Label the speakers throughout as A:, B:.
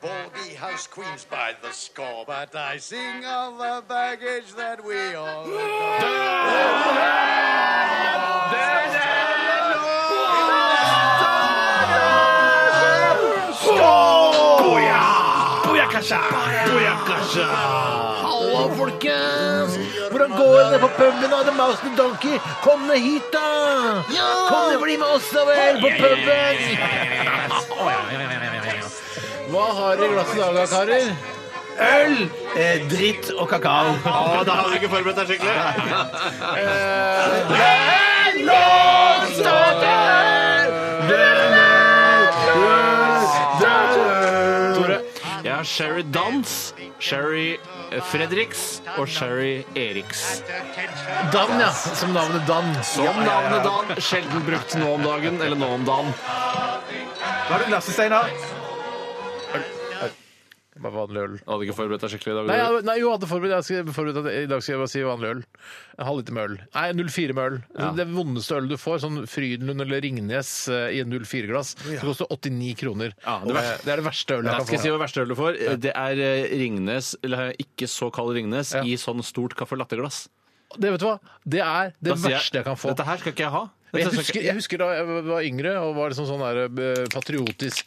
A: baldy house queens by the score. But I sing of the baggage that we all.
B: Booyakasha! Booyakasha! Hallo, folkens! Hvordan går det på puben av The Mouse and Donkey? Kom ned hit, da! Kom ned, bli med oss, da vel, på puben! Hva har dere i glasset i dag, da, karer? Øl, eh, dritt og kakao. Å, da hadde du ikke forberedt deg skikkelig.
C: Tore, jeg har Sherry Dans, Sherry
B: eh,
C: Fredriks og Sherry Eriks.
B: Dan, ja. Som navnet Dan.
C: Som navnet Dan, sjelden brukt nå om dagen, eller nå om dagen.
D: Hva har du i glasset, Steinar?
B: Bare vanlig øl.
C: Hadde ikke forberedt deg skikkelig i
B: Nei,
C: dag.
B: jeg, nei, jo, jeg hadde forberedt, jeg skal, forberedt at i dag skal jeg bare si vanlig øl. En halvliter med øl. Nei, 04 med øl. Det vondeste ølet du får, sånn Frydenlund eller Ringnes eh, i en 04-glass, som koster 89 kroner.
C: Ja, det
B: det,
C: verste-
B: er, det er det verste ølet jeg
C: Nei, skal jeg
B: kan
C: si
B: få.
C: hva verste øl du får? Det er eh, Ringnes, eller eh, ikke så kald Ringnes,
B: Ja.
C: i sånn stort caffè latte-glass.
B: Det vet du hva? Det er det
C: Da sier
B: verste jeg kan få.
C: Dette her skal ikke jeg ha. Dette
B: Men jeg,
C: skal ikke-
B: husker, jeg husker da jeg var yngre og var liksom sånn der eh, patriotisk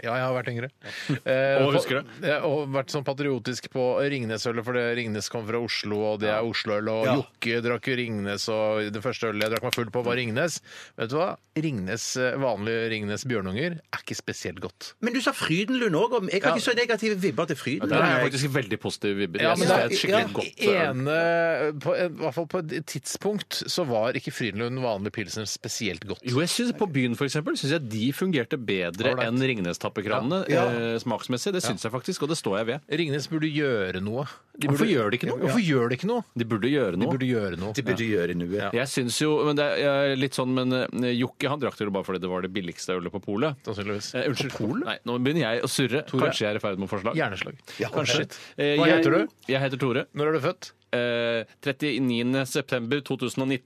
B: ja, jeg har vært yngre. Eh,
C: Og husker det.
B: ja, Og vært sånn patriotisk på Ringnesølet, for det Ringnes kom fra Oslo, og det er Oslo-øl, og
C: Ja.
B: Jokke drakk jo Ringnes, og det første ølet jeg drakk meg full på, var Ringnes. Vet du hva? Ringnes, eh, Vanlige Ringnes Bjørnunger er ikke spesielt godt.
D: Men du sa Frydenlund òg. Jeg har ikke så negative vibber til Frydenlund.
C: Der er jeg faktisk veldig positiv vibber.
B: Ja,
C: Jeg
B: men
C: synes det
B: det er-
C: er et skikkelig
D: ja,
C: godt eh, øl.
B: Ene, eh, på, en- I hvert fall på et tidspunkt så var ikke Frydenlund vanlig pilsner spesielt godt.
C: Jo, jeg synes På byen for eksempel, synes jeg de fungerte bedre
B: Alright.
C: enn Ringnes-tappekranene
B: Ja.
C: eh, smaksmessig. Det syns jeg faktisk, og det står jeg ved.
B: Ringnes burde gjøre noe. De
C: Hvorfor
B: burde-
C: gjør de ikke noe?
B: Hvorfor gjør de ikke noe?
C: De burde gjøre
B: De
C: noe.
B: burde gjøre noe.
D: Det burde gjøre noe.
C: Jeg synes jo, men det er eh, litt sånn, men eh, Jokke han drakk det jo bare fordi det var det billigste ølet på polet.
B: Sannsynligvis.
C: Eh, unnskyld. Nei, nå begynner jeg å surre. Kanskje jeg er i ferd med å få slag.
B: Hjerneslag.
C: Kanskje. Eh,
B: Hva
C: jeg-
B: heter du?
C: Jeg heter Tore.
B: Når er du født?
C: Eh, 39.9.2019.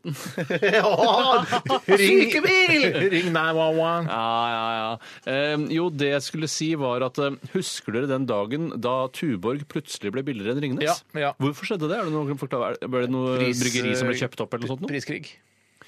B: Sykebil! Ring 911.
C: Ja, ja, ja. Eh, jo, det jeg skulle si var at eh, husker dere den dagen da Tuborg plutselig ble billigere enn Ringnes?
B: Ja, ja.
C: Hvorfor skjedde det? Er det noen forklare? Er det noe
B: Pris-
C: bryggeri som ble kjøpt opp eller noe sånt? nå?
B: Priskrig.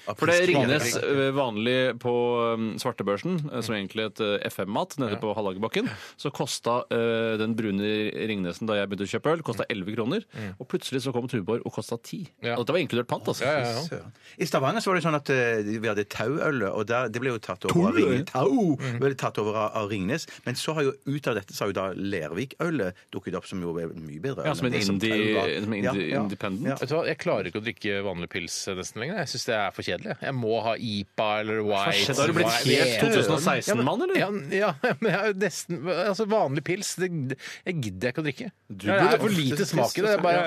C: For det er Ringnes eh, vanlig på eh, svartebørsen, eh, som egentlig et FM-mat nede på Hallagerbakken, så kosta eh, den brune Ringnesen da jeg begynte å kjøpe øl, kosta 11 kroner. Og plutselig så kom Tuborg og kosta 10.
B: Ja.
C: Og dette var inkludert pant, altså.
B: Ja, ja, ja.
D: Søren. I Stavanger så var det sånn at eh, vi hadde tauølet, og der, det ble jo tatt over av Ringnes. Tau! Ble tatt over av, av Ringnes. Men så har jo ut av dette så har jo da Lervikølet dukket opp, som jo er mye bedre.
C: Ja,
D: øl
C: som
D: enn
C: en
D: det
C: indie,
D: tau var.
C: som en
D: Ja,
C: indie,
D: ja.
C: independent.
D: Ja.
B: Vet du hva, Jeg klarer ikke å drikke vanlig pils nesten lenger. Jeg syns det er for kjedelig. Jeg må ha IPA eller
C: Hva
B: White.
C: skjedde? Har du blitt helt 2016-mann, eller?
B: Ja, ja, men jeg er jo nesten Altså, vanlig pils, det jeg gidder jeg ikke å drikke.
C: Du
B: Det er
C: burde-
B: for lite smak i det. Jeg bare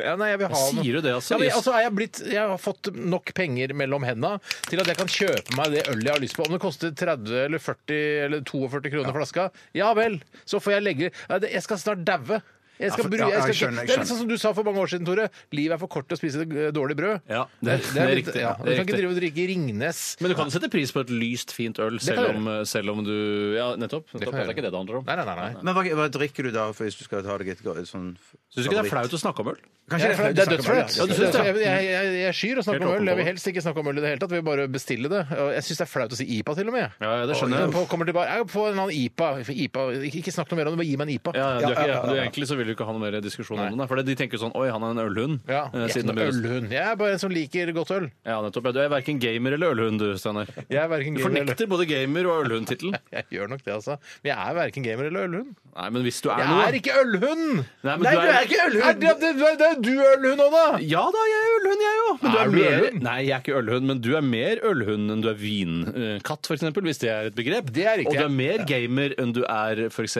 B: ja, Nei, jeg vil ha noe.
C: Sier du det, altså?
B: Ja, men, altså er jeg, blitt, jeg har fått nok penger mellom henda til at jeg kan kjøpe meg det ølet jeg har lyst på. Om det koster 30 eller 40 eller 42 kroner flaska, ja vel, så får jeg legge Nei, det- Jeg skal snart daue. Jeg skal
D: for-
B: bry, jeg
D: ja,
B: skal,
D: jeg
B: ikke-
D: skjønner, jeg
B: det er litt
D: skjønner.
B: sånn som du sa for mange år siden, Tore. Livet er for kort til å spise det, eh, dårlig brød.
C: Ja, det- det er
B: litt-
C: riktig,
B: Ja,
C: det er
B: du kan ikke
C: riktig.
B: drive og drikke Ringnes.
C: Men du kan jo sette pris på et lyst, fint øl,
B: kan
C: selv
B: jeg
C: om, eh, selv om du Ja, nettopp. nettopp. Det,
B: kan jeg
C: er ikke det det handler om.
B: Nei, nei, nei. nei.
D: Men hva, hva drikker du da for hvis du skal ta deg et go- sånn
C: Syns du ikke det er flaut å snakke om øl?
D: Kanskje
B: Ja, for det er dødsflaut.
D: Ja,
C: du
D: det
C: synes det?
B: Jeg, jeg, jeg, jeg skyr å snakke
C: Helt
B: om øl. Jeg vil
C: åpenbart.
B: helst ikke snakke om øl i det hele tatt. Jeg vil bare bestille det. Og Jeg syns det er flaut å si IPA til og med.
C: Ja, ja, det
B: Når
C: skjønner
B: jeg
C: jeg.
B: på, kommer tilbake, jeg får en eller annen IPA. IPA. Ikke, ikke snakk noe mer om det, bare gi meg en IPA.
C: Ja, ja, du er ikke, Du, egentlig så vil du ikke ha noe mer diskusjon om det. For de tenker sånn Oi, han er en ølhund.
B: Ja, jeg er
C: eh, siden
B: ikke
C: det
B: noe
C: begynner-
B: ølhund. Jeg er bare en som liker godt øl.
C: Ja, nettopp. Ja, du er verken gamer eller ølhund, du, Steinar.
B: Jeg er verken
C: Du
B: gamer eller
C: fornekter både gamer- og ølhundtittelen.
B: Jeg gjør nok det, altså. Men jeg er verken gamer eller ølhund.
C: Nei, men hvis du er
B: Jeg
C: noe
B: er ikke ølhund!
C: Nei, men
D: Nei, du er ikke
B: Er det,
D: ølhund!
B: det, det, det er jo du ølhund òg, da!
C: Ja da, jeg er ølhund, jeg òg. Men du
B: Er du
C: er, mer
B: ølhund?
C: Nei, jeg er ikke ølhund, men du er mer ølhund enn du er eh, vinkatt, f.eks., hvis det er et begrep.
B: Det er riktig.
C: Og du er mer gamer enn du er f.eks.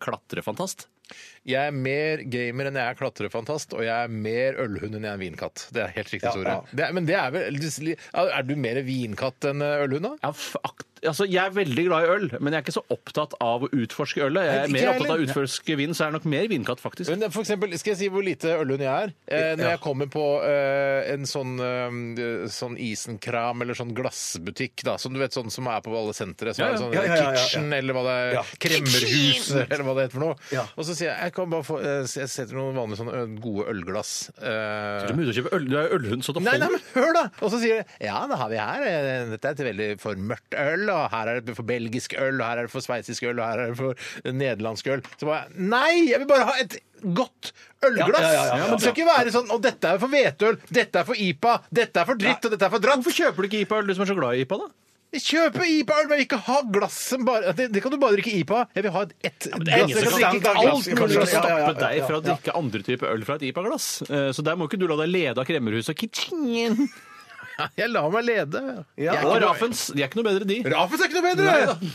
C: klatrefantast.
B: jeg er mer gamer enn jeg er klatrefantast, og jeg er mer ølhund enn jeg er en vinkatt. Det er helt riktig, Tore. Det er- Men det er vel Er du mer vinkatt enn eh, ølhund, da?
C: Ja, fuck. Altså, jeg er veldig glad i øl, men jeg er ikke så opptatt av å utforske ølet.
B: Nei,
C: Jeg er
B: ikke
C: mer
B: jeg
C: opptatt av å
B: heller.
C: utforske vin, så jeg er nok mer vinkatt, faktisk.
B: Men eh, for eksempel, skal jeg si hvor lite ølhund jeg er? Eh, når jeg kommer på eh, en sånn, eh, sånn isenkram eller sånn glassbutikk, da, som du vet sånn som er på alle sentre, som
C: Ja, ja.
B: er sånn
D: Ja, ja, ja, ja, ja.
B: kitchen eller hva det er, kremmerhuset eller hva det heter for noe. Og så sier jeg jeg kan bare få eh, jeg setter noen vanlige sånne ø, gode ølglass. Eh,
C: Du, må ut og kjøpe øl. du er jo ølhund, så det
B: Nei, nei,
C: holder.
B: men hør da! Og så sier de ja, da har vi her. eh, Dette er et veldig for mørkt øl, og her er det for belgisk øl, og her er det for sveitsisk øl, og her er det for eh, nederlandsk øl. Så bare nei! Jeg vil bare ha et godt ølglass!
D: Ja, ja, ja, ja, ja.
B: Det skal ikke være sånn og dette er for hvetøl, dette er for IPA, dette er for dritt, og dette er for dratt.
C: Hvorfor kjøper du ikke IPA-øl, du som er så glad i IPA, da?
B: Kjøpe IPA-øl, men ikke ha glasset bare det, det kan du bare drikke IPA. Jeg vil ha et, ett
C: er
B: glass.
C: ingen
B: Jeg kan
C: som kan
B: drikke
C: Alt
B: alt
C: mulig
B: mulig.
C: å
B: glass.
C: stoppe deg fra å drikke andre typer øl fra et IPA-glass. Eh, Så der må ikke du la deg lede av Kremmerhuset og Kitchen.
B: Jeg lar meg lede. Jeg er
C: Og
B: ikke-
C: Raffens. De er ikke noe bedre, de.
B: Rafens er ikke noe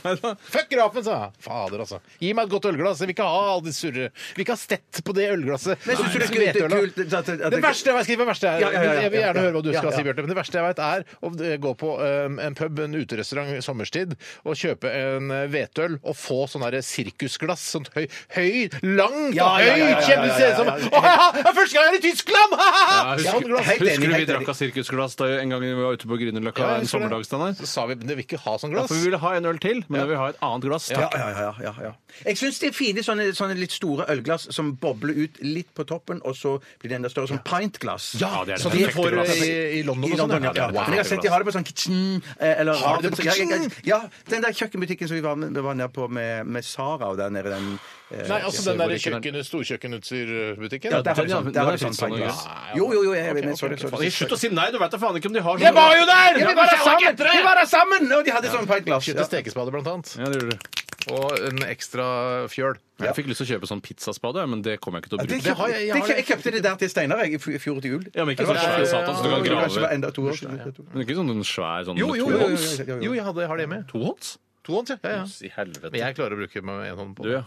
B: bedre! Fuck Rafens, da! Fader, altså. Gi meg et godt ølglass. Jeg vil ikke ha alle de surre. Vi vil ikke ha stett på det ølglasset.
D: Men syns du det
B: Nei,
D: er kult-
B: hvetøla.
D: kult at- at- at-
B: Det verste jeg vet, skriv det verste jeg
D: Ja, ja, ja, ja,
B: Jeg vil
D: ja,
B: gjerne
D: ja.
B: høre hva du
D: Ja,
B: skal
D: ja.
B: si, Bjarte. Men det verste jeg vet, er å eh, gå på eh, en pub, en uterestaurant, sommerstid, og kjøpe en eh, hvetøl og få sånn derre sirkusglass. Sånt høy, høy langt
D: Ja,
B: og
D: ja, ja, ja, ja,
B: høyt! Kjempe,
D: ja, ja,
B: ser ut
D: ja, ja.
B: som Å, ha, ha, Første gang jeg er i Tyskland! Ha, ha, ha! Sånn
C: Ja, husker,
B: glass.
D: helt enig,
C: husker du vi
D: helt
C: drakk
D: enig.
C: av sirkusglass da en gang vi var ute på Grünerløkka
B: Ja, jeg
C: en
B: husker det.
C: sommerdag? Steinar?
B: Så sa vi men vi vil ikke ha sånn
C: Ja,
B: glass.
C: for vi ville ha en øl til, men da vil vi ha et annet glass.
D: Ja,
C: Takk.
D: ja, ja, ja, ja. Jeg syns det er fine sånne, sånne litt store ølglass som bobler ut litt på toppen, og så blir det enda større som pintglass.
C: Ja, det er det
B: Så de
C: perfekte
B: får
C: glasset.
B: i, i London
D: I
B: og sånn?
D: London, ja.
C: ja.
D: Men jeg har sett de har det på sånn kitchen eh, eller,
B: Har de det på
D: Ja, jeg- jeg-
B: kitchen?
D: Ja, den der kjøkkenbutikken som vi var, vi var nede på med, med Sara og der nede den eh,
B: Nei, altså
D: ja,
B: den der
C: hvor ikke den-
B: kjøkken, storkjøkkenutstyrbutikken?
D: der har
C: den-
D: de sånn-
C: den-
D: der har
C: den
D: de sånn
C: finnes sånn,
D: pintglass.
B: ja.
D: Jo, jo, jo, jeg,
B: Ok,
D: men, sorry,
B: ok,
D: sorry,
C: Faen,
D: sorry.
C: Altså, Slutt å si nei! Du veit da faen ikke om de har
B: Jeg var jo der!
D: Ja, vi var der sammen! Vi var der sammen! Og de hadde sånn pintglass.
B: Kjøtt og stekespade, blant annet.
C: Ja, det gjorde du.
B: Og en ekstra fjøl.
C: Jeg fikk lyst til å kjøpe sånn pizzaspade, men det kommer jeg ikke til å
D: Det
C: bruke.
D: kjøpte,
B: Det har jeg- jeg har
D: det kjø-
B: det.
D: jeg kjøpte det der til Steinar jeg, i fj- i fjor til jul.
C: Ja, men ikke sånn
D: Eller var det-
C: svær satan som du kan
D: Ja, Kanskje det var
C: grave.
D: enda to år siden.
C: Men ikke sånn en svær sånn
B: Jo, jo, jo,
C: tohånds?
D: jo, jo, jo.
B: jo, jeg hadde, jeg har det hjemme.
C: Tohånds?
B: Tohånds, ja. ja, ja.
C: I helvete.
B: Men jeg klarer å bruke med en hånd på
C: Du, ja.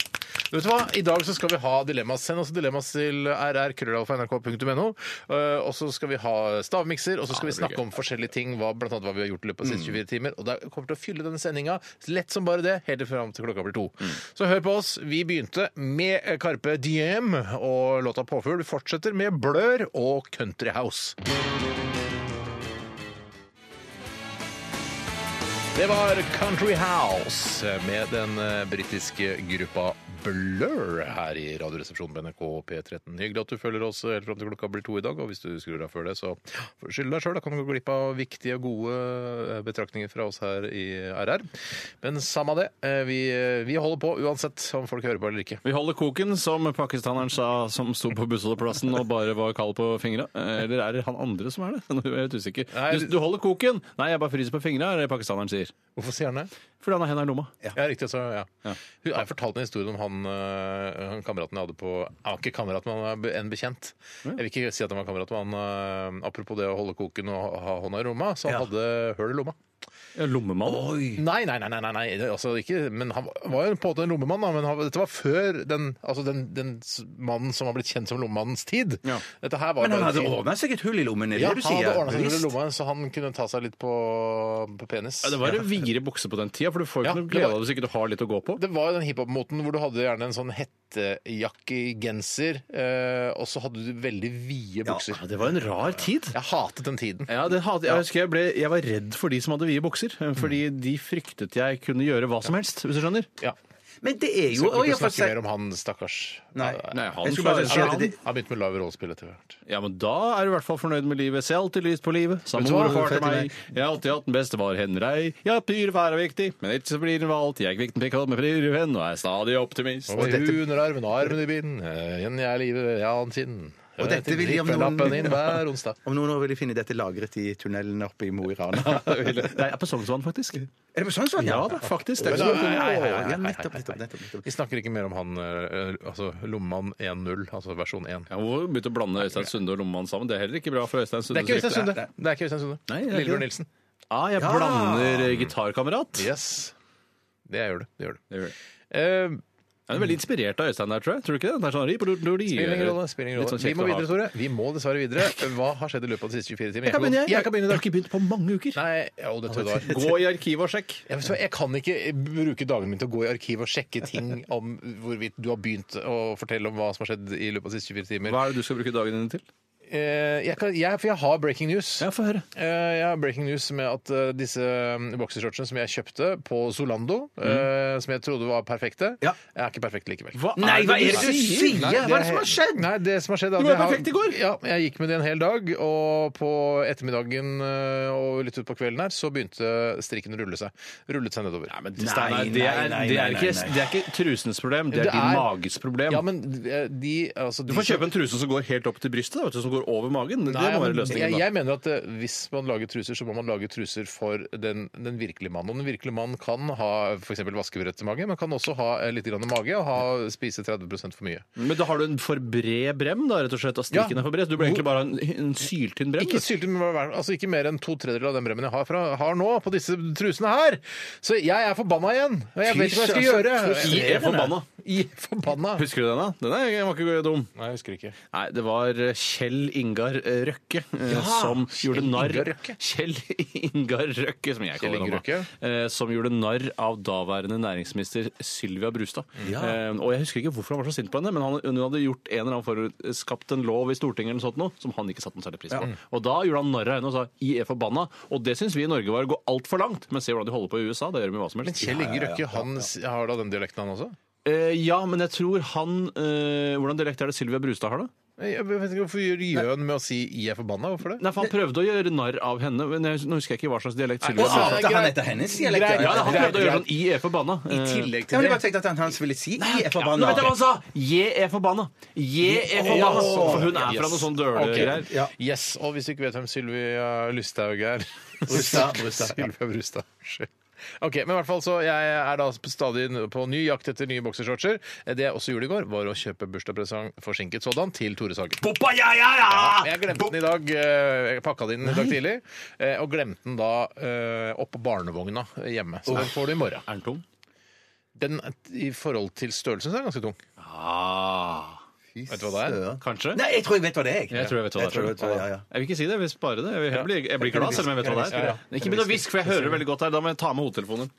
B: Vet du hva? I dag så skal vi ha dilemmas. Send oss dilemmas til rrkrøllalfa.nrk.no. Eh, Og så skal vi ha stavmikser, og så skal vi
C: det blir
B: snakke om forskjellige ting, hva, blant annet hva vi har gjort i løpet av de siste 24 timer. Og det kommer til å fylle denne sendinga lett som bare det, helt til fram til klokka blir to. Så hør på oss. Vi begynte med Karpe Diem og låta Påfugl. Vi fortsetter med Blør og Country House. Det var Country House med den eh, britiske gruppa Blur her i Radioresepsjonen på NRK P13. Hyggelig at du følger oss helt fram til klokka blir to i dag. Og hvis du skrur av før det, så skyld deg sjøl. Da kan du gå glipp av viktige og gode eh, betraktninger fra oss her i RR. Men samme det. eh, Vi, vi holder på uansett om folk hører på eller ikke.
C: Vi holder koken, som pakistaneren sa som sto på bussholdeplassen og bare var kald på fingra. Eh, Eller er det han andre som er det? Nå er jeg litt usikker.
B: Nei,
C: Du, du holder koken! Nei, jeg bare fryser på fingra, er det pakistaneren sier.
B: Hvorfor sier han det?
C: Fordi han har henda i lomma.
B: Ja, riktig. Så, ja. Hun, jeg fortalte en historie om han, øh, han kameraten jeg hadde på Han var ikke kamerat, men han var be- en bekjent. Jeg vil ikke si at han var kamerat, men han, øh, apropos det å holde koken og ha- ha hånda i lomma, så han hadde høl i lomma.
C: Ja, Lommemann.
B: Nei, nei, nei, nei, nei, nei. Altså, ikke, men han var jo på en måte en lommemann, da, men han, dette var før den, altså, den, den s- mannen som har blitt kjent som lommemannens tid.
C: Ja.
B: Dette her var
D: Men han
B: bare-
D: hadde ordna seg et hull i lommen, er det
B: ja, han
D: det du sier?
B: hadde ordna seg hull i
D: Visst.
B: lomma, så han kunne ta seg litt på, på penis.
C: Ja, det var jo videre bukse på den tida, for du får jo
B: Ja,
C: ikke noe
B: det
C: glede
B: var-
C: av det hvis ikke du har litt å gå på.
B: Det var jo den hiphop-moten hvor du hadde gjerne en sånn hettejakke i genser, eh, og så hadde du veldig vide bukser.
C: Ja, det var en rar tid.
B: Jeg hatet den tiden.
C: Ja, det hadde, jeg husker jeg, ble, jeg var redd for de som hadde vide bukser. Fordi de fryktet jeg kunne gjøre hva som helst, hvis du skjønner.
B: Ja.
D: Men det er jo
B: Skal
D: og
B: vi
D: jeg
B: ikke
D: får
B: snakke
D: se-
B: mer om han, stakkars.
D: Nei.
C: Nei, han
D: Jeg skulle
C: klarer
D: bare si
C: seg,
D: at
C: han.
D: det,
B: Han begynte med live rollespill etter hvert.
C: Ja, men da er du i hvert fall fornøyd med livet. Se alltid lyst på livet. Samme
B: Vet du hva?
C: mor og far til
D: Fett i
C: meg. Jeg har alltid hatt den beste var Henrei. Ja, pyrvær er viktig, men ikke så blir den valgt. Jeg er kvikk den pikk med pyrven og er stadig optimist.
B: Og under armen og armen i bind, eh, igjen jeg er livet, ja, han sinn.
D: Og dette
B: Jeg
D: vil de om
B: ripper
D: noen-
B: lappen inn hver onsdag.
D: om noen år vil de finne dette lagret i tunnelen oppe i Mo i Rana.
C: Nei, på Sognsvann, faktisk.
D: Er det på sånn sånn?
C: Ja da, faktisk. Det
D: Det
C: er ikke
D: er sånn.
C: så mye.
D: Nei, nei, nei, nei, nettopp, nettopp, nettopp, nettopp.
B: Vi snakker ikke mer om han, eh, altså Lomman 1.0, altså versjon 1.
C: Ja, Hvorfor begynte å blande Øystein Sunde og Lommann sammen? Det er heller ikke bra for Øystein
B: Det
C: Sunde.
B: er ikke Øystein Sunde. Det er ikke Øystein Sunde.
C: Nei, det er ikke
B: Lillebjørn
C: det.
B: Nilsen.
C: Ja, jeg blander eh, gitarkamerat.
B: Yes. Det gjør du. Det gjør du.
C: Det gjør det.
B: Eh,
C: er veldig inspirert av Øystein der, tror jeg. Tror du ikke det? Det er sånn, ripodododi,
B: Spiller ingen rolle. spiller ingen
C: litt
B: rolle.
C: sånn
B: Vi
C: kjekt
B: må
C: å ha.
B: videre, Tore. Vi må dessverre videre. Hva har skjedd i løpet av de siste 24 timer?
C: Jeg kan begynne, jeg.
B: Jeg kan begynne i
C: Jeg
B: dag.
C: har ikke begynt på mange uker.
B: Nei, jo, det tror jeg du har.
C: Gå i arkiv og sjekk.
B: Jeg, vet hva, jeg kan ikke bruke dagene mine til å gå i arkiv og sjekke ting om hvorvidt du har begynt å fortelle om hva som har skjedd i løpet av de siste 24 timer.
C: Hva er det du skal bruke dagen din til?
B: Eh, Jeg kan, jeg, for jeg har breaking news.
C: få høre.
B: Eh, Jeg har breaking news med at eh, disse eh, boksershortsene som jeg kjøpte på Solando,
C: Mm.
B: eh, som jeg trodde var perfekte,
D: Ja.
B: er ikke perfekte likevel.
C: Hva er
D: Nei,
C: det du
D: hva er det du
C: sier?
D: sier?
B: Nei,
D: Hva er det
B: he-
D: som har skjedd?
B: Nei, det som har skjedd er at
C: Du var
B: jeg har-
C: perfekt i går!
B: Ja, jeg gikk med det en hel dag, og på ettermiddagen eh, og litt utpå kvelden her, så begynte strikken å rulle seg. Rullet seg nedover.
C: Nei, men Steinar,
D: Nei,
C: det, er,
D: nei, nei,
C: det, er
D: nei,
C: ikke,
D: nei, nei.
C: det er ikke trusenes problem, det er,
B: Det
C: din
B: er-
C: mages problem.
B: Ja, men eh, de altså,
C: du får kjøpe en truse som går helt opp til brystet, da, vet du, som går over magen. Det
B: Nei,
C: må
B: men
C: være løsningen.
B: jeg,
C: da.
B: jeg mener at eh, hvis man lager truser, så må man lage truser for den, den virkelige mannen. Og den virkelige mannen kan ha f.eks. vaskebrøttmage, men kan også ha eh, litt grann mage og ha, spise 30 for mye.
C: Men da har du en for bred brem, da, rett og slett. Og strikken
B: Ja.
C: er for bred. så Du burde egentlig bare ha en, en syltynn brem.
B: Ikke
C: du.
B: syltet, men hver- altså ikke mer enn to tredjedeler av den bremmen jeg har, fra, har nå på disse trusene her. Så jeg er forbanna igjen. Og jeg vet ikke hva jeg skal gjøre.
C: I er forbanna.
B: I er forbanna.
C: Husker du den, da? Den er, var ikke dum.
B: Nei, jeg husker ikke.
C: Nei, det var eh, Kjell Ingar eh, Røkke eh, som gjorde narr
B: Ingar Røkke.
C: Kjell Ingar Røkke, som jeg
B: Kjell
C: kaller
B: Ingar
C: ham. da. Eh, Som gjorde narr av daværende næringsminister Sylvia Brustad. Eh, Og jeg husker ikke hvorfor han var så sint på henne, men han, hun hadde gjort en eller annen for, eh, skapt en lov i Stortinget eller noe sånt nå, som han ikke satte noe særlig pris på. Og da gjorde han narr av henne og sa 'I er forbanna'. Og det syns vi i Norge var å gå altfor langt. Men se hvordan de holder på i USA. Da gjør de hva som helst.
B: Men Kjell Inge Røkke, han s- har da den dialekten, han også?
C: Eh, ja, men jeg tror han eh, Hvordan dialekt er det Sylvia Brustad har, da?
B: Jeg vet ikke Hvorfor gjør han med å si 'I er forbanna'? Hvorfor det?
C: Nei, for Han prøvde å gjøre narr av henne, men jeg, nå husker jeg ikke hva slags dialekt
D: Og
C: Sylvia
B: Nei,
C: sa.
B: det er
D: arter han
B: greit.
D: etter hennes dialekt?
B: Greit.
C: Ja,
D: Ja,
C: da, Han
B: det er
C: prøvde å gjøre
B: greit.
C: sånn I altså, er forbanna.
B: I tillegg
D: men
B: til
D: jeg bare
B: det
D: tenkte at han, han ville si I er
C: Nå
D: forbanna.
C: vet jeg hva han sa! Jeg er forbanna! Jeg er forbanna! For hun er fra
B: Yes.
C: noe sånn dølegreier.
B: Ok. Yes, og hvis du ikke vet hvem eh, Sylvia Lysthaug er
D: Brustad, Brustad, ja.
B: Sylvia Brustad. Unnskyld. Ok, men i hvert fall så Jeg er da stadig på ny jakt etter nye boksershortser. Eh, Det jeg også gjorde i går, var å kjøpe bursdagspresang forsinket sådan til Tore Sagen.
C: Poppa, ja, ja, ja!
B: Jeg glemte den i dag. eh, Jeg pakka den inn i dag tidlig. eh, Og glemte den da eh, oppå barnevogna eh, hjemme. Så den får du i morgen.
C: Er den tung?
B: Den i forhold til størrelsen så er den ganske tung.
C: Ah,
B: Vet du hva det er?
C: kanskje?
D: Nei, jeg tror jeg vet hva det er.
C: Jeg tror jeg vet hva det er.
D: tror jeg vet hva det er, ja, ja.
C: Jeg vil ikke si det, jeg vil spare det. Jeg, vil, jeg, blir, jeg blir glad selv om jeg vet hva det er. Men Ikke begynn å hviske, for jeg hører det veldig godt her. Da må jeg ta med hodetelefonen.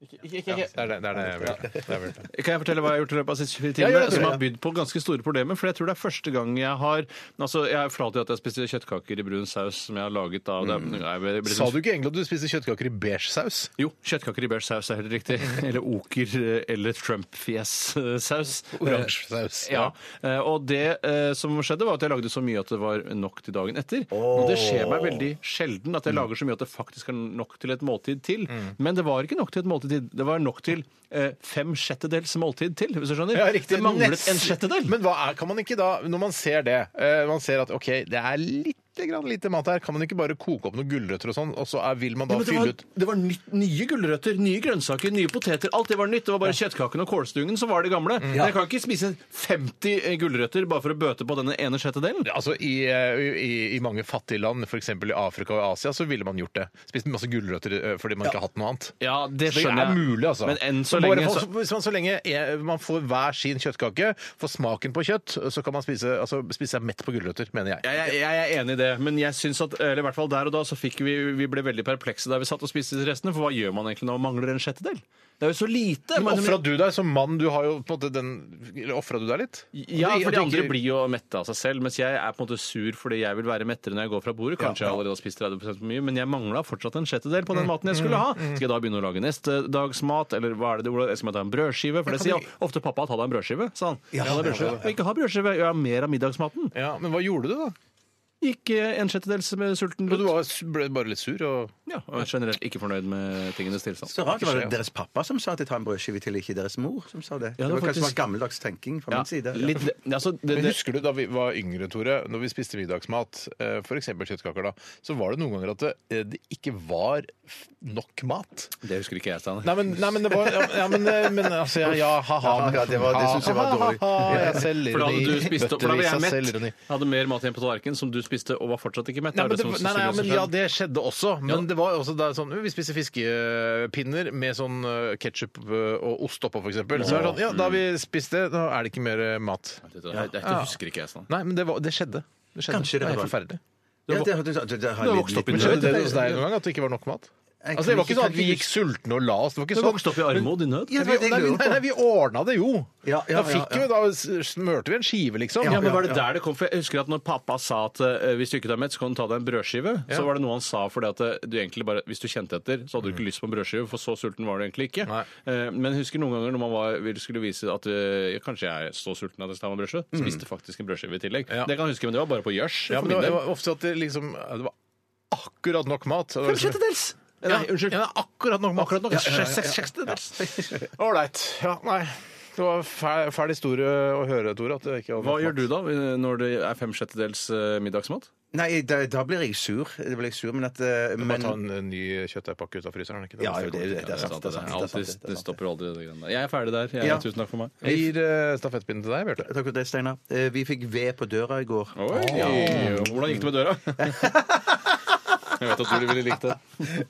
B: Det er det, det, er det jeg vil. Det er vel det.
C: Kan jeg fortelle hva jeg har gjort i løpet av de siste 24
B: Ja, gjør
C: timene?
B: det,
C: Som
B: gjør
C: har bydd på ganske store problemer. For jeg tror det er første gang jeg har Altså, Jeg er flat i at jeg spiste kjøttkaker i brun saus som jeg har laget av det. Jeg ble-
B: Mm.
C: liksom-
B: Sa du ikke egentlig at du spiser kjøttkaker i beige saus?
C: Jo, kjøttkaker i beige saus er helt riktig. Eller oker eh, eller Trump-fjes-saus.
B: Oransje saus.
C: Ja. eh, Og det eh, som skjedde, var at jeg lagde så mye at det var nok til dagen etter. Og det skjer meg veldig sjelden at jeg lager så mye at det faktisk er nok til et måltid til. Men det var ikke nok til et måltid til. Det var nok til eh, fem sjettedels måltid til, hvis du skjønner. det manglet
B: Nesten.
C: en sjettedel.
B: Men hva er, kan man ikke da, når man ser det eh, Man ser at OK, det er lite grann lite mat her. Kan man ikke bare koke opp noen gulrøtter og sånn, og så er, vil man da
C: Ja, men det
B: fylle
C: var,
B: ut
C: det var nytt, nye gulrøtter, nye grønnsaker, nye poteter. Alt det var nytt. Det var bare kjøttkaken og kålstungen som var det gamle. Men jeg kan ikke spise 50 gulrøtter bare for å bøte på denne ene sjettedelen.
B: Altså I, eh, i, i mange fattige land, f.eks. i Afrika og Asia, så ville man gjort det. Spist masse gulrøtter eh, fordi man ikke har hatt noe annet.
C: Ja, det
B: Det er
C: skjønner jeg.
B: mulig, altså.
C: Men enn så
B: bare
C: lenge
B: for-
C: så-
B: Hvis man så lenge er, man får hver sin kjøttkake, får smaken på kjøtt, så kan man spise, altså, spise seg mett på gulrøtter, mener jeg.
C: Jeg, jeg, jeg er enig i det, men jeg synes at, eller i hvert fall der og da så fikk vi, vi ble veldig perplekse der vi satt og spiste restene, for hva gjør man egentlig når man mangler en sjettedel? Det er jo så lite.
B: Men Ofra du deg som mann? Du har jo på en måte den Eller ofra du deg litt?
C: Ja,
B: At du-
C: for
B: at
C: de
B: du
C: andre
B: ikke-
C: blir jo mette av seg selv, mens jeg er på en måte sur fordi jeg vil være mettere når jeg går fra bordet. Kanskje jeg allerede har spist 30 for mye, men jeg mangla fortsatt en sjettedel på den
B: Mm,
C: maten jeg skulle ha. Skal jeg da begynne å lage neste dags mat, eller hva er det det ordet? Skal jeg ta en brødskive? For det sier jo ofte pappa ta deg en brødskive, sa han. Ja, det er brødskive. Og ikke ha brødskive, gjør jeg mer av middagsmaten.
B: Ja, Men hva gjorde du, da?
C: Gikk eh, en sjettedels med sulten
B: Jo, Du
C: ut.
B: var, ble bare litt sur? og...
C: Ja, og generelt ikke fornøyd med tingenes tilstand.
D: Så rart det var deres pappa som sa at de tar en brødskive til, ikke deres mor som sa det.
C: Ja, det
D: det, var
C: var
D: kanskje
C: faktisk-
D: bare gammeldags tenking fra
C: Ja,
D: min side.
C: litt, altså, det,
B: Men
C: det,
B: Husker du da vi var yngre, Tore, når vi spiste middagsmat, f.eks. kjøttkaker, da, så var det noen ganger at det, eh, det ikke var f- nok mat?
C: det husker ikke jeg, Steinar.
B: Nei, men, nei, men det var ja, men, eh, men altså, ja, ja, ha-ha.
D: Ja, ja, det var- det synes jeg var dårlig.
B: Ha-ha, jeg er
C: For da hadde du
B: selvironi.
C: spist opp, for da var jeg
B: Bøttevis av
C: mett.
B: selvironi.
C: Jeg hadde mer mat igjen på tallerkenen, som du spiste og var fortsatt ikke mett.
B: Nei,
C: er
B: men
C: det
B: det, nei,
C: som
B: nei, ja, men
C: sannsynligvis
B: ja,
C: har skjedd?
B: det skjedde også. Men det var også da sånn Vi spiser fiskepinner med sånn ketsjup og ost oppå, f.eks. Så er det sånn, ja, da har vi spist det, nå er det ikke mer eh, mat.
C: Dette, dette, dette husker ikke jeg sånn.
B: Nei, men det, var, det skjedde. Det skjedde.
D: Kanskje det
B: er
D: var-
B: helt forferdelig.
D: Ja, det, det, det, det har
C: Du har
D: jeg
C: vokst opp
D: litt-
C: i
B: Men
D: litt-
B: skjedde det hos deg noen gang at det ikke var nok mat? Altså, Det var
D: Jeg kan
B: ikke sånn
D: kan
B: at vi gikk sultne og la oss. Det var
C: Du
B: ikke
C: vokste
B: sånn.
C: opp i armod i nød?
D: Ja,
B: Nei,
D: det
B: nei, nei, nei, vi ordna det jo.
D: Ja, ja,
B: Da fikk
D: ja,
B: vi, da
D: ja.
B: smørte vi en skive, liksom.
C: Ja, men var det der det kom fra? Jeg husker at når pappa sa at eh, hvis du ikke er mett, så kan du ta deg en brødskive, så var det noe han sa fordi at eh, du egentlig bare, hvis du kjente etter, så hadde du ikke lyst på en brødskive, for så sulten var du egentlig ikke.
B: Nei.
C: Eh, Men jeg husker noen ganger når man var, ville- skulle vise at eh, kanskje jeg er så sulten at jeg skal ta meg en brødskive,
D: Mm.
C: spiste faktisk en brødskive i tillegg.
B: Ja.
C: Det kan jeg huske, men det var bare på gjørs.
B: Ja,
C: for
B: men det var,
C: min
B: det
C: del.
B: var ofte at det liksom Det var akkurat nok mat.
C: Fem sjettedels!
B: Ja,
C: Nei, unnskyld.
B: Ja, akkurat nok mat.
C: Akkurat nok.
B: Ja, ja, ja, ja.
C: Seks sjettedels.
B: Ålreit. Ja, nei. Det var fæl, fæl historie å høre, Tore. At det ikke var
C: Hva gjør du da eh, når det er fem sjettedels eh, middagsmat?
D: Nei, da, da blir jeg sur. Da blir jeg sur, men at eh,
B: Bare
D: men,
B: ta en eh, ny kjøttdeigpakke ut av fryseren. er det Ikke det
D: Ja,
B: beste
D: jo, det,
B: jeg
D: det, det er sant. Det er sant, det er sant, det er
C: Alltid-
D: sant, det
C: det
D: er sant.
C: stopper aldri det greiene. Jeg er ferdig der. Jeg,
D: Ja.
C: Tusen takk for meg.
B: kommer til. Jeg gir eh, stafettpinnen til deg, Bjarte.
D: Takk for det, Steinar. Eh, Vi fikk ved på døra i går.
C: Oi! Hvordan gikk det med døra? jeg vet at du ville likt det.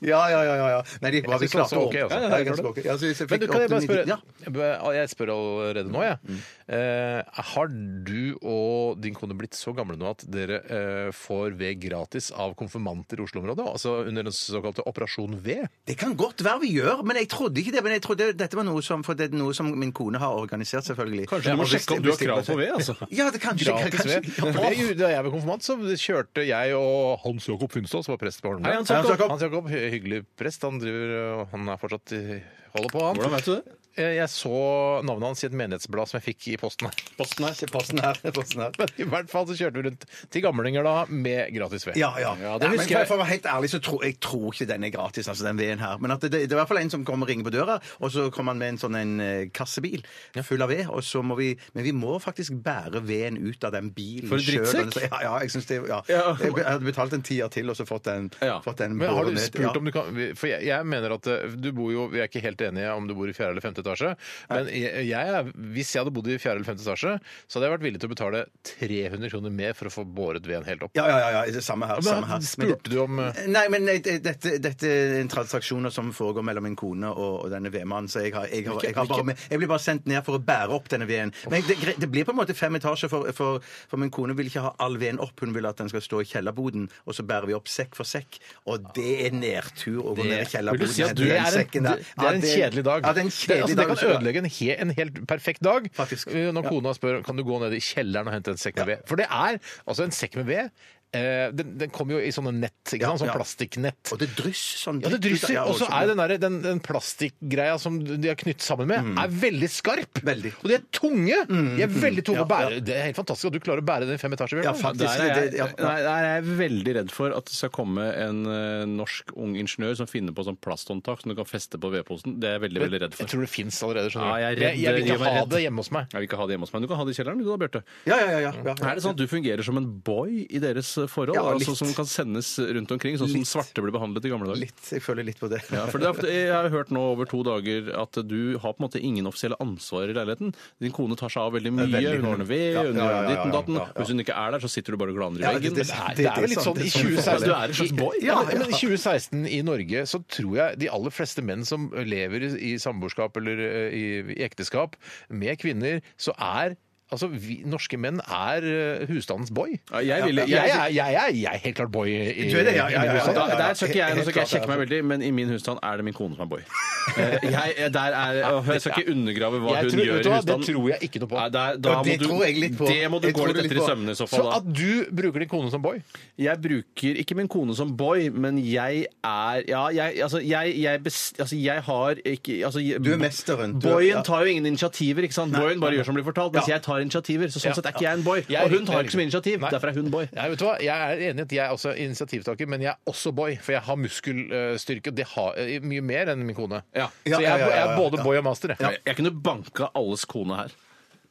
D: Ja, ja, ja. ja, ja. Nei, det gikk bra.
B: Jeg
D: Vi
B: synes
D: klarte
B: også
D: å
B: ok, altså.
D: Ja, ja,
B: Ja,
D: jeg
B: jeg
D: synes
B: tror det.
D: ok. Ja, så vi fikk
B: Men du, kan jeg
D: åtte,
B: bare
D: ni-
B: spørre
D: Ja.
B: Jeg bør- Jeg spør allerede nå, jeg. Eh, har du og din kone blitt så gamle nå at dere eh, får ved gratis av konfirmanter i Oslo-området? Altså under den såkalte Operasjon V?
D: Det kan godt være vi gjør, men jeg trodde ikke det. Men jeg trodde dette var noe som, for det er noe som min kone har organisert, selvfølgelig.
C: Kanskje du må sjekke om du har krav på ved, altså.
D: Ja, det kanskje.
B: Gratis ved.
D: kanskje.
B: For det, gjorde- da jeg var konfirmant, så kjørte jeg og Hans Jakob Funstad, som var prest på Holmlia.
C: Hei, Hans Jakob.
B: Hans Jakob, hy- Hyggelig prest. Han driver og han er fortsatt i- holder på, han.
C: Hvordan vet du det?
B: Eh, Jeg så navnet hans i et menighetsblad som jeg fikk i posten her.
D: Posten her. Posten her. Posten her.
B: Men i hvert fall så kjørte vi rundt til gamlinger da med gratis ved.
D: Ja, ja.
C: Ja, det
D: Ja, men
C: husker
D: for,
C: jeg.
D: for å være helt ærlig, så tror jeg tror ikke den er gratis, altså den veden her. Men at det, det er i hvert fall en som kommer og ringer på døra, og så kommer han med en sånn en eh, kassebil full av ved, og så må vi Men vi må faktisk bære veden ut av den bilen
C: For en
D: selv. altså.
C: drittsekk?
D: Ja, ja, jeg syns det ja.
C: Ja.
D: Jeg jeg hadde betalt en tier til, og så fått den,
C: Ja.
D: fått den
B: Men har du
D: båret ned.
B: spurt
D: Ja.
B: om du kan For jeg, jeg mener at eh, du bor jo Vi er ikke helt enige om du bor i fjerde eller femte etasje. Men jeg, jeg, er- hvis jeg hadde bodd i fjerde eller femte etasje, så hadde jeg vært villig til å betale 300 kroner mer for å få båret veden helt opp.
D: Ja, ja, ja, ja. det Samme her.
B: Men
D: samme her. Men det-
B: spurte du om eh,
D: Nei, men eh, det- dette, dette er en transaksjoner som foregår mellom min kone og, og denne vedmannen, så jeg, har, jeg, har, jeg, har bare, med- jeg blir bare sendt ned for å bære opp denne veden. Men det, gre- det blir på en måte fem etasjer, for, for, for min kone vil ikke ha all veden opp, hun vil at den skal stå i kjellerboden, og så bærer vi opp sekk for sekk, og det er nedtur å gå
B: Eh,
D: ned i
B: Vil du
D: kjellerboden.
B: si at
D: og hente
B: det er en,
D: den sekken der.
B: det det er en
D: Ja,
B: kjedelig dag?
D: Ja, det er en
B: Det- altså,
D: kjedelig
B: det
D: dag.
B: kan ødelegge en, he, en helt perfekt dag
D: Faktisk.
B: eh, når kona spør kan du gå ned i kjelleren og hente en sekk med ved. For det er altså en sekk med ved. eh, Den, den kommer jo i sånne nett, ikke sant? sånn
D: ja.
B: plastikknett.
D: Og det drysser sånn.
B: Ja, det
D: dritt ut av-
B: drysser.
D: ja,
B: Og så
D: også-
B: er den, der, den, den plastikkgreia som de har knyttet sammen med, er veldig skarp.
D: Mm. Veldig. Mm.
B: Og de er tunge! De er veldig tunge
D: Ja,
B: å bære.
D: ja.
B: Det er helt fantastisk at du klarer å bære den i fem etasjer.
D: Ja,
B: Bjørn.
D: faktisk.
C: Der er jeg,
D: det- det- ja.
C: nei, der er jeg veldig redd for at det skal komme en eh, norsk ung ingeniør som finner på sånn plasthåndtak som du kan feste på vedposen. Det er jeg veldig veldig redd
B: Jeg
C: for.
B: tror det fins allerede. skjønner
C: Ja, jeg er
B: du.
C: redd.
B: jeg, jeg vil
C: Det gjør
B: ikke
C: meg
B: ha
C: redd.
B: det hjemme hos meg.
C: Jeg vil ikke ha det hjemme hos meg. Du kan ha det i kjelleren, du da, Bjarte.
D: Ja, ja, ja, ja, ja.
C: Er det sånn at du fungerer som en boy i deres forhold?
D: Ja,
C: altså,
D: litt.
C: som kan sendes rundt omkring, sånn som svarte ble behandlet i gamle dager?
D: Litt, jeg føler litt på det.
C: Ja, for det er, jeg har hørt nå over to dager at du har på en måte ingen offisielle ansvar i leiligheten. Din kone tar seg av veldig mye.
D: veldig
C: Hun
D: mye.
C: ordner ved,
D: Ja,
C: hun
D: ja, ja,
C: ordner
D: ja,
C: ditten datten.
D: ja, ja.
C: Hvis hun ikke er der, så sitter du bare og glaner i
D: Ja,
C: veggen.
D: det-
C: Men
B: Nei, det er vel litt sånn i
D: det er sånn
B: 2016
C: Du er en slags boy.
B: Ja,
D: Ja,
B: men, men i 2016 i Norge så tror jeg de aller fleste menn som lever i, i samboerskap eller eh, i, i ekteskap med kvinner, så er Altså, vi, Norske menn er eh, husstandens boy.
C: Ja, jeg ville-
B: jeg, er- jeg, er- jeg er helt klart boy i, i
D: Du er det, ja, ja, ja, ja,
B: i husstanden.
C: Da, der skal ikke jeg, nå
D: Helt
C: skal ikke jeg
D: klart,
C: sjekke meg veldig, men i min husstand er det min kone som er boy. Eh, Jeg, jeg- der er, jeg skal ikke undergrave hva
B: Jeg
C: hun
B: tror-
C: gjør
B: vet
C: i
B: du hva, det
C: husstanden.
B: tror jeg ikke noe på.
C: Nei, der, da
D: Ja, det
C: må du,
D: tror jeg litt på.
C: Det må du
D: Jeg
C: gå
D: tror
C: litt
D: litt
C: etter i
D: på.
C: sømmene i så
B: Så
C: fall. da.
B: at du bruker din kone som boy?
C: Jeg bruker ikke min kone som boy, men jeg er Ja, jeg, altså, jeg, jeg, bes- altså, jeg har ikke altså, jeg-
D: Du er mesteren. Du er-
C: Boyen
D: ja.
C: tar jo ingen initiativer, ikke sant? Boyen bare gjør som blir fortalt. Mens
D: Ja.
C: jeg tar initiativer. Så
B: Ja.
C: sånn sett er ikke jeg en boy.
B: Jeg er
C: Og hun
B: riktig,
C: tar ikke så mye
B: riktig.
C: initiativ.
B: Nei.
C: Derfor er hun boy.
B: Nei, vet du hva? Jeg er enig i at jeg er også initiativtaker, men jeg er også boy. For jeg har muskelstyrke, og det har eh, mye mer enn min kone.
C: Ja.
B: Så jeg, er-
D: Ja, ja, ja,
B: jeg
D: ja,
B: er
D: ja.
B: både boy og master. jeg.
C: Jeg kunne banka alles kone her.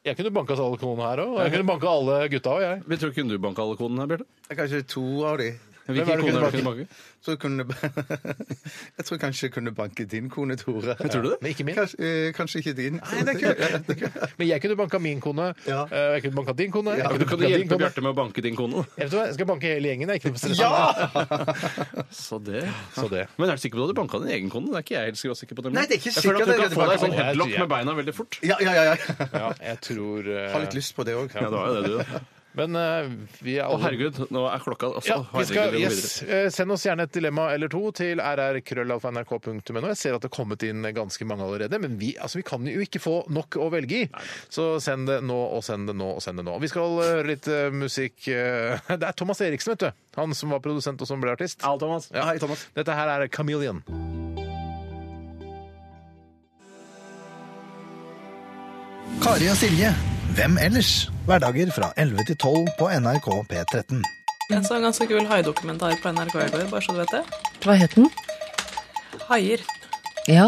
B: Jeg kunne banka alle konene her òg. Jeg kunne banka alle gutta òg, jeg.
C: Men tror ikke du banka alle konene her, Bjarte?
D: Kanskje to av de.
B: Hvem er det
C: Hvilke koner
B: kunne
C: har du kunnet banke?
D: Så kunne, jeg tror kanskje jeg kunne banke din kone, Tore.
C: Tror du det?
B: Men ikke min.
D: Kanskje, eh, kanskje ikke din. Nei, det er kult.
B: Men jeg kunne banka min kone.
D: Ja.
B: eh, Jeg kunne banka din kone. Jeg
C: Ja,
B: kunne
C: men du kan
B: banka din
C: hjelpe
B: kone.
C: Bjarte med å banke din kone. da.
B: Jeg vet hva, jeg skal banke hele gjengen. Jeg er ikke noe stress.
C: Så det.
B: Så det.
C: Men er du sikker på at du banka din egen kone? Det er ikke jeg helt skråsikker på. det.
D: Nei, det er ikke
C: jeg føler
D: sikkert
C: at du
D: jeg
C: kan få deg
D: banker
C: sånn
B: kone.
C: headlock
B: Jeg-
C: med beina veldig fort.
D: Ja, ja, ja. ja.
B: Ja, jeg tror eh,
D: Har litt lyst på det òg.
C: Ja, det var jo det, du.
B: Men eh, vi er
C: Å,
B: alle
C: herregud, nå er klokka altså,
B: ja, vi skal,
C: herregud, vi går videre.
B: yes, eh, Send oss gjerne et dilemma eller to til rrkrøllalfa.nrk.no. Jeg ser at det er kommet inn ganske mange allerede, men vi, altså, vi kan jo ikke få nok å velge i. Så send det nå, og send det nå, og send det nå. Vi skal eh, høre litt eh, musikk. eh, Det er Thomas Eriksen, vet du. Han som var produsent og som ble artist.
C: Al Thomas.
B: Ja.
D: Hei, Thomas.
B: Dette her er Chameleon.
E: Kari og Silje. Hvem ellers? Hverdager fra 11 til 12 på NRK P13.
F: Jeg så en ganske kul haidokumentar på NRK i går, bare så du vet det.
G: Hva het den?
F: Haier.
G: Ja,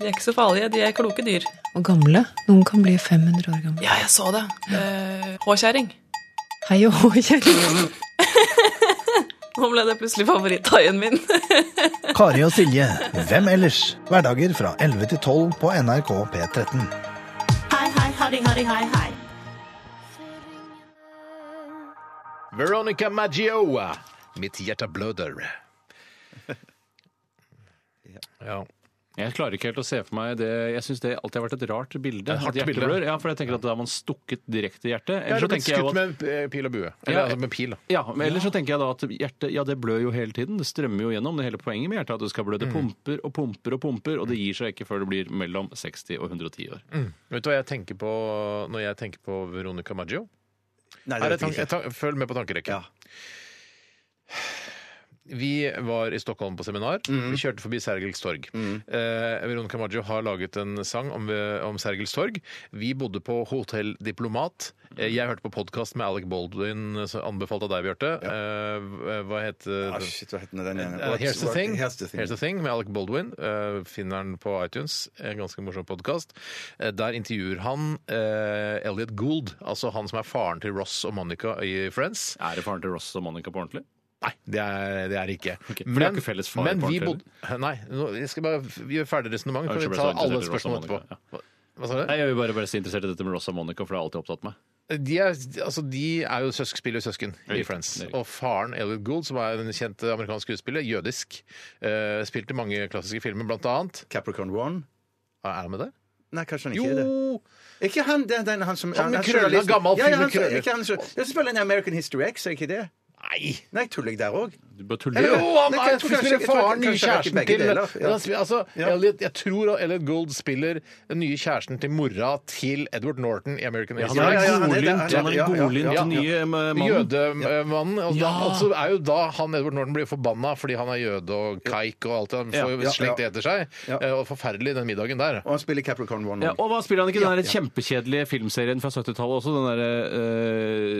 F: De er ikke så farlige, de er kloke dyr.
G: og gamle. Noen kan bli 500 år gamle.
F: Ja, jeg så det. Eh, Håkjerring.
G: Hei og hå, kjære.
F: Nå ble det plutselig favoritthaien min.
E: Kari og Silje. Hvem ellers? Hverdager fra 11 til 12 på NRK P13.
B: Veronica Maggio. Mitt hjerte bløder. Ja.
C: Jeg klarer ikke helt å se for meg det. Jeg syns det alltid har vært et rart bilde.
B: hardt
C: At hjertet
B: bilde.
C: blør. Ja, for jeg tenker at da har man stukket direkte i hjertet. Eller
B: Eller
C: så tenker jeg jo
B: skutt
C: at
B: med eh, pil og bue. Eller
C: Ja.
B: altså med pil. da.
C: ja, men ellers så tenker jeg da at hjertet ja, det blør jo hele tiden. Det strømmer jo gjennom. Det hele poenget med hjertet er at det skal blø. Det pumper og pumper og pumper, og det gir seg ikke før det blir mellom 60 og 110
D: Mm.
C: år.
B: Vet du hva jeg tenker på når jeg tenker på Veronica Maggio?
D: Nei,
B: Her
D: det
B: er tan-
D: vet jeg ikke.
B: ta- følg med på tankerekken.
D: Ja.
B: Vi var i Stockholm på seminar.
D: Mm.
B: Vi kjørte forbi Sergels torg. Eh, Veronica Maggio har laget en sang om, eh, om Sergels torg. Vi bodde på Hotell Diplomat. Eh, Jeg hørte på podkast med Alec Baldwin, eh, som anbefalt av deg, Bjarte. Eh, hva het
D: Ah,
B: eh,
D: shit, hva het den igjen?
B: Eh, Here's the
D: What-
B: thing.
D: Here's the thing.
B: Here's the thing med Alec Baldwin. Eh, finner den på iTunes. En ganske morsom podkast. der intervjuer han eh, Elliot Gould, altså han som er faren til Ross og Monica i Friends.
C: Er det faren til Ross og Monica på ordentlig?
B: Nei, det er det er det ikke.
C: Ok, for det er ikke felles far
B: men
C: på
B: vi
C: den
B: bodde Nei, nå, jeg skal bare gjøre ferdig resonnement,
C: Jeg
B: for
C: ble
B: vi
C: så
B: tar alle
C: interessert i Ross og
B: spørsmål etterpå.
C: Monica, ja.
B: Hva sa du?
C: Nei, Jeg vil bare være så interessert i dette med Ross og Monica, for det har alltid opptatt meg.
B: De er, altså, de er jo søsk, spiller jo søsken i
C: Riktig,
B: Friends.
C: det er riktig.
B: Og faren, Elliot Gould, som er en kjent amerikansk skuespiller, jødisk, eh, spilte mange klassiske filmer, blant annet
D: Capricorn One?
B: Er han med der?
D: Nei, kanskje han ikke er det.
B: Jo!
D: Er Ikke han, den, den, han som
B: Han med
D: han
B: krøller,
D: journalisten.
B: gammel fyr
D: ja, ja,
B: med
D: han,
B: krøller.
D: Ikke han, som- det er selvfølgelig en American History X, er ikke det?
B: Nei!
D: Nei, tuller jeg der òg?
C: Du bare tuller.
B: Jo,
C: jo.
B: han
D: Men
B: er
D: jeg tror kanskje-
B: spiller
D: jeg tror
B: faren, nye
D: kanskje det er ikke
B: kjæresten
D: begge
B: til
D: deler, ja.
B: Han spiller- altså,
D: Ja.
B: Elliot, Jeg tror Elliot Gould spiller den nye kjæresten til mora til Edward Norton i American
C: Han
B: History.
D: Ja,
C: er
D: ja, ja,
C: en
D: han er det.
C: godlynt, han er
D: Ja,
C: en
D: ja, ja.
C: godlynt
B: Ja.
C: nye eh, mann.
B: Jødemannen. Og da,
C: Ja.
B: altså er jo da han Edward Norton blir forbanna fordi han er jøde og kaik og alt det. Han får
C: Ja,
B: jo
D: ja,
B: slengt det etter seg.
D: Ja.
B: Eh, Og forferdelig den middagen der.
D: Og han spiller Capricorn One.
C: Ja,
D: også.
C: og hva spiller han ikke? Den der kjempekjedelige filmserien fra 70-tallet også? Den derre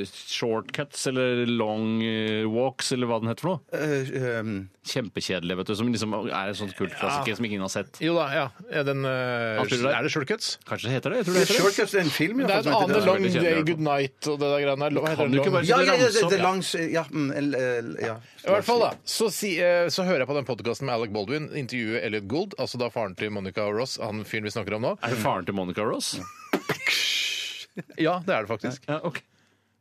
C: eh, Shortcuts eller Long eh, Walks eller hva den heter for noe?
D: Eh, ehm,
C: Kjempekjedelig, vet du. Som liksom er en sånn kult klassiker som ikke ingen har sett.
B: Jo da, ja. Er Den, eh,
C: Han spiller der.
B: er det Shortcuts?
C: Kanskje det heter det? Jeg tror det heter
D: The
C: det.
D: Shortcuts er en film,
B: Det er et
D: for som heter
B: annet
D: det.
C: lang-
B: Long
C: veldig kjedelig, i
B: Day,
C: hvert fall.
B: Good Night og det der greiene der. Hva heter det?
C: Kan du ikke
B: Long-
C: bare
D: Ja, ja, ja,
C: Ramsom,
D: det, det
C: ja.
D: er langs Ja. mm, el- el- ja.
B: I hvert fall da, så, si, eh, så hører jeg på den podkasten med Alec Baldwin intervjue Elliot Gould, altså da faren til Monica og Ross, han fyren vi snakker om nå.
C: Er det faren til Monica Ross?
B: Ja, det er det faktisk.
C: Ja, ok.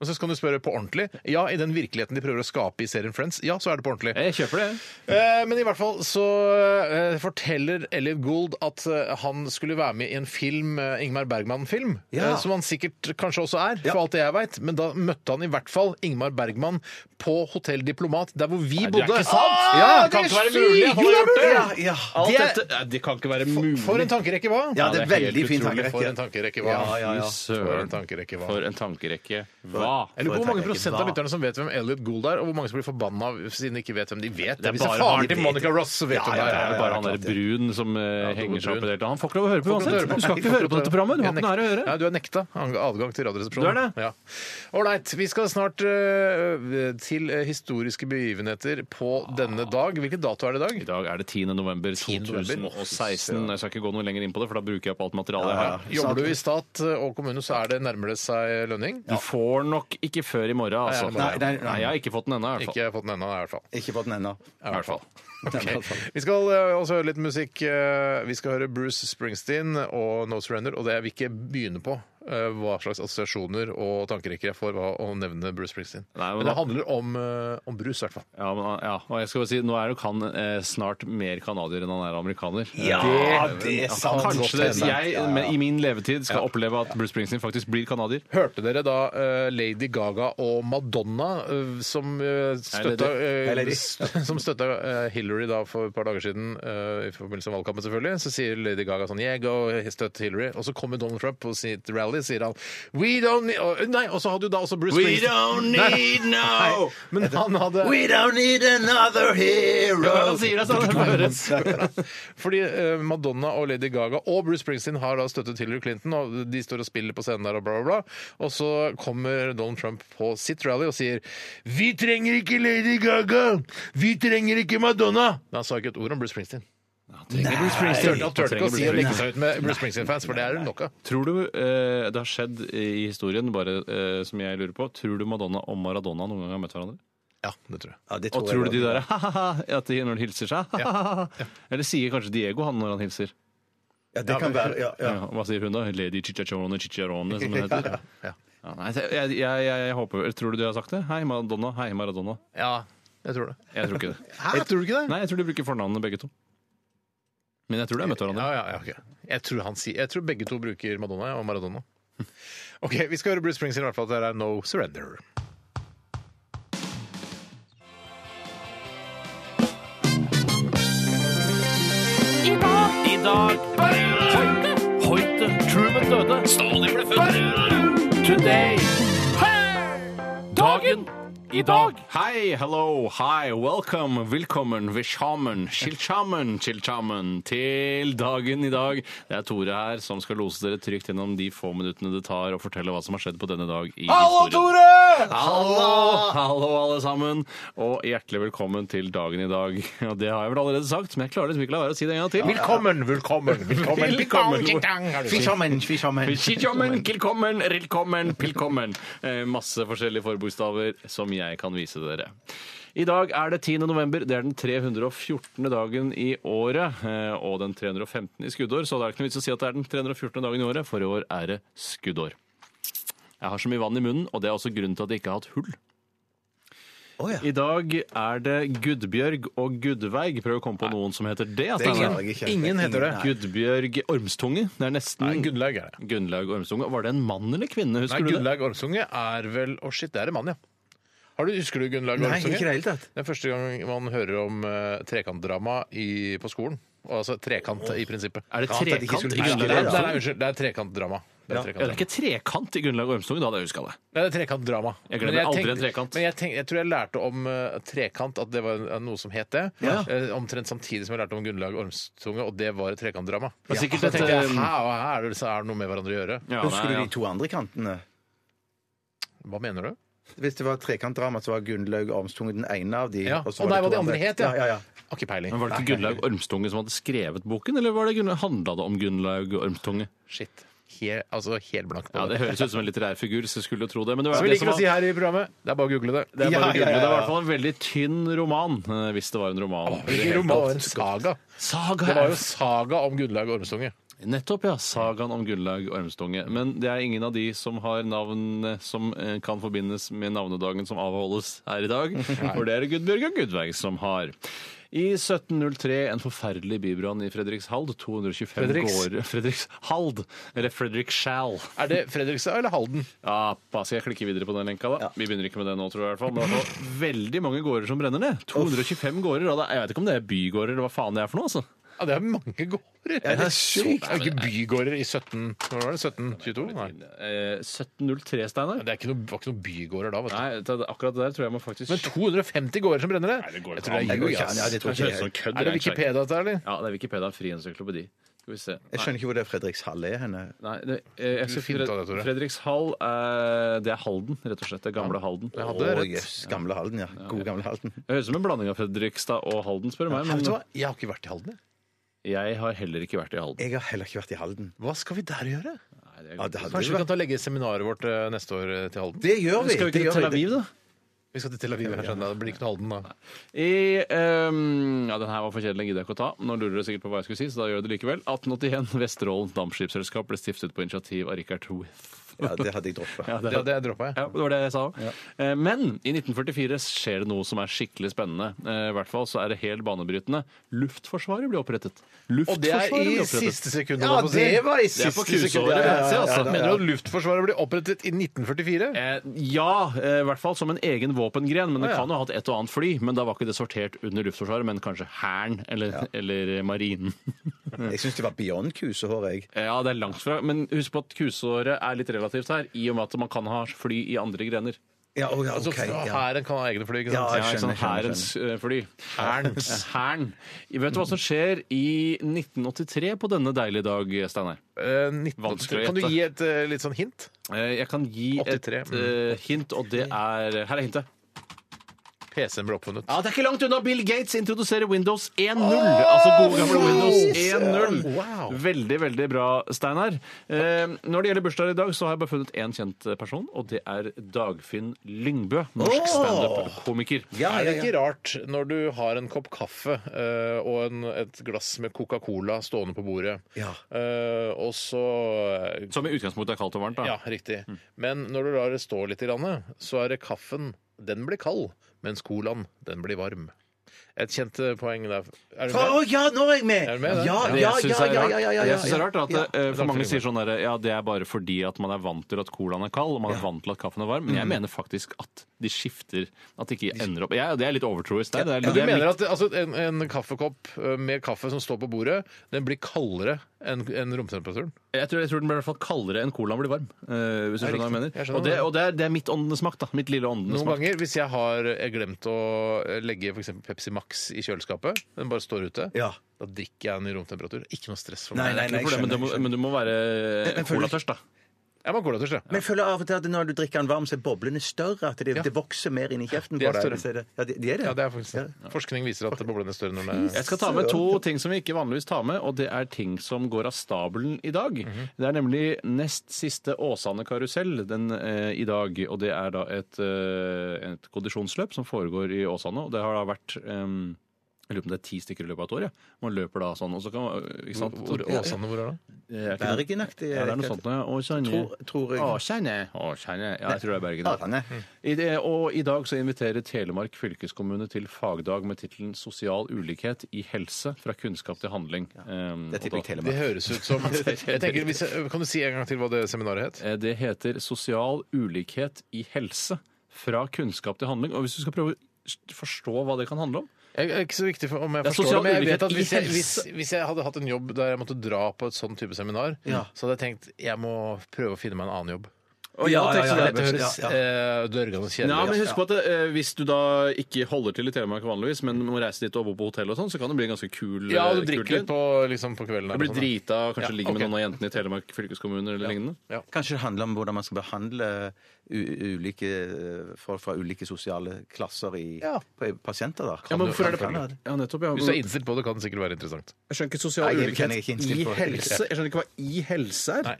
B: Og så kan du spørre på ordentlig. Ja, i den virkeligheten de prøver å skape i serien Friends, ja, så er det på ordentlig.
C: Jeg kjøper det.
B: Eh, men i hvert fall så eh, forteller Elliot Gould at eh, han skulle være med i en film, eh, Ingmar Bergman-film,
D: Ja.
B: eh, som han sikkert kanskje også er,
D: Ja.
B: for alt det jeg veit, men da møtte han i hvert fall Ingmar Bergman på Hotell Diplomat, der hvor vi bodde.
C: ikke sant!
B: Ja,
C: Det kan ikke være
B: sykt!
C: mulig at han har
B: Jo,
C: gjort det!
D: Ja, ja.
C: Alt
B: Det er-
C: dette, Nei, det kan ikke være mulig.
B: For en tankerekke, hva?
D: ja, det er
C: det er helt
D: veldig
C: utrolig.
D: fin tankerekke.
B: For en tankerekke, hva?
D: Ja, ja,
B: For
D: ja.
B: en
C: Søren.
B: tankerekke, hva?
C: For en tankerekke.
B: Jeg lurer på hvor mange
C: Hva?
D: for en tankerekke,
B: prosent av
D: hva?
B: lytterne som vet hvem Elliot Gould er, og hvor mange som blir forbanna av- siden de ikke vet hvem de vet.
C: Det er
B: Hvis det
C: bare
B: er
C: han
B: faren
C: de
B: til
C: vet.
B: Monica Ross som vet
C: Ja,
B: hvem det
C: ja, ja,
B: er.
C: det er bare han der brun som eh, henger seg opp i det hele tatt. Han får ikke lov å
B: Får
C: høre på
B: ikke lov å
C: uansett.
B: høre på.
C: Du skal ikke høre på dette programmet. Du har ikke noe her å
B: Nei,
C: gjøre.
B: du er nekta ang- adgang til Radioresepsjonen.
C: Du er det?
B: Ja. Ålreit, vi skal snart øh, til øh, historiske begivenheter på denne dag. Hvilken dato er det i dag?
C: I dag er det 10. november
B: 10.
C: 2016. Jeg skal ikke gå noe lenger inn på det, for da bruker jeg opp alt materialet jeg har.
B: eh, Jobber du i stat og kommune, så er det nærmer det seg lønning.
C: Du får nok nok ikke før i morgen, altså.
B: Nei,
D: nei, nei, nei.
C: jeg har ikke fått den ennå, i hvert fall.
B: Ikke fått den ennå, i hvert fall.
D: Ikke fått den ennå.
C: I hvert fall.
D: Okay.
B: Vi skal eh, også høre litt musikk. Eh, Vi skal høre Bruce Springsteen og No Surrender. Og det jeg vil ikke begynne på eh, hva slags assosiasjoner og tankerekker jeg får av å nevne Bruce Springsteen.
C: Nei, men
B: men,
C: da-
B: det handler om, eh, om brus, i hvert fall.
C: Ja, men, ja, og jeg skal bare si, nå er jo Kan eh, snart mer canadier enn han er amerikaner.
D: det er
C: Ja,
D: sant.
C: Kanskje det, jeg men i min levetid skal oppleve at Bruce Springsteen faktisk blir canadier.
B: Hørte dere da eh, Lady Gaga og Madonna, eh, som eh, støtta, eh,
D: Hei, lady.
B: st- som støtta eh, Hillary da for et par dager siden, eh, i forbindelse med valgkampen selvfølgelig, så sier Lady Gaga sånn Jeg og støtter Hillary. Og så kommer Donald Trump på sitt rally, sier han We don't need og- Nei, og så hadde jo da også Bruce Springsteen Nei,
D: no!
B: Men han hadde
D: We don't need another hero!
B: Fordi eh, Madonna og Lady Gaga og Bruce Springsteen har da støttet Hillary Clinton, og de står og spiller på scenen der og bla, bla, bla. Og så kommer Donald Trump på sitt rally og sier Vi trenger ikke Lady Gaga! Vi trenger ikke Madonna! Men han sa ikke et ord om Bruce Springsteen. Han turte han turte ikke å si å legge seg ut med Bruce Springsteen-fans, for det er det nok av.
C: Tror du eh, det har skjedd i historien, bare eh, som jeg lurer på, tror du Madonna og Maradona noen gang har møtt hverandre?
B: Ja, det tror jeg.
D: Ja, det
C: Og tror du de der ha-ha-ha at de når de hilser seg? ha-ha-ha? Eller sier kanskje Diego han når han hilser?
D: Ja, det kan være. Ja, ja.
C: Ja, og hva sier hun da? Lady Chicharone Chicharone, som hun heter.
B: ja.
C: Ja, nei, jeg, jeg, jeg, jeg håper Tror du de har sagt det? Hei, Madonna. Hei, Maradona.
B: Ja, jeg tror det.
C: Jeg tror ikke det.
B: Hæ, tror du ikke det?
C: Nei, jeg tror de bruker fornavnene begge to. Men jeg tror de har møtt
B: Ja,
C: hverandre.
B: ja, ja, ok. jeg, tror han sier, jeg tror begge to bruker Madonna og Maradona. OK, vi skal høre Bruce Springsteen, i hvert fall. Det er No Surrender.
C: I dag Hoite. Hoite. Truman døde. Stalin ble født. Today. Dagen. I dag. Hei, hello, hi, welcome, velkommen, velkommen, chilchamen, chilchamen, til dagen i dag. Det er Tore her som skal lose dere trygt gjennom de få minuttene det tar å fortelle hva som har skjedd på denne dag i Hallo, Tore! Hallo! Hallo, alle sammen, og hjertelig velkommen til dagen i dag. Og det har jeg vel allerede sagt, men jeg klarer liksom ikke la være å si det en gang til.
B: Velkommen, velkommen, velkommen.
C: Velkommen.
D: Vi sammen, vi sammen.
C: Velkommen, velkommen, velkommen, velkommen. Eh, Masse forskjellige forbokstaver som jeg kan vise dere. I dag er det 10. november. Det er den 314. dagen i året. eh, Og den 315. i skuddår, så det er ikke noe vits å si at det er den 314. dagen i året, for i år er det skuddår. Jeg har så mye vann i munnen, og det er også grunnen til at jeg ikke har hatt hull. I dag er det Gudbjørg og Gudveig. Prøv å komme på noen som heter det. Steinar.
D: klarer jeg ikke.
B: Ingen heter det.
C: Gudbjørg Ormstunge. Det er nesten
B: Nei, Gunnlaug er det.
C: Gunnlaug Ormsunga. Var det en mann eller kvinne?
B: Nei,
C: Husker du det?
B: Gunnlaug Ormsunge er vel Å, shit, det er en mann, ja. Har du, husker du Gunnlaug
D: Nei,
B: Ormsunge?
D: ikke i det hele tatt.
B: Det er første gang man hører om eh, trekantdrama i, på skolen. Og Altså trekant i prinsippet.
C: Er det
D: Ja, at jeg ikke
C: trekant
D: skulle
C: i
B: Nei,
D: huske
B: nei,
C: Gunnlaug
B: nei, nei,
C: Ormsunga?
B: nei, unnskyld. Det er trekantdrama. Det er
C: Ja, det er
B: trekantdrama.
C: ikke trekant i Gunnlaug Ormsunga, da hadde jeg huska det.
B: Nei, det er trekantdrama.
C: Jeg glemmer
B: Men
C: aldri
B: tenkte-
C: en trekant.
B: Men jeg, tenk- jeg tror jeg lærte om eh, trekant, at det var en- noe som het det.
C: Ja.
B: Eh, omtrent samtidig som jeg lærte om Gunnlaug Ormsunge, og det var et trekantdrama.
C: Men sikkert
B: Så
C: et,
B: tenkte jeg,
C: eh,
B: hæ, og her er det, så er det noe med hverandre å gjøre.
C: Ja,
D: Husker
C: nei,
D: du
C: ja.
D: de to andre kantene?
B: Hva mener du?
D: Hvis det var trekantdrama, så var Gunnlaug Ormstunge den ene av de.
B: Ja.
D: og så
B: Å,
D: var
B: nei,
D: det
B: hva de
D: to
B: andre het, ja.
D: ja, ja, ja.
B: Har ikke peiling.
C: Men Var det ikke Gunnlaug Ormstunge som hadde skrevet boken, eller var det Gunnlaug, handla det om Gunnlaug Ormstunge?
B: Shit. Helt, altså helt blank på
C: Ja, Det høres ut som en litterær figur, så jeg skulle jo tro det. Men det
B: Som
C: var
B: vi
C: det
B: liker
C: som
B: å si
C: var
B: her i programmet. Det er bare å google det.
C: det er bare
D: Ja,
C: å
D: ja,
C: google. Det
D: ja,
C: var i
D: ja.
C: hvert fall en veldig tynn roman, eh, hvis det var en roman.
B: Ikke roman, en saga.
C: Saga!
B: Det var jo saga om Gunnlaug Ormstunge.
C: Nettopp, ja. Sagaen om Gunnlaug Ormstunge. Men det er ingen av de som har navn som eh, kan forbindes med navnedagen som avholdes her i dag. For det er det Gudbjørg og Gudveig som har. I 1703 en forferdelig bybrann i Fredrikshald. 225
B: Fredriks?
C: gårder Fredrikshald, eller Fredrikshall.
B: Er det Fredrikstad eller Halden?
C: Ja, bare skal jeg klikke videre på den lenka, da? Vi begynner ikke med det nå, tror jeg. i hvert fall. Men det var veldig mange gårder som brenner ned. 225 gårder. Og da, jeg vet ikke om det er bygårder eller hva faen det er for noe, altså.
B: Ja, det er mange gårder. Ja,
D: det er sykt.
B: Det er jo ikke bygårder i 17... Hva var det? 1722? Nei.
C: Eh, 1703, Steinar.
B: Det er ikke noe, var ikke noen bygårder da, vet du.
C: Nei, det, det- akkurat det der tror jeg må faktisk
B: Men 250 gårder som brenner
C: Nei,
B: ned?
C: det går
B: Jeg tror det
C: ikke an.
B: er
D: Det går
B: ljug,
D: ikke an, ja,
B: ass.
D: det
C: Det
D: tror
C: Mm. høres
D: ikke
C: sånn
D: jeg.
C: kødd
B: Er det
C: regner seg.
B: Wikipedia dette, eller?
C: Ja, det er Wikipedia, en fri encyklopedi. Skal vi se.
D: Jeg skjønner ikke hvor det Fredrikshall er henne.
C: Nei, det, eh, jeg
B: Du
C: skal
B: finner ut av det, Tore.
C: Fredrikshall, eh, det er Halden, rett og slett. Det gamle Halden.
B: Jeg
C: Det
B: hadde
D: Å,
B: rett.
D: jøss. Gamle Halden, ja. God gamle Halden.
C: høres ut som en blanding av Fredrikstad og Halden, spør du meg.
B: Vet du hva?
C: Men
B: Jeg har ikke vært i Halden. jeg.
C: jeg har heller ikke vært i Halden.
D: Jeg har heller ikke vært i Halden.
B: Hva skal vi der gjøre?
C: Nei, det er
D: Ja, det hadde
B: Kanskje
D: jo
B: vi kan ta og legge seminaret vårt eh, neste år eh, til Halden?
D: Det gjør vi.
C: Skal vi ikke
D: det
C: til
D: gjør
C: Tel Aviv, da?
B: Vi skal til Tel Aviv. jeg skjønner Det Det blir ikke noe Halden da.
C: I, ehm, ja, Den her var for kjedelig, gidder jeg ikke å ta. Nå lurer dere sikkert på hva jeg skulle si, så da gjør jeg det likevel. 1881, Vesterålen Dampskipsselskap ble stiftet på initiativ av Richard Huth.
D: Ja, det hadde jeg droppet.
C: Ja,
B: Det, det droppa jeg.
C: Ja, det var det jeg sa òg. Men i 1944 skjer det noe som er skikkelig spennende. Eh, I hvert fall så er det helt banebrytende. Luftforsvaret blir opprettet.
B: Og det er
C: Luftforsvaret
B: i
C: blir opprettet.
B: siste sekundet.
D: Ja,
B: holdt jeg på å si.
D: det var i
C: Det er på
D: siste sekund.
C: kusåret,
D: Ja, ja,
C: jeg ser,
D: ja,
C: altså.
D: ja, ja.
B: Mener du at Luftforsvaret ble opprettet i 1944?
C: Eh, ja, eh, i hvert fall som en egen våpengren. Men det
B: Å, ja.
C: kan jo ha hatt et og annet fly. Men da var ikke det sortert under Luftforsvaret, men kanskje Hæren eller, eller Marinen.
D: Jeg syns det var beyond kusehår, jeg.
C: ja, det er langt fra. Men husk på at kusåret er litt relativt her, i og med at man kan ha fly i andre grener.
D: Ja, å, ja,
B: Altså,
D: ok. Ja.
B: Hæren kan ha egne fly, ikke
D: Ja,
B: sant?
D: jeg
C: Ja, ikke
D: skjønner,
C: sant?
D: skjønner,
C: Hærens eh, fly. Hærens. Hæren. Vet du hva som skjer i 1983 på denne deilige dag, Steinar?
B: Eh, 19...
C: Vanskelig å
B: Kan du
C: gjette.
B: gi et eh, litt sånn hint?
C: Eh, Jeg kan gi
B: 83,
D: mm.
C: et eh, hint, og det er Her er hintet.
B: PC-en ble oppfunnet.
C: Ja, Det er ikke langt unna. Bill Gates introduserer Windows 1.0. altså gode gamle Windows 1.0.
B: Wow.
C: Veldig, veldig bra, Steinar. Eh, når det gjelder bursdager i dag, så har jeg bare funnet én kjent person, og det er Dagfinn Lyngbø. Norsk standup-komiker.
D: Ja,
B: Er det
D: ja, ja.
B: ikke rart når du har en kopp kaffe eh, og en, et glass med Coca-Cola stående på bordet,
D: Ja.
B: eh, og så eh,
C: Som i utgangspunktet er kaldt og varmt. da.
B: Ja, riktig. Men når du lar det stå litt, grann, så er det kaffen den blir kald, mens colaen den blir varm. Et kjent eh, poeng der. Er du
D: Å
B: med?
D: ja, nå er jeg med!
B: Er du med, da?
D: Ja,
C: Det
D: Ah, ja,
C: jeg
D: ja,
C: syns er
D: ja, ja,
C: rart,
D: ja, ja, ja,
C: Det jeg synes er rart er at
D: ja.
C: eh, for mange
B: Dagfinn
C: sier sånn der, ja, det er bare fordi at man er vant til at colaen er kald, og man er vant til at kaffen er varm. Men jeg
D: Mm.
C: mener faktisk at de skifter. At de ikke ender opp ja, Det er litt overtroisk der. Det er,
B: Men du
C: det er
B: mener
C: mitt-
B: at altså, en, en kaffekopp eh, med kaffe som står på bordet, den blir kaldere enn enn romtemperaturen?
C: jeg, tror, jeg tror den blir i hvert fall kaldere enn colaen blir varm. eh, hvis du
B: Det er
C: skjønner hva
B: riktig.
C: jeg
B: Jeg
C: mener.
B: skjønner
C: Og, det,
B: hva du
C: og det, er, det er mitt åndenes makt, da. Mitt lille åndenes
B: Noen
C: makt.
B: ganger, hvis jeg har eh, glemt å eh, legge for eksempel Pepsi Max i kjøleskapet, den bare står ute,
D: Ja.
B: da drikker jeg den i romtemperatur. Ikke noe stress for
D: Nei,
B: meg.
C: Det er
D: nei, nei,
C: ikke noe problem, men,
D: jeg
C: du må,
D: skjønner.
C: men du må være
D: Men føler du-
C: colatørst, da.
B: Jeg må ha colatørst, jeg.
D: Men jeg føler av og til at når du drikker den varm, så er boblene større. At det, det vokser mer inni kjeften
B: de er
D: på deg.
B: større.
D: Så er det- Ja, de, de er det.
B: Ja, det er faktisk det. Forskning viser at boblene er større når den
C: Jeg
B: er
C: skal ta med to ting som vi ikke vanligvis tar med, og det er ting som går av stabelen i dag. Det er nemlig nest siste Åsane karusell den, eh, i dag, og det er da et, eh, et kondisjonsløp som foregår i Åsane, og det har da vært eh, jeg lurer på om det er ti stykker i løpet av et år. Ja. Man løper da sånn. og så kan, ikke sant?
B: Hvor, Åsane, hvor er det?
C: Er ikke det-
D: Bergenaktig.
C: Ja, det er noe sånt. Ja. Åsane.
D: Tror- tror jeg.
C: Åsane. Åsane. Ja, jeg tror det er Bergen. ja.
D: Åsane.
C: I det, og i dag så inviterer Telemark fylkeskommune til fagdag med tittelen 'Sosial ulikhet i helse fra kunnskap til handling'. Ehm, og da-
D: Det tipper jeg
B: Det
D: Telemark.
B: høres ut som jeg tenker, hvis jeg, Kan du si en gang til hva det seminaret het?
C: Eh, Det heter 'Sosial ulikhet i helse fra kunnskap til handling'. Og hvis du skal prøve å s- forstå hva det kan handle om
B: Jeg jeg er ikke så viktig for om jeg
C: Det er
B: forstår det,
C: sosial
B: men jeg vet
C: ulikhet
B: at
C: i
B: hvis jeg, hvis,
C: helse.
B: hvis jeg hadde hatt en jobb der jeg måtte dra på et sånn type seminar, så hadde jeg tenkt jeg må prøve å finne meg en annen jobb.
D: ja, ja, ja,
B: Dette høres
D: ja,
B: eh, dørgende
C: Ja,
B: kjedelig
C: men
B: ut.
C: husk på at eh, Hvis du da ikke holder til i Telemark vanligvis, men må reise dit og bo på hotell, og sånn, så kan det bli en ganske kul
B: Ja, du
C: eh, kul
B: drikker
C: tid.
B: litt på, liksom, på kvelden. her
C: Du
B: og
C: blir
B: sånn, da.
C: drita, kanskje
B: Ja,
C: ligger
B: ok.
C: med noen av jentene i Telemark fylkeskommune eller lignende.
D: Kanskje det handler om hvordan man skal behandle u- ulike eh, folk fra ulike sosiale klasser i,
B: Ja.
D: på- pasienter, da.
C: Ja, men hvorfor er det
D: Kan
C: Ja, nettopp, ja.
B: Hvis du er innstilt på det, kan det sikkert være interessant.
C: Jeg skjønner ikke
D: Nei,
C: sosial
D: det
C: ulikhet
D: kan jeg ikke innstille
C: i
D: på.
C: helse. Jeg skjønner ikke hva i helse er.
B: Nei.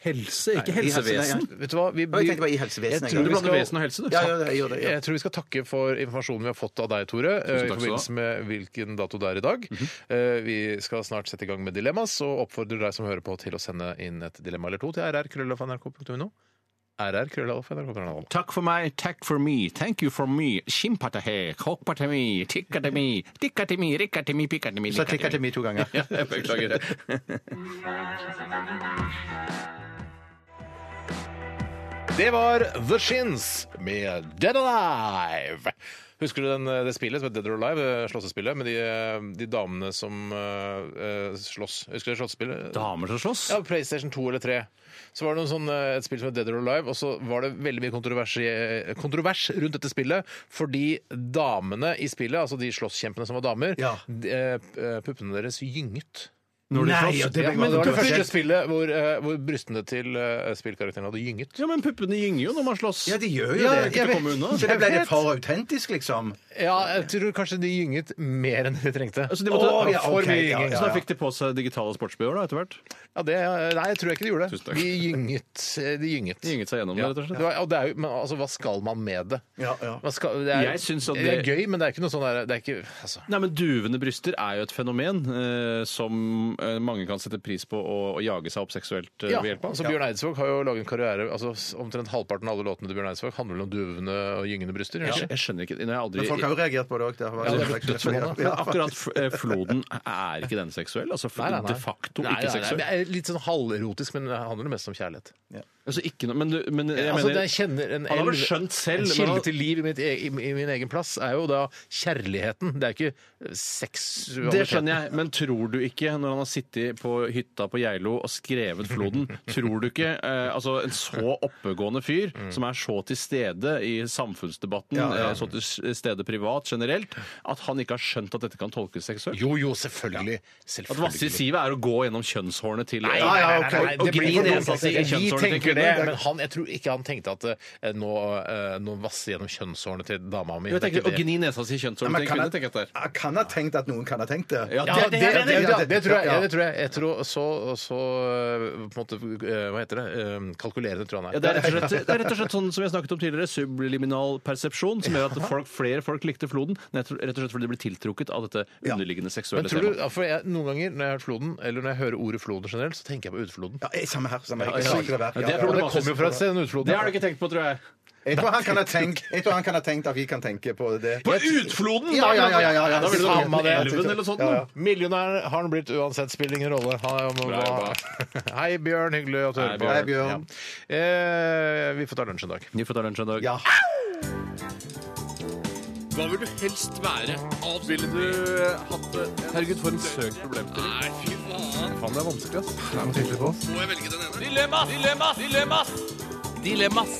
C: Helse, ikke
D: i helse-
C: helsevesen.
D: nei,
B: Vet du hva? Vi,
D: jeg tenkte bare i helsevesenet,
B: Jeg tror
D: jeg.
C: Du
B: vi skal-
C: blander vesen og helse, du.
D: Ja, ja, jeg gjør det. Ja.
B: Jeg tror vi skal takke for informasjonen vi har fått av deg, Tore, eh, i
C: takk skal du ha. Mhm.
B: forbindelse med hvilken dato det er i dag. Eh, Vi skal snart sette i gang med dilemmas, og oppfordrer deg som hører på til å sende inn et dilemma eller to til rrkrøllalfa.nrk.no. rrkrøllalfa.nrk.no.
C: Takk for meg, takk for me, thank you for me, skimpatahe, kokkpatemi, tikkatemi, tikkatemi, rikkatemi, pikkatemi,
D: Så klikker til meg to ganger.
C: Ja, jeg beklager det.
B: Det var The Shins med Dead Alive. Husker du den, det spillet som het Dead or Alive? eh, Slåssespillet med de, eh, de damene som eh, eh, slåss. Husker du det slåssespillet?
C: Damer som slåss?
B: Ja, PlayStation 2 eller 3. Så var det noen sånn, eh, et spill som het Dead or Alive, og så var det veldig mye kontrovers, i- kontrovers rundt dette spillet, fordi damene i spillet, altså de slåsskjempene som var damer,
D: Ja.
B: de, eh, puppene deres gynget.
C: Nordic
D: Nei,
C: Frost.
D: ja, det
B: Ja,
D: ble-
B: men det var det
D: Først-
B: første spillet hvor, eh, hvor brystene til eh, spillkarakteren hadde gynget.
C: Ja, men puppene gynger jo når man slåss.
D: Ja, de gjør jo
C: Ja, det er
D: det.
C: ikke til å komme unna.
D: Så det ble det for autentisk, liksom?
B: Ja, jeg tror kanskje de gynget mer enn de trengte.
C: Altså, de måtte,
D: Å, ja,
C: for
D: ok,
C: mye
D: ja,
C: gynging.
D: ja,
C: Så da
D: ja.
C: fikk de på seg digitale sportsbøyer da, etter hvert.
B: Ja, det, nei, jeg tror ikke de gjorde det.
C: Tusen takk.
B: De gynget. eh, De gynget.
C: De gynget seg gjennom det,
B: ja.
C: rett og slett.
B: Det var, og det er jo, men altså, hva skal man med det?
D: Ja, ja.
B: Hva skal, det, er,
C: Jeg synes at
B: det er
C: det-
B: gøy, men det er ikke noe sånn der Det er ikke altså.
C: Nei, men Duvende bryster er jo et fenomen eh, som eh, mange kan sette pris på og, og jage seg opp seksuelt eh,
B: Ja,
C: ved hjelp av.
B: altså Bjørn Eidsvåg har jo laget en karriere altså s- Omtrent halvparten av alle låtene til Bjørn Eidsvåg handler vel om duvende og gyngende bryster. gjør det
C: Jeg,
B: ikke?
C: jeg skjønner ikke Nei, jeg har aldri,
D: Men folk har jo reagert på det òg.
C: Ja, det er dødsforbanna. Men Akkurat f- eh, floden er ikke den seksuell. Altså
B: Nei, nei, nei.
C: de facto
B: Nei,
C: ikke
B: nei, nei,
C: seksuell.
B: det er Litt sånn halverotisk, men det handler mest om kjærlighet.
C: Altså, ikke noe, men, du- men jeg
B: altså,
C: mener
B: jeg kjenner en,
C: Han har vel
B: elv-
C: skjønt selv,
B: en
C: men
B: kilde
C: han-
B: til liv i, mitt, e- i, i min egen plass er jo da kjærligheten. Det er ikke eh, seksualiteten.
C: det skjønner jeg, men tror du ikke, når han har sittet på hytta på Geilo og skrevet 'Floden', tror du ikke eh, altså en så oppegående fyr,
B: Mm.
C: som er så til stede i samfunnsdebatten, eh, så til s- stede privat generelt, at han ikke har skjønt at dette kan tolkes seksuelt?
B: Jo, jo, selvfølgelig.
C: At
B: selvfølgelig.
C: Vassig Sivet er å gå gjennom kjønnshårene til
B: Nei,
C: Ja,
B: nei,
C: ja,
B: nei,
C: ok.
B: nei, nei,
C: Og
B: det blir
C: gni
B: for dumt.
C: nesa si i
B: Vi
C: kjønnshårene til
B: tenker det,
C: kvinnen.
B: men han, jeg tror ikke han tenkte at eh, nå, eh, nå vasser gjennom kjønnshårene til dama mi. Det
C: Jeg
B: er
C: tenker,
B: ikke
C: å
B: det.
C: gni nesa si i kjønnshåret til en kvinne, tenker jeg at det er.
D: Jeg kan ha tenkt at noen kan ha tenkt det.
C: Ja,
B: Ja,
C: det-
B: det, det, det, tror jeg. Ja, det tror jeg. jeg tror så, så eh, på en måte, eh, Hva heter det? Eh, Kalkulerende, tror jeg
C: Ja,
B: han er.
C: det, er rett og slett, det er rett og slett sånn som vi har snakket om tidligere, subliminal persepsjon, som gjør at folk, flere folk likte floden, men jeg tror- rett og slett fordi de ble tiltrukket av dette underliggende seksuelle
B: Men tror du,
C: temaet.
B: ja, for jeg, Noen ganger når jeg har hørt floden, eller når jeg hører ordet floden generelt, så tenker jeg på utefloden.
D: Ja, eh, samme her. Samme her.
C: Ja,
D: Jeg
C: ja.
D: saker det vekk.
C: Ja,
D: Ja,
C: det er
B: Og
D: ja, ja.
B: det kommer jo fra et sted, den utefloden.
C: Det har du ikke tenkt på, tror jeg.
D: Jeg tror han kan ha tenkt Jeg tror han kan ha tenkt at vi kan tenke på det.
C: På utfloden!
D: Ja, ja, ja, ja, ja, ja.
C: Da ville du
D: Samme
C: hatt
D: det.
C: elven eller
B: sånn.
C: sånt.
D: Ja, ja.
C: da.
B: Millionær har han blitt uansett, spiller ingen rolle. Han er om,
C: Bra jobba.
B: Hei, Bjørn. Hyggelig at du
C: Hei,
B: hører på.
D: Hei, Bjørn.
B: Ja. Eh, vi får ta lunsj en dag.
C: Vi får ta lunsj en dag.
D: Ja.
C: Hva vil du helst være? Ville du hatt det? Herregud, for en søk problemstilling. Nei, fy faen. Faen, det er vanskelig, ass. Må jeg velge den ene? Dilemmas! Dilemmas! Dilemmas! Dilemmas!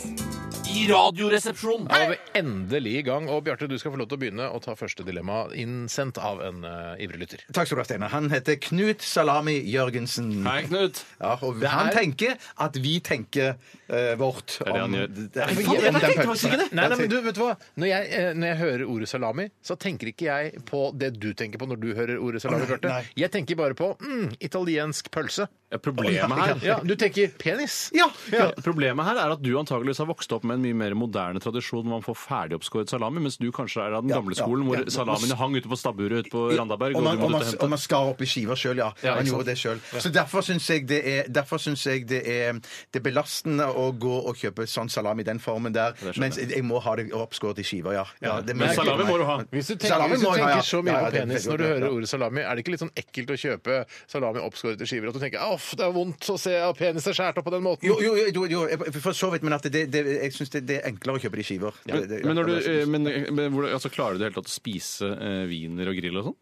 C: I radioresepsjonen.
B: Da er vi endelig i gang. Og Bjarte, du skal få lov til å begynne å ta første dilemma, innsendt av en eh, ivrig lytter.
D: Takk skal du ha, Steinar. Han heter Knut Salami Jørgensen.
C: Hei, Knut.
D: Ja, og han tenker at vi tenker eh, vårt
C: det han gjør.
D: Nei,
C: faen, jeg tenkte faktisk ikke det.
B: Nei, nei, men du, vet du hva? Når jeg, eh, når jeg hører ordet salami, så tenker ikke jeg på det du tenker på når du hører ordet salami, Bjarte.
D: nei.
B: Jeg tenker bare på mm, italiensk pølse.
C: Ja, problemet her
B: Ja, du tenker penis.
D: Ja, ja.
C: Ja, Problemet her er at du antageligvis har vokst opp med en mye mer moderne tradisjon hvor man får ferdigoppskåret salami, mens du kanskje er av den
D: Ja,
C: gamle
D: ja,
C: skolen hvor
D: ja.
C: salamiene hang ute på stabburet ute på Randaberg.
D: Og
C: Og,
D: man,
C: du
D: og,
C: måtte
D: man, og
C: hente.
D: man skar opp i skiver sjøl, ja.
C: Ja,
D: Man
C: ikke
D: gjorde det selv. Så derfor syns jeg, det er- derfor synes jeg det er det er belastende å gå og kjøpe sånn salami i den formen der.
C: skjønner
D: Mens jeg må ha det oppskåret i skiver, ja. ja det
C: Men
D: mener jeg
C: salami
D: meg.
C: må du ha.
B: Hvis du tenker,
D: Salami
B: hvis du
D: må jeg
B: tenker
D: ha, ja.
B: så mye
D: Ja, ja,
B: på
D: det er
B: penis
D: veldig
B: når du
D: godt,
B: hører
D: ja.
B: ordet salami, er det ikke litt sånn ekkelt å kjøpe salami oppskåret i skiver? At du tenker «Aff, det er vondt å se at penis er skåret opp på den måten?
D: Jo, jo, jo, jo, jo for så vidt, men at det, det, jeg syns det, det er enklere å kjøpe det i skiver. Det- det-
C: Men, når du,
D: det er-
C: eh, men, men hvor, altså, klarer du i det hele tatt å spise eh, wiener og grill og sånn?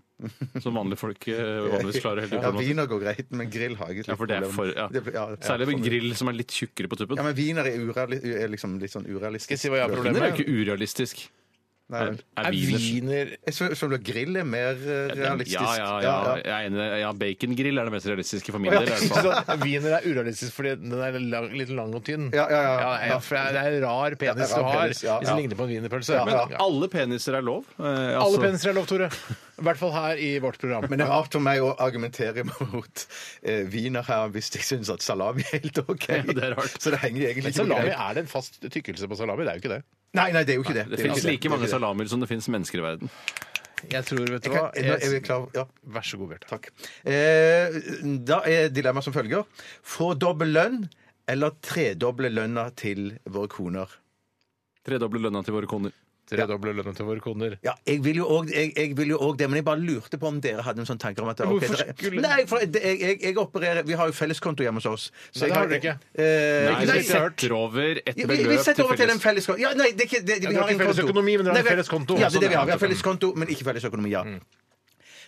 C: Som vanlige folk eh, vanligvis klarer helt
D: Ja,
C: uten.
D: Wiener går greit, men grill har jeg et
C: Ja, for det er for, ja.
D: Det- ja, det er
C: Særlig
D: for-
C: med grill som er litt tjukkere på tuppen.
D: Ja, men wiener er, ureali er liksom litt sånn urealistisk.
B: Skal jeg si hva jeg har
C: Wiener er
B: problemet
C: jo ikke urealistisk.
D: Nei,
C: Er,
D: vel.
C: er wiener
B: wiener
D: jeg så- så ble grill er mer eh, realistisk.
C: Ja, ja, ja. Jeg er enig. Ja, bacongrill er det mest realistiske for min del. i hvert fall.
B: Sånn, Wiener er urealistisk fordi den er lang, litt lang og tynn.
D: Ja, ja, ja.
B: for det er en rar
D: Ja,
B: penis du
D: rar
B: har
D: penis, ja,
B: hvis den
D: ja.
B: ligner på en wienerpølse.
D: Ja,
B: Men
D: ja.
B: ja.
C: Alle peniser er lov. Eh,
B: Alle
C: altså-
B: peniser er lov, Tore. I hvert fall her i vårt program.
D: Men det er rart for meg å argumentere mot eh, wiener her hvis jeg syns at salami er helt OK.
C: Ja, det er rart.
D: Så det henger egentlig
B: Men
D: ikke på
B: salami,
D: greip.
B: er det en fast tykkelse på salami? Det er jo ikke det.
D: Nei, nei, det er jo ikke det.
C: Det
D: er jo
C: finnes
D: ikke
C: like
D: Det er
C: mange
D: ikke det.
C: salamier som det finnes mennesker i verden.
B: Jeg tror, vet du
D: Jeg
B: hva
D: kan, jeg, jeg, er klar, ja.
B: Vær så god, Bjarte.
D: Takk. Eh, da er dilemmaet som følger. Få dobbel lønn eller tredoble lønna til våre koner.
C: Tredoble lønna til våre koner.
B: Tredoble lønna til våre koner.
D: Ja, jeg vil jo òg jeg, jeg vil jo også det, men jeg bare lurte på om dere hadde en sånn tanker om at ok,
B: hvorfor
D: dere-
B: skulle-
D: Nei, for det, jeg, jeg, jeg opererer Vi har jo felleskonto hjemme hos oss.
B: Nei, det har dere ikke.
D: Eh,
C: Nei,
D: nei,
C: vi
B: ikke
D: se-
B: hørt.
C: setter over et
D: Ja,
C: beløp
D: vi, vi setter over til
C: felles.
D: en felles konto. Ja, nei, det er ikke, det, vi
B: dere har ikke felles økonomi, men dere har
D: Nei, vi-
B: felles konto.
D: Ja, det er det vi har. Vi
B: Sånn,
D: Mm. har felles konto, men ikke felles økonomi. ja.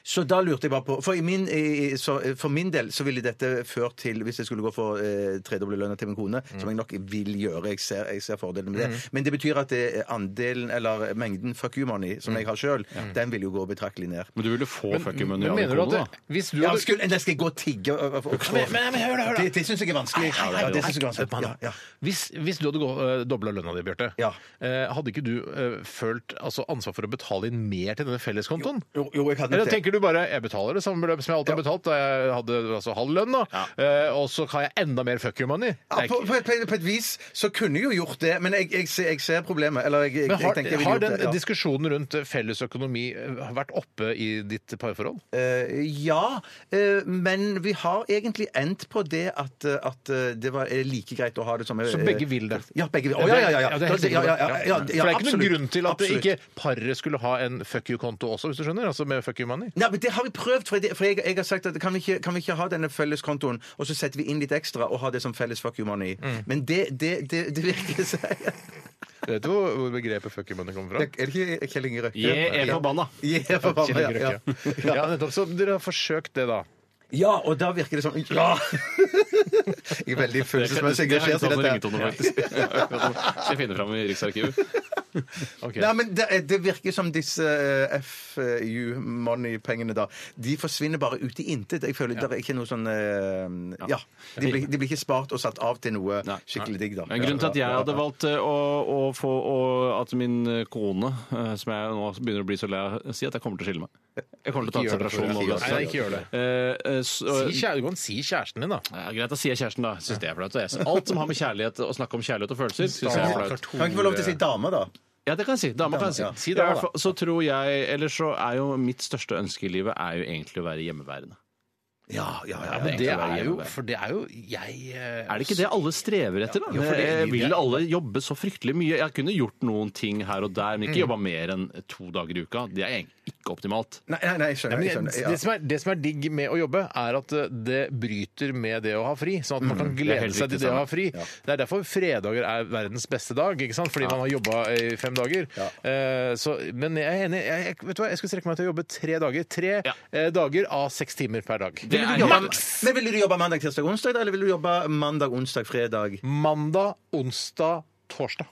D: Så da lurte jeg bare på For, i min, i, så, for min del så ville dette ført til, hvis jeg skulle gå for eh, tredoble lønna til min kone, som jeg nok vil gjøre, jeg ser, jeg ser fordelen med det, men det betyr at det, andelen, eller mengden fuck you money som jeg har sjøl, den vil jo gå betraktelig ned.
C: Men du ville få fucking money
B: Men
C: av din
B: mener du at
C: kone,
B: det,
C: da?
B: hvis du
D: Ja,
B: hadde
D: skulle, jeg skal gå og tigge og- og- og-
B: Men- men- men hør da, hør da.
D: Det, det syns jeg er
B: Hei,
D: vanskelig.
B: hei, hei,
D: Ja, det synes jeg er
B: hei,
D: vanskelig.
B: mann.
D: Ja, ja.
B: Hvis, hvis du hadde uh, dobla lønna di, Bjarte,
D: Ja.
B: eh, hadde ikke du eh, følt altså, ansvar for å betale inn mer til denne felleskontoen?
D: Jo, jo, jeg hadde nok
B: Eller
D: det.
B: tenker du bare jeg betaler det samme beløp som jeg alltid har betalt da jeg hadde altså, halv lønn, da, eh, og så har jeg enda mer fuck you money? Det er
D: Ja, på,
B: ikke-
D: på, et- på, et- på et vis så kunne jeg jo gjort det, men jeg, jeg, ser, jeg ser problemet. Eller jeg, jeg,
B: Men
D: jeg
B: har,
D: tenker jeg ville
B: har
D: gjort
B: den
D: det. Ja.
B: diskusjonen rundt eh, felles økonomi eh, vært oppe i ditt parforhold?
D: Eh, ja, eh, men vi har egentlig endt på det at, eh, at eh, det var eh, like greit å ha det som eh,
B: Så begge vil det?
D: Ja, begge vil. Å, ja, ja, ja, ja.
B: det er helt
D: Ja, ja, ja, ja, ja,
B: sikkert. For det er ikke noen
D: absolutt.
B: grunn til at
D: Absolutt.
B: ikke paret skulle ha en fuck you-konto også, hvis du skjønner? Altså med fuck you money.
D: Nei, men Det har vi prøvd. For, jeg, for jeg, jeg har sagt at kan vi, ikke, kan vi ikke ha denne felleskontoen, og så setter vi inn litt ekstra og har det som felles fuck you money?
B: Mm.
D: Men det, det, det, det virker seg
B: Vet du hvor hvor begrepet fuck you money kommer fra?
D: Er det ikke Kjell Inge Røkke?
C: Jeg er forbanna.
D: Jeg er forbanna,
B: Kjell Inge
D: ja, ja.
B: Røkke, ja. Ja, nettopp. Så dere har forsøkt det, da.
D: Ja, og da virker det sånn Ja! Jeg er veldig følelsesmessig
C: Det er litt
D: engasjert i
C: sånn
D: dette.
C: ringetoner, faktisk. Skal jeg finne fram i Riksarkivet?
D: Nei, men det, eh, det virker som disse eh, FU Money-pengene, da. De forsvinner bare ut i intet. Jeg føler det er ikke noe sånn eh, Ja. De blir, de blir ikke spart og satt av til noe
C: Nei.
D: skikkelig digg, da.
C: Men grunnen til at jeg hadde valgt eh, å, å få å, at min kone, eh, som jeg nå begynner å bli så lei av, si at jeg kommer til å skille meg. Jeg kommer til å ta
B: Ikke
C: en
B: gjør det,
C: separasjon nå.
B: Tore.
C: da.
B: Nei, nei, ikke gjør det.
C: Eh, eh, så-
B: Si, kjære- du kan si kjæresten din, da.
C: Ja, greit, da sier jeg kjæresten, da. Jeg Synes det er flaut. jeg. Alt som har med kjærlighet å snakke om kjærlighet og følelser, syns jeg er flaut.
D: Kan ikke få lov til å
C: eh,
D: si dame, da?
C: Ja, det kan jeg si. Dama kan jeg si.
D: Ja.
B: Si det,
C: I hvert
B: da.
C: fall Så tror jeg Eller så er jo mitt største ønske i livet er jo egentlig å være hjemmeværende.
D: Ja, ja, ja.
C: Ja, men
B: Det
C: egentlig å være
B: er jo
C: hjemmeværende.
B: For det er jo jeg eh,
C: Er det ikke det alle strever etter, da?
B: Jo, for det-
C: Eh, vil alle jobbe så fryktelig mye? Jeg kunne gjort noen ting her og der, men ikke jobba mer enn to dager i uka. Det er egentlig ikke optimalt.
D: Nei, nei, nei, jeg skjønner. Jeg
B: Men
D: skjønner.
B: det,
D: Ja.
B: det, som er, det som er digg med å jobbe, er at eh, det bryter med det å ha fri. Sånn at man kan
C: er
B: glede
C: helt
B: seg
C: riktig,
B: til det å
C: Sanne.
B: ha fri. Det er derfor fredager er verdens beste dag, ikke sant? fordi man har jobba i fem dager. Eh, så, men jeg er enig. Jeg, jeg, vet du hva? jeg skulle strekke meg til å jobbe tre dager. Tre
C: Ja.
B: eh, dager av seks timer per dag.
C: Det er
D: Jobba- Men Ville du jobbe mandag, tirsdag, onsdag, eller ville du jobbe mandag, onsdag, fredag?
B: Mandag, onsdag, torsdag.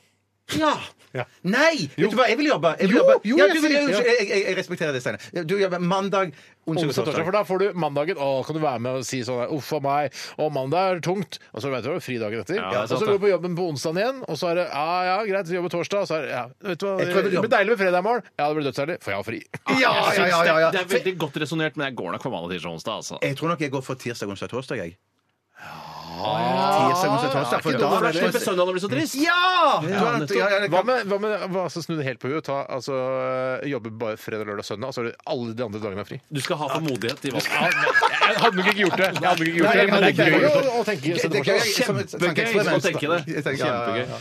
D: Ja!
B: Ja.
D: Nei! Vet du hva, jeg vil jobbe. Jeg vil
B: Jo,
D: jobbe.
B: jo,
D: ja,
B: jeg
D: du, vil,
B: sier-
D: jeg,
B: ja.
D: jeg, jeg, jeg respekterer det, Steinar. Du jobber mandag, onsdag og
B: Onsdag, torsdag,
D: torsdag.
B: for da får du mandagen Å, kan du være med og si sånn her, Uff a meg. Og mandag er tungt. Og så vet du hva, fri dagen etter.
C: Ja, det er
B: og så
C: sant,
B: går
C: det.
B: du på jobben på onsdagen igjen, og så er det ja, ja, greit, vi jobber torsdag. Og så er det ja, vet du hva,
D: Jeg tror jeg vil
B: det blir
D: jobbe.
B: deilig med fredag i morgen. Ja, det blir dødsdeilig, for jeg har fri.
D: Ja, ja, ja, ja, ja.
C: Det er veldig godt resonnert, men jeg går nok for mandag, tirsdag, onsdag. altså.
D: Jeg tror nok jeg går for tirsdag, onsdag, torsdag. Jeg. Tirsdag, onsdag, torsdag. For
C: Ikke
D: da
C: noe
D: er
C: verst,
D: det
C: slipper søndagen å bli så trist.
D: Ja! Du har-
C: nettopp.
D: ja, ja, det
B: Hva
D: kan-
B: med, hva med hva, altså, snu det helt på huet? Ta, altså, jobbe bare fredag, lørdag og søndag, og så er det alle de andre dagene er fri?
C: Du skal ha formodighet i valget.
B: Jeg hadde nok ikke gjort det. Jeg hadde nok ikke gjort det, men det er gøy å- å tenke
D: Det
B: sånn for
D: er
B: seg.
D: gøy som et
C: Kjempegøy å
D: tankeeksperiment.
C: tenke det.
D: Jeg tenker, ja, ja, ja.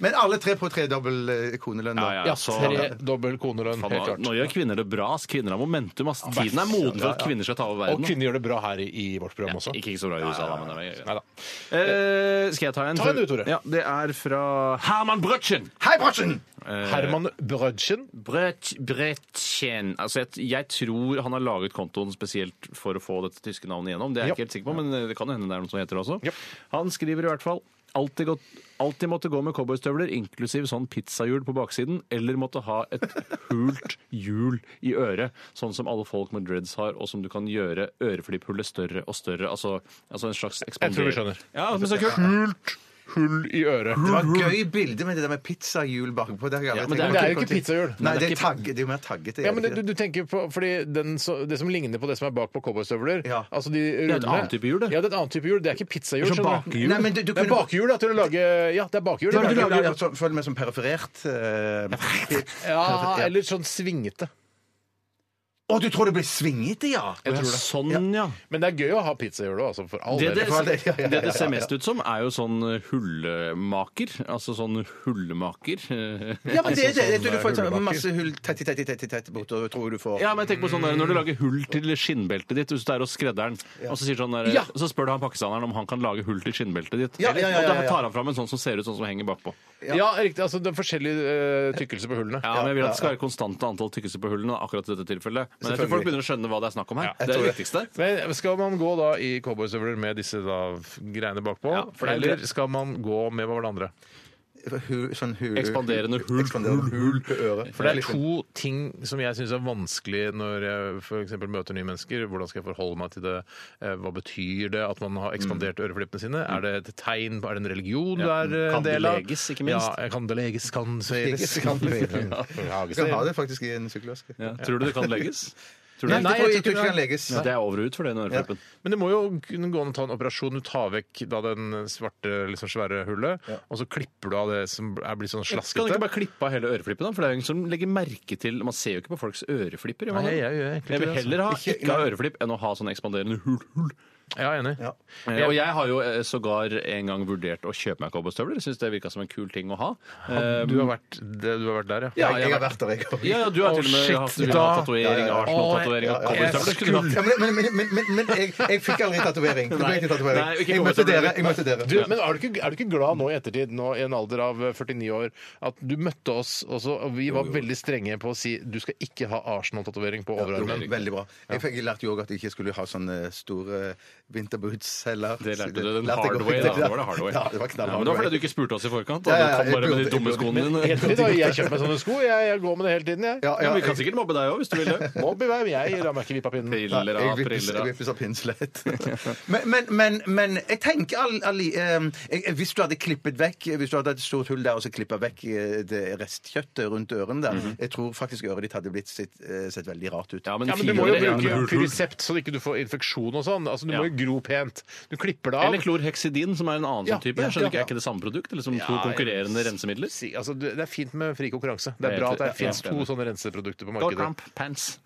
D: Men alle tre på tredobbel eh, konelønn. da.
C: Ja, ja,
B: Ja,
C: så-
B: tre dobbel konelønn,
C: Faen,
B: helt
C: nå- Nå
B: klart.
C: gjør kvinner det bra. ass. Kvinner har momentum. ass. Tiden er moden for at kvinner skal ta over
B: Og
C: verden.
B: kvinner gjør det bra her i, i vårt program også.
C: Ikke, ikke så bra i USA, da. Men det er
B: Neida.
C: Eh, skal jeg ta en?
B: Ta en du, Tore.
C: Ja, det er fra Herman Brøtchen.
D: Hei, Brasjen!
C: Eh,
B: Herman Brødchen.
C: Brøt, Brøtchen. Altså, jeg, jeg tror han har laget kontoen spesielt for å få dette tyske navnet igjennom. Det er jeg ikke helt sikker på, men det kan jo hende det er noen som heter det også. Han skriver i hvert fall Alltid, gått, alltid måtte gå med cowboystøvler, inklusiv sånn pizzahjul på baksiden, eller måtte ha et hult hjul i øret, sånn som alle folk med dreads har, og som du kan gjøre øreflipphullet større og større. Altså, altså en slags
B: Jeg tror vi
C: ekspander-
B: skjønner.
C: Ja, men så kult.
B: Hult hull i øret.
D: Det var et gøy bilde med det der med pizzahjul bakpå. Det, har jeg
C: Ja,
D: aldri
C: men det
D: tenkt på.
C: er
B: jo ikke pizzahjul.
D: Nei, det
C: det er
D: er, tagge, det er jo mer taggete. er
B: Ja, men
D: det
B: du,
D: ikke
B: du tenker på, fordi den, så, Det som ligner på det som er bak på cowboystøvler
D: Ja.
B: altså de Det
C: et annet type hjul, det.
B: Ja, det er et annet type hjul. Det er ikke pizzahjul.
C: Det er sånn
B: skjønner du.
C: bakhjul.
D: Nei, men du- du
B: det er
D: kunne-
B: bakhjul da, til å lage Ja, det er bakhjul.
D: det?
B: Det er
D: Ja,
B: bakhjul.
D: ja, ja, Føler meg som periferert. eh,
B: Ja, eller sånn svingete.
D: Å, du tror det blir svingete, ja?
B: Jeg tror det.
C: Sånn, ja.
B: Men det er gøy å ha pizzahjul òg, altså. For all del.
C: Det det,
D: Ja, ja, ja, ja.
C: det det ser mest ut som, er jo sånn hullemaker. Altså sånn hullemaker.
D: Ja, men det er det.
B: sånn,
D: Du, du får
B: eh,
D: sånn
B: hullbakker.
D: masse hull tett i tett i tett i tett bortover, tror du får.
C: Ja, men jeg tenker på sånn der, Når du lager hull til skinnbeltet ditt hvis du er hos skredderen, og så, sier sånn der,
B: Ja.
C: så spør du han pakistaneren om han kan lage hull til skinnbeltet ditt.
D: Ja, ja, ja, ja,
C: Og
D: ja.
C: da tar han fram en sånn som ser ut sånn som henger bakpå.
B: ja. riktig. Altså, det er forskjellig eh, tykkelse på hullene.
C: Ja, men jeg vil at det skal være konstante antall tykkelser på hullene. Akkurat i dette tilfellet Men jeg tror folk begynner å skjønne hva det er snakk om her.
B: Ja, jeg
C: det er
B: tror
C: det
B: det.
C: viktigste.
B: Men skal man gå da i cowboystøvler med disse da f- greiene bakpå?
C: Ja, for det er
B: eller
C: greit.
B: skal man gå med hva var det andre?
D: Hu- Sånn hul,
C: Ekspanderende hull.
D: Ekspanderende hull på øret. sånn-
B: For det er to ting som jeg syns er vanskelig når jeg f.eks. møter nye mennesker. Hvordan skal jeg forholde meg til det? Eh, Hva betyr det at man
C: Mm.
B: har ekspandert øreflippene sine? Er det et tegn? Er det en religion du
C: Ja.
B: er eh,
C: Kan
B: en
C: det
B: del av?
C: leges, ikke minst?
B: Ja, kan det leges, kan sveres.
D: Kan leges. Du kan ha
B: Nei,
D: det faktisk i en sykkelvask.
C: Ja. Tror du det kan legges? Tror du
D: Nei,
C: det?
D: jeg tror
B: jeg
D: ikke
B: tror
D: det kan
B: ikke det.
D: legges.
C: Det er over og ut for den øreflippen.
B: Men det må jo kunne gå an å ta en operasjon. Du tar vekk da den svarte, liksom svære hullet, og så klipper du av det som er blitt sånn
C: Skal man
B: slaskete.
C: ikke bare klippe av hele øreflippen? da? For det er jo ingen som legger merke til Man ser jo ikke på folks øreflipper. gjør man
B: Nei,
C: det?
B: jeg gjør egentlig ikke
C: jeg vil
B: det, altså.
C: heller ha ikke ha øreflipp enn å ha sånn ekspanderende hull. hull.
B: Ja, jeg er enig.
C: Eh, Og jeg har jo eh, sågar en gang vurdert å kjøpe meg cowboystøvler. Jeg Syns det virka som en kul ting å ha. Eh,
B: Du har vært, det, du har vært der,
D: Ja,
B: ja.
D: jeg har vært der, jeg òg.
C: ja, ja, du har
B: Å,
C: til og med
B: shit,
C: hatt du vil
B: da.
C: ha tatovering,
B: ja.
C: Arsenal-tatovering
B: Å,
C: av
B: jeg- jeg
C: cowboystøvler. skulle du hatt.
D: Ja, men, men, men, men, men jeg, jeg fikk aldri tatovering. Det ble
C: Nei.
D: ikke tatovering.
C: Nei, ikke
D: Jeg møtte
C: cowboystøvler.
D: dere. Jeg møtte dere.
B: Du, men er du, ikke, er du ikke glad nå i ettertid, nå i en alder av eh, 49 år, at du møtte oss, og, så, og vi var veldig strenge på å si du skal ikke ha Arsenal-tatovering på overarmen?
D: Veldig bra. Jeg, fikk, jeg lærte jo òg at jeg ikke skulle ha sånne store vinterboots heller.
C: Det lærte du den
D: lærte jeg
C: hard
D: også.
C: way, da. Det var det hard way.
D: Ja, det var knall
C: Ja, men
D: hard
C: det var fordi
D: way.
C: du ikke spurte oss i forkant.
D: Ja,
C: Da. Du
D: ja, ja,
C: kom
D: jeg
C: bare med de
D: burde-
C: dumme
D: jeg burde-
C: skoene dine.
B: Helt til da, jeg kjøper meg sånne sko. Jeg, jeg går med det hele tiden, jeg.
D: Ja, ja,
C: Men vi kan
D: jeg-
C: sikkert mobbe deg òg, hvis du vil det.
B: Mobb i vei, men jeg lar meg ikke vippe av pinnen.
C: Priller av,
D: jeg vippes,
C: priller
D: jeg
C: av.
D: vippes av pinnslett. Men, men, men, men jeg tenker all, all, eh, jeg- Hvis du hadde klippet vekk Hvis du hadde et stort hull der og så klippa vekk eh, det restkjøttet rundt ørene der, jeg tror faktisk øret ditt hadde blitt sett, eh, sett veldig rart ut.
C: Mhm. Ja, men
B: Ja, men Du
C: fire
B: må jo
C: år, ja, men
B: bruke
C: hull, hull.
B: Pyrisept så ikke du får infeksjon og sånn. Altså, Du
C: Ja.
B: må jo gro pent. Du klipper det av.
C: Eller klorheksidin, som er en annen
B: Ja,
C: sånn type. Jeg
B: ja,
C: skjønner ikke,
B: ja.
C: Er ikke det samme produkt? Eller som
B: Ja,
C: to
B: jeg-
C: konkurrerende rensemidler?
B: Si- Altså, det det er fint med fri konkurranse. Det
C: Jeg
B: er
C: er
B: bra
C: helt-
B: at det
C: ja,
B: fins
C: ja.
B: to sånne renseprodukter på
C: Go
B: markedet.
C: Trump pants.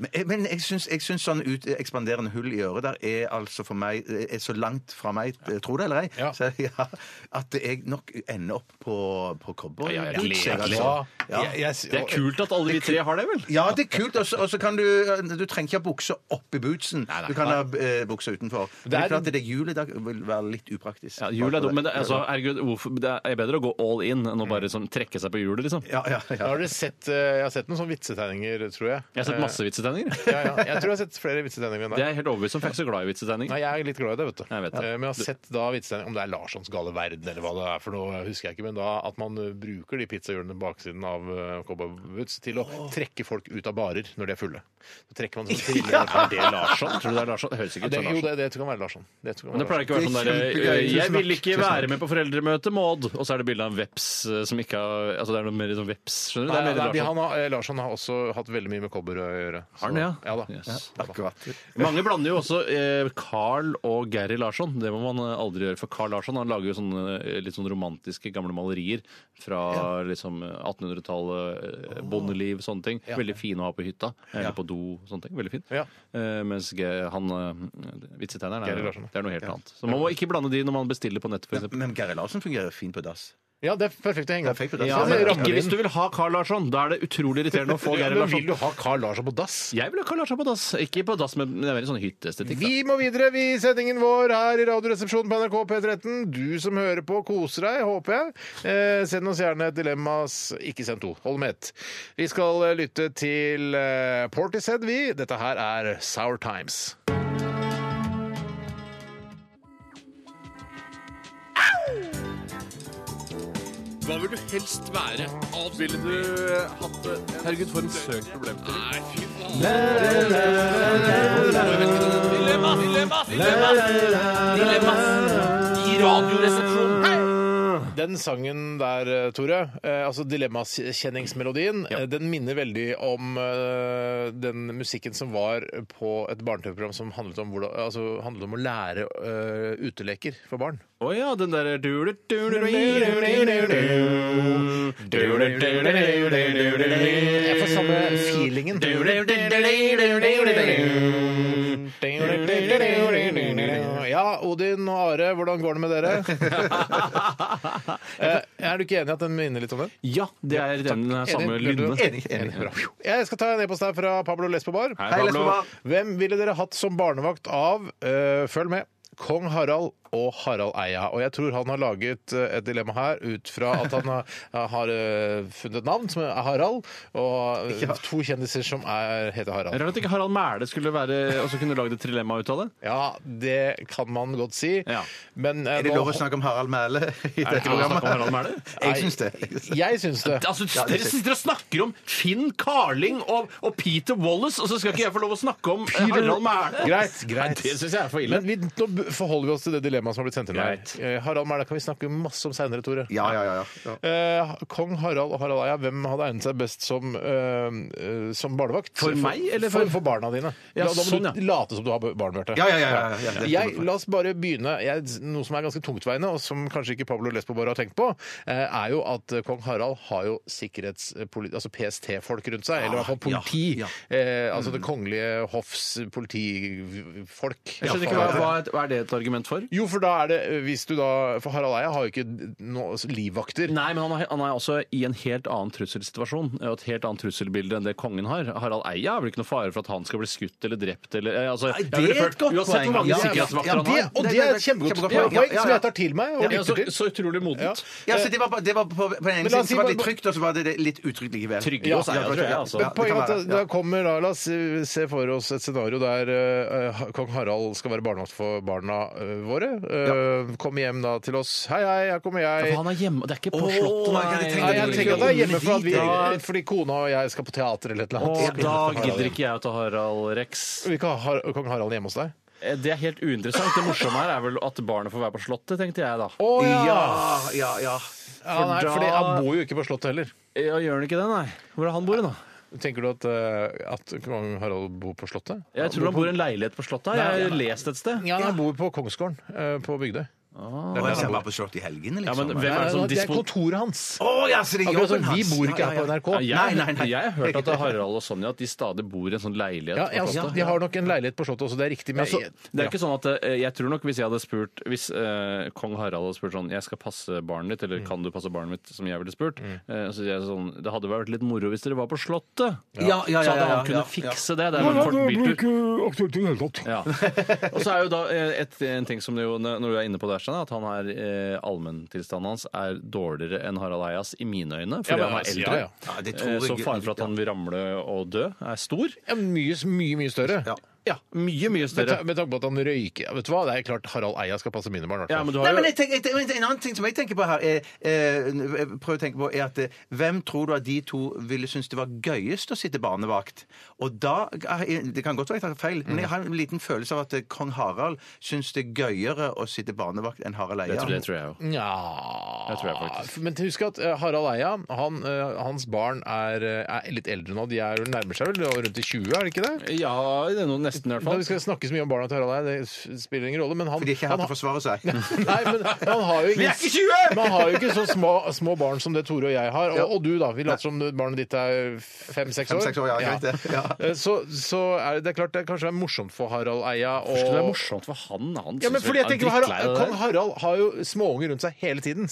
D: Men, jeg- men jeg syns, jeg syns sånn ut, ekspanderende hull i øret der er altså for meg er så langt fra meg, tro det eller ei,
B: Ja.
D: så, ja, at jeg nok ender opp på, på cowboy.
C: Ja, ja,
D: Jeg
C: jeg
D: ser
C: gleder
D: altså- Ja.
B: Jeg- jeg-
C: Det er kult at alle vi tre har det, vel?
D: Ja, det er kult. Og så- og så kan du eh, Du trenger ikke ha bukse oppi bootsen.
C: Nei, nei.
D: Du kan ha eh, buksa utenfor. Men det
B: Det
D: er
B: er-
D: klart at det hjulet da vil være litt upraktisk.
C: Ja, Jul er dumt, men det, altså, herregud, hvorfor, det er bedre å gå all in enn å bare sånn, trekke seg på hjulet, liksom.
D: Ja, ja, ja.
B: Har dere sett, eh, jeg har sett noen sånne vitsetegninger, tror jeg.
C: Jeg har sett masse vitsetegninger.
B: Eh, ja, ja. Jeg tror jeg har sett flere vitsetegninger enn
C: Det
B: deg.
C: er jeg helt overbevist om, for jeg er ikke så glad i vitsetegninger.
B: Nei, jeg er litt glad i det, vet du.
C: Jeg vet det.
B: Eh, Men jeg har sett da vitsetegninger, om det er Larssons gale verden eller hva det er for noe, husker jeg ikke, men da at man eh, bruker de pizzahjulene på baksiden av eh, cowboyboots til å trekke folk ut av barer når de er fulle. Så trekker man sånn triller.
C: Er det Larsson? Tror du det er Larsson? Det høres ikke
B: Ja,
C: ut
B: det,
C: som
B: jo,
C: Larsson.
B: det, det kan være Larsson. Det kan
C: Men det
B: være
C: pleier ikke å være
D: Det er
C: sånn derre
D: kjempegøy.
C: Jeg vil ikke
D: Tusen takk.
C: være med på foreldremøte, Maud! Og så er det bilde av en veps eh, som ikke har Altså det er noe mer sånn veps, skjønner du? Det
B: Nei, nei,
C: er mer
B: de-
C: Larsson.
B: han har, eh, Larsson har også hatt veldig mye med kobber å gjøre.
C: Har han det, ja?
B: Ja da.
C: Yes.
B: Ja, da.
C: Mange blander jo også eh, Carl og Gary Larsson. Det må man eh, aldri gjøre. For Carl Larsson han lager jo sånne eh, litt sånn romantiske gamle malerier fra liksom eh, 1800-tallet. eh, Bondeliv, sånne ting. Veldig fine å ha på hytta. eh, Eller på do, sånne ting. Veldig fin.
B: Ja.
C: Eh, mens Ge- han eh, vitsetegneren
B: Gary
C: er,
B: Larsson, ja.
C: det er noe helt annet. Så man må ikke blande de når man bestiller på nettet, f.eks.
D: Men Geir Larsen fungerer fint på dass.
B: Ja, det er perfekt å henge opp.
D: Perfekt på dass.
C: Ja,
B: Ja,
C: men
B: det rammer
C: ikke hvis
B: inn.
C: du vil ha Carl Larsson. Da er det utrolig irriterende å få
B: Ja,
C: Gary
B: men vil
C: Larsson.
B: du ha Carl Larsson på dass?
C: Jeg vil ha Carl Larsson på dass. Ikke på dass, men men det er mer sånn hytteestetikk. da.
B: Vi må videre vi i sendingen vår her i Radioresepsjonen på NRK P13. Du som hører på, koser deg, håper jeg. Eh, send oss gjerne et dilemma. s- Ikke send to, hold med ett. Vi skal eh, lytte til eh, Portishead, vi. Dette her er Sour Times.
C: Hva vil du helst være? Ville du hatt det? Herregud, for en søk problem til. Nei, fy
H: Dilemmas! Dilemmas! Dilemmas! Dilemmas! I radioresepsjonen.
B: Den sangen der, eh, Tore, eh, altså dilemmakjenningsmelodien, eh, den minner veldig om eh, den musikken som var på et barne-TV-program som handlet om, hvordan, altså, handlet om å lære eh, uteleker for barn.
C: Å ja, den derre
B: Jeg får samme feelingen. Ja, Odin og Are, hvordan går det med dere? Eh, Er du ikke enig i at den minner litt om den?
C: Ja, det er den samme
B: Enig,
C: lynne.
B: Bjarte? Bra. Jeg skal ta en e-post her fra Pablo Lesbobar.
C: Hei, Pablo.
B: Hvem ville dere hatt som barnevakt av eh, Følg med. Kong Harald og Harald Eia. Og jeg tror han har laget eh, et dilemma her ut fra at han har, har eh, funnet et navn som er Harald, og eh, to kjendiser som er, heter Harald.
C: Rart at ikke Harald Mæhle skulle være også kunne lagd et trilemma ut av det.
B: Ja, det kan man godt si.
C: Ja.
B: Men eh,
D: Er det
B: nå-
D: lov å snakke om Harald Mæhle i
C: Er det
D: dette
C: ikke lov å snakke om Harald
D: programmet?
C: Mæhle?
D: Jeg syns det.
B: Jeg syns det.
C: Altså, Dere sitter og snakker om Finn Carling og, og Peter Wallace, og så skal ikke jeg få lov å snakke om eh, Harald Mæhle!
B: Greit, greit.
C: Nei, det synes jeg er for ille.
B: Men vi, nå b- forholder vi oss til det dilemmaet som har blitt sendt inn. her.
C: Greit.
B: Eh, Harald Mæhle kan vi snakke masse om seinere, Tore.
D: Ja, ja, ja. ja.
B: Eh, Kong Harald og Harald Eia, hvem hadde egnet seg best som, eh, eh, som barnevakt?
C: For meg, eller
B: for,
C: for-
B: for, barna dine?
C: Ja,
B: da, da må
C: sånn, ja.
B: du late som du har barn, Bjarte.
D: Ja, ja, ja, ja, ja, ja.
B: Jeg, la oss bare begynne. Jeg, noe som er ganske tungtveiende, og som kanskje ikke Pablo Lesbo bare har tenkt på, eh, er jo at eh, kong Harald har jo sikkerhetspoli... Altså PST-folk rundt seg,
D: Ah,
B: eller i hvert fall politi.
C: ja,
B: Eh, altså det kongelige hoffs politifolk.
C: Jeg skjønner ikke, hva, hva er, hva er det et argument for?
B: Jo, for da er det eh, Hvis du da For Harald Eia har jo ikke noe livvakter.
C: Nei, men han er, han er også i en helt annen trusselsituasjon og et helt annet trusselbilde enn det kongen har. Harald Eia er vel ikke noe fare for at han skal bli skutt eller drept eller eh, altså, jeg
D: det
C: ville
D: er et
C: følt-
D: godt
C: Uansett
D: poeng.
C: hvor mange
D: Ja,
C: sikkerhetsvakter
D: ja,
C: han
B: Det,
C: har.
B: og
D: Nei,
B: det
D: nei,
B: er
D: nei,
B: et kjempegodt
D: kjempegodt
B: poeng
D: poeng. Ja, ja,
B: som
D: ja.
B: jeg tar til meg og
C: Ja, så,
B: lytter til.
C: så utrolig modent.
D: Ja, så det var, bare- det var på, på den ene
B: la
D: siden
B: oss
D: så
B: si
D: var det
B: bare-
D: trygt, og så var det det litt utrygt likevel.
C: Tryggere hos eier, tror jeg, altså.
B: Men
D: Ja, det kan
B: poenget er at
D: være,
B: da,
D: ja.
B: da kommer da, La oss eh, se for oss et scenario der eh, eh, kong Harald skal være barnevakt for barna eh, våre. Eh, Kommer hjem da til oss. Hei, hei, her kommer jeg.
C: Han er hjemme, det er ikke på
D: Åh,
C: slottet,
D: jeg hadde tenkt
B: Nei, jeg tenker at det er hjemme for at vi,
C: Ja.
B: fordi kona og jeg skal på teater eller et eller
C: Og
B: annet.
C: da gidder ikke jeg å ta Harald Rex.
B: Vi kan ha Har- kong Harald hjemme hos deg?
C: Eh, Det er helt uinteressant. Det morsomme her er vel at barnet får være på Slottet, tenkte jeg da.
B: Å ja!
D: Ja, ja, ja.
B: nei,
C: da-
B: fordi han bor jo ikke på Slottet heller.
C: Ja, gjør han ikke det, nei? Hvor er han bor, da?
B: Tenker du at, eh, at kong Harald bor på Slottet?
C: Jeg tror han bor i en leilighet på Slottet. her. Jeg har lest et sted.
B: Ja, han bor på Kongsgården eh, på Bygdøy.
D: Og jeg ser bare på slottet i helgene,
C: Ja, men
D: liksom.
C: hvem er det sånn som
B: sånn det er
C: dispo...
B: kontoret hans.
D: Å, ja, så det er
B: Akkurat
D: jobben
B: som vi
D: hans.
B: bor ikke
D: Ja,
B: her
D: ja,
B: på
D: ja.
B: NRK.
C: jeg,
D: Nei, nei, nei.
C: jeg har hørt at det er Harald og Sonja at de stadig bor i en sånn leilighet.
B: Ja,
C: på
B: ja,
D: altså,
C: Slottet.
B: de har nok en leilighet på Slottet også, det er riktig. Men
C: Så det er ikke sånn at eh, jeg tror nok hvis jeg hadde spurt Hvis eh, kong Harald hadde spurt sånn Jeg skal passe barnet ditt,
D: Mm.
C: eller kan du passe barnet mitt, som jeg ville spurt eh, så sier jeg sånn, Det hadde vært litt moro hvis dere var på Slottet.
D: Ja, ja, ja,
C: så hadde
D: ja,
C: han
D: ja,
C: kunnet
D: ja.
C: fikse det. Det er jo en kort biltur.
B: aktuelt i det hele tatt.
C: Ja. Og så er jo da eh, et, en ting som det jo, når du er inne på det her, Steinar, at han er eh, allmenntilstanden hans er dårligere enn Harald Eias i mine øyne, fordi
B: Ja, men
C: han er
B: altså,
C: eldre.
B: ja,
D: ja. Ja, det tror
C: Eh,
D: jeg-
C: Så faren for at han vil ramle og dø, er stor.
B: mye, mye, mye større.
D: Ja.
C: Ja, mye,
B: Med,
C: mye større.
B: ta, med tanke på at han røyker ja, Vet du hva, det er klart Harald Eia skal passe mine barn. i hvert
C: Ja,
B: fall.
C: men du
D: Nei,
C: har
D: men
C: jo
D: jeg tenker, jeg tenker- En annen ting som jeg tenker på her, er, eh, prøv å tenke på, er at eh, hvem tror du at de to ville synes det var gøyest å sitte barnevakt? Og da, eh, Det kan godt være jeg tar feil,
C: Mm.
D: men jeg har en liten følelse av at eh, kong Harald synes det er gøyere å sitte barnevakt enn Harald Eia.
C: Det tror, det tror jeg jo.
B: Nja
C: Jeg tror jeg faktisk.
B: Men husk at eh, Harald Eia, han, eh, hans barn er, eh, er litt eldre nå. De er, nærmer seg vel rundt i 20, er det ikke det?
C: Ja, det er noe nesten i hvert
B: Da
C: fall.
B: vi skal snakke så mye om barna til Harald Eia, det s- spiller ingen rolle, men han
D: For de er ikke her
B: han
D: til å forsvare seg.
B: Nei, men man har jo ingen, man har jo ikke så små, små barn som det Tore og jeg har. Og, og du, da. Vi later som barnet ditt er fem-seks år.
D: Fem-seks år, ja, greit det. Ja.
B: Eh, Så, så er det, det er klart det kanskje er morsomt for Harald Eia å
C: Først, det er morsomt for han. Han
B: Ja, men
C: synes
B: fordi
C: vel
B: jeg
C: han er
B: tenker på
C: drittlei av
B: Harald,
C: det
B: Kong
C: der.
B: Harald har jo småunger rundt seg hele tiden.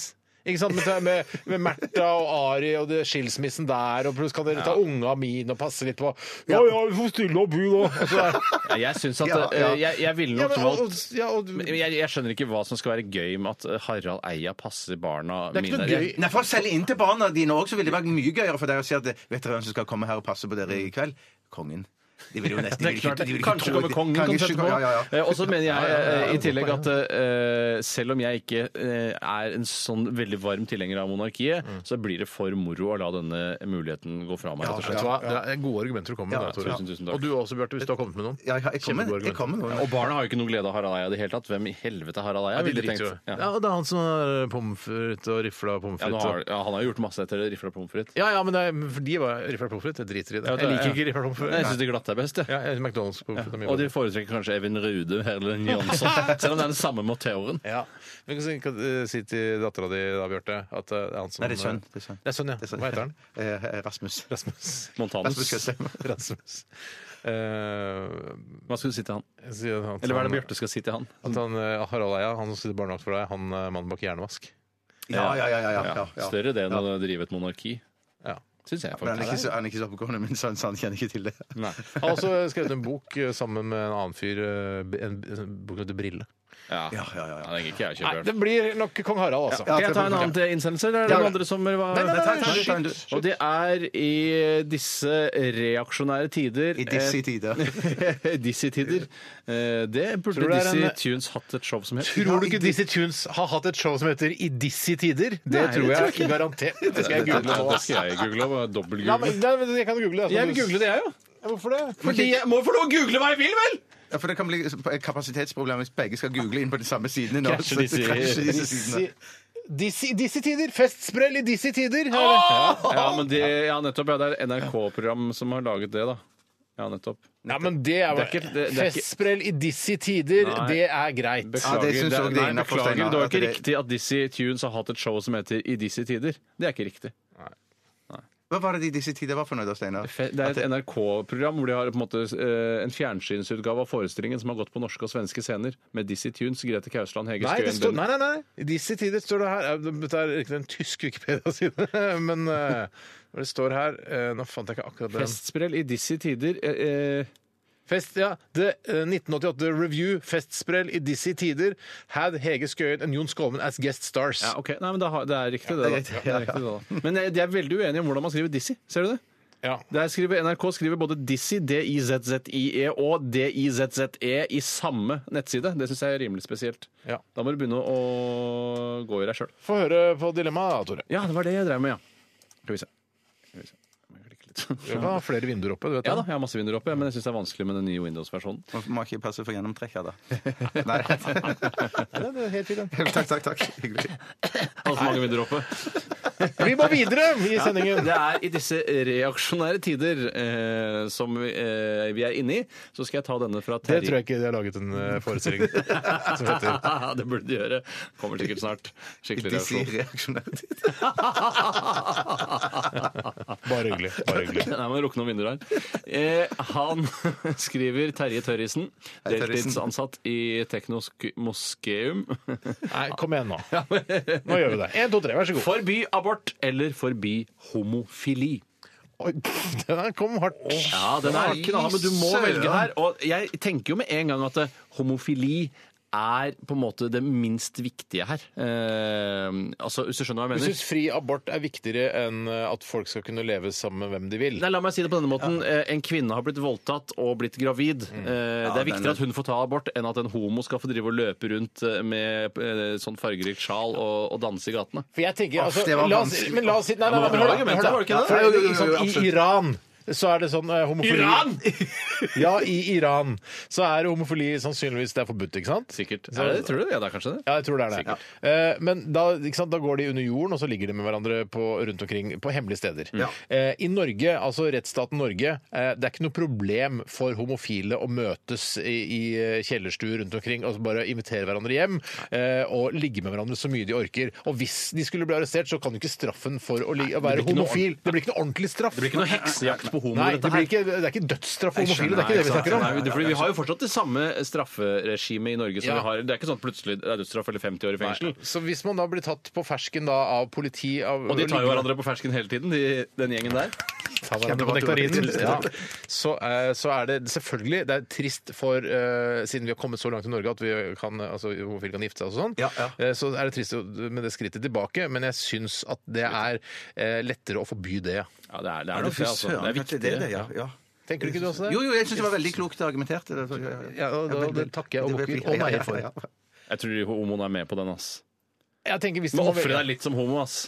B: Ikke sant? Med, med, med Märtha og Ari og det skilsmissen der, og plutselig kan dere ta unga mine og passe litt på Ja ja, vi får stille opp, vi, da. Og så er,
C: Ja, Jeg synes at
D: Ja, ja.
C: eh, Jeg, jeg ville
B: ja,
C: nok
B: men, og,
C: valgt
B: og, ja, og,
C: Men jeg, jeg skjønner ikke hva som skal være gøy med at eh, Harald Eia passer barna
B: det er ikke
C: mine.
B: noe gøy.
D: Nei, For å selge inn til barna dine òg, så ville det vært mye gøyere for deg å si at Vet dere hvem som skal komme her og passe på dere i kveld? Kongen. De vil jo nesten de vil ikke- de vil ikke
C: Kanskje
D: tro at
C: kommer
D: de-
C: kongen kan
D: Kanskje-
C: sette på.
D: Ja, ja, ja.
C: Eh, Og så mener jeg eh, i tillegg at eh, selv om jeg ikke eh, er en sånn veldig varm tilhenger av monarkiet, så blir det for moro å la denne muligheten gå fra meg. rett og slett.
B: Vet du hva? Det er gode argumenter du kommer med.
C: Ja,
B: da, Tore.
C: tusen, tusen takk.
B: Og du også, Bjarte, hvis du har kommet med noen.
D: Ja, jeg- jeg kommer
B: Kjempegode
D: jeg kommer med noe.
C: Og barna har jo ikke noe glede av Harald Eia i det hele tatt. Hvem i helvete er Harald
B: Ja,
C: Eia?
B: de
C: ville
B: driter jo.
C: tenkt.
B: Ja.
C: Ja.
B: og det er han som har pommes frites og rifla pommes
C: Ja, nå
B: frites.
C: har,
B: og-
C: ja, han har jo gjort masse etter det. Rifla pommes frites.
B: Ja, ja, men det er, for de var rifla pommes frites. Jeg driter i det. Jeg
C: det-
B: liker
C: ja.
B: ikke rifla pommes
C: Nei, Jeg
B: frites.
C: syns de glatte er best, jeg.
B: Ja, jeg synes McDonald's pommes frites er mye
C: Og de
B: bedre.
C: foretrekker kanskje Evin Rude eller Jansson. Selv om det er den samme motoren.
B: Ja. Men kan du kan, eh, si til dattera di da, Bjarte, at eh, det er han som
D: Nei, det er sønn. Det er sønn.
B: Det er sønn, ja.
D: Det er sånn.
B: Hva heter han?
D: Eh, Rasmus.
B: Rasmus.
D: Rasmus
C: Montanus.
D: Køstheim.
B: Rasmus. Eh,
C: Hva skal du si til han?
B: jeg sier at
C: Eller hva er det
B: han-
C: Bjarte skal si til han?
B: At han, eh, Harald Eia, han som sitter barnevakt for deg, han er mannen bak Jernvask.
D: Ja, ja, ja. ja, ja, ja, ja.
C: Større det enn å drive et monarki.
B: Ja.
C: Syns jeg,
D: Men han er ikke
C: faktisk.
D: så, han er ikke så oppegående, men så, så han kjenner ikke til det.
C: Nei.
B: Han har også skrevet en bok eh, sammen med en annen fyr, eh, en, en bok som heter Brille. Ja.
D: Ja, ja, ja, ja.
B: Nei, det gikk ikke jeg,
H: Nei,
B: Kjørbjørn.
H: det blir nok kong Harald, altså.
C: Kan jeg ta en annen til innsendelse? Eller er det noen andre som var
D: nei, nei, nei,
C: Shit.
D: nei, nei, nei.
C: Og det er i disse reaksjonære tider
D: I disse tider.
C: eh, disse tider. Eh, Det
B: Tror du
C: burde
B: det er
C: Dizzie
B: en-
C: Tunes hatt et show som het.
B: Tror du ikke Dizzie Tunes har hatt et show som heter I disse tider? Det tror jeg garantert. Det skal jeg
C: Ja,
B: google nå.
C: Det skal jeg google
B: Ja,
C: og
B: men,
C: dobbeltgoogle.
B: nei, men jeg kan google det. altså.
C: Jeg vil google det, jeg jo.
B: Hvorfor det?
C: Fordi jeg må få lov å google hva jeg vil, vel!
D: Ja, for det kan bli kapasitetsproblemer hvis begge skal google inn på de samme sidene. nå,
C: Krasjer
D: så
C: disse-
D: krasjer disse sidene.
B: Dizzie- Dizzie Dizzie tider! Festsprell i disse tider! Her.
C: Ja, men det, ja, nettopp. Ja, det er NRK-program som har laget det, da. Ja, nettopp.
B: Nei, men det er,
C: Det er ikke- det- det er ikke-
B: Festsprell i disse tider,
C: Nei.
B: det er greit.
D: Ja, det synes jeg også det er
C: nei,
D: innenfor,
C: beklager,
D: Steinar,
C: det var
D: at
C: ikke
D: det-
C: riktig at Dizzie Tunes har hatt et show som heter I disse tider. Det er ikke riktig.
D: Hva var det de i disse tider var for noe, da, Steinar?
C: Fe- Det er et NRK-program hvor de har på en måte eh, en fjernsynsutgave av forestillingen som har gått på norske og svenske scener med Dizzie Tunes, Grete Kausland, Hege
B: Nei, det
C: Skøyen
B: står, nei,
C: Bønn-
B: nei, nei. I disse tider står det her eh, Dette er ikke en tysk Wikipedia-side, men eh, det står her eh, Nå fant jeg ikke akkurat den.
C: Festsprell i disse tider eh, eh,
B: Fest, ja. The eh, 1988 Review, festsprell i disse tider. Had Hege Skøyen and Jon Skolmen as guest stars.
C: ja, ok. Nei, men det, har, det er riktig, det. Da. Det er riktig, det, da. Men jeg, de er veldig uenige om hvordan man skriver Dizzie. Ser du det?
B: Ja.
C: Der skriver NRK skriver både Dizzie, D-I-Z-Z-I-E E og D-I-Z-Z-E E i samme nettside. Det syns jeg er rimelig spesielt.
B: Ja.
C: Da må du begynne å gå i deg sjøl.
B: Få høre på dilemmaet, Tore.
C: Ja, det var det jeg drev med, ja. Skal vi se. Skal vi se. Jeg må klikke litt.
B: Du kan ha flere vinduer oppe. du vet
C: Ja da,
B: det.
C: jeg har masse vinduer oppe, men jeg syns det er vanskelig med den nye Windows-versjonen.
D: Man må ikke passe for gjennomtrekk her, da. Nei.
B: Nei, det er helt fint, ja.
D: Takk, takk, takk. Hyggelig.
C: Altfor mange vinduer oppe.
B: Vi må videre i sendingen.
C: Det er i disse reaksjonære tider eh, som vi, eh, vi er inne i, så skal jeg ta denne fra
B: Det
C: Terje.
B: tror jeg ikke de har laget en eh, forestilling som heter.
C: det burde de gjøre. Kommer sikkert snart. Skikkelig
D: Disse
C: reaksjon.
D: reaksjonære tider.
B: Bare hyggelig. Bare hyggelig.
C: Nei, men Lukk noen vinduer her. Eh, han skriver Terje Tørrisen,
D: Hei, Tørrisen.
C: deltidsansatt i Teknosk Moskeum.
B: Nei, kom igjen nå. Nå gjør vi det. Én, to, tre, vær så god.
C: Forby abort eller forby homofili.
B: Oi, Den her kom hardt.
C: Ja, den er knallhard, men du må
D: søren.
C: velge her. Og jeg tenker jo med en gang at eh, homofili er på en måte det minst viktige her. Eh, altså, hvis du skjønner hva jeg
B: Du
C: mener?
B: syns fri abort er viktigere enn eh, at folk skal kunne leve sammen med hvem de vil?
C: Nei, la meg si det på denne måten. Eh, En kvinne har blitt voldtatt og blitt gravid. Eh, Det
D: Ja,
C: er viktigere
D: den-
C: at hun får ta abort, enn at en homo skal få drive og løpe rundt eh, med eh, sånn fargerikt sjal og, og danse i gatene.
B: For jeg tenker, altså,
D: det var
B: la oss,
D: vanskelig.
B: men la oss si Nei, nei, nei, men
C: Det var
B: hør da,
C: bra argument,
B: hør da.
C: var det ikke det?
B: For,
D: Jo, jo, jo,
B: ikke sant,
D: jo, absolutt.
B: I Iran så er det sånn eh, homofili Ja, i Iran så er homofili sannsynligvis det er forbudt, ikke sant?
C: Sikkert.
B: Så-
C: Er det, tror du det? Ja, det er kanskje det.
B: Ja, jeg tror det er det. Eh, men da, ikke sant, da går de under jorden, og så ligger de med hverandre på, rundt omkring på hemmelige steder. Eh, I Norge, altså rettsstaten Norge, eh, det er ikke noe problem for homofile å møtes i, i eh, kjellerstuer rundt omkring og så bare invitere hverandre hjem eh, og ligge med hverandre så mye de orker. Og hvis de skulle bli arrestert, så kan jo ikke straffen for å, li å være
C: ikke noe
B: homofil Det blir ikke noe ordentlig straff.
C: Det blir ikke noe heksejakt på homo.
B: Nei, det,
C: dette her.
B: blir ikke, det er ikke dødsstraff for
D: Jeg
B: homofile.
D: skjønner,
B: Det er ikke det vi
D: ikke
B: snakker om.
C: Nei, vi- fordi Vi har jo fortsatt det samme strafferegimet i Norge. som
B: Ja.
C: vi har. Det er ikke sånn at plutselig det er dødsstraff eller 50 år i fengsel.
B: Nei. Så hvis man da blir tatt på fersken da av politi av,
C: Og de tar jo
B: ligger-
C: hverandre på fersken hele tiden, de, den gjengen der.
B: Ta hverandre på nektarinen. Ja. Så, eh, så er det selvfølgelig Det er trist for eh, Siden vi har kommet så langt i Norge at vi kan, eh, altså, homofile kan gifte seg og sånn,
D: Ja, ja.
B: eh, så er det trist med det skrittet tilbake. Men jeg syns at det er eh, lettere å forby det.
C: Ja, det er, det er,
D: Fy
C: nok det, altså.
D: søren,
C: det er
D: kanskje det er
C: viktigere.
D: det, ja, ja.
B: Tenker du ikke du også det?
D: Jo, jo, jeg syns det var veldig klokt argumentert. Det, ja, ja.
B: Ja, og da-
D: Ja, veldig-
B: det takker jeg og
D: det-
B: bukker og
D: ja, ja,
B: meier for.
D: ja, ja.
C: Jeg tror de homoene er med på den. ass.
B: Jeg tenker hvis
C: Du
B: det
C: må
B: må
C: ofre
B: velge-
C: deg litt som homo. ass.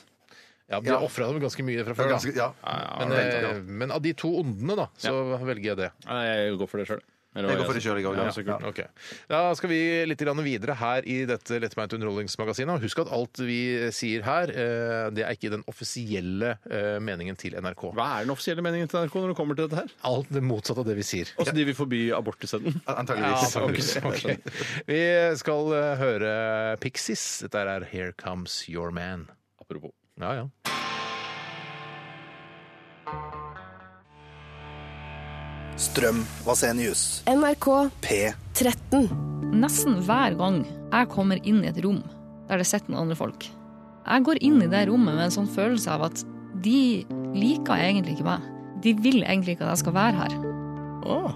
B: Ja, Du har ofra dem ganske mye fra før,
D: Ganske,
B: da.
D: ja.
B: Men, eh, men av de to ondene, da, så velger jeg det.
C: Nei, Jeg går for det sjøl.
D: Jeg går for det sjøl, jeg òg. Ja.
B: Ok. Da skal vi litt grann videre her i dette lettbeinte underholdningsmagasinet. Og Husk at alt vi sier her, eh, det er ikke den offisielle eh, meningen til NRK.
C: Hva er den offisielle meningen til NRK når det kommer til dette her?
B: Alt det motsatte av det vi sier.
C: Også de vil forby abort isteden.
B: eh,
D: Antageligvis.
C: Ja,
B: Ok. Vi skal eh, høre Pixies. Dette er Here Comes Your Man.
C: Apropos.
B: Ja, ja.
E: Strøm Vasenius.
I: NRK
E: P.
I: 13.
G: Nesten hver gang jeg kommer inn i et rom der det sitter noen andre folk, jeg går inn i det rommet med en sånn følelse av at de liker egentlig ikke meg. De vil egentlig ikke at jeg skal være her.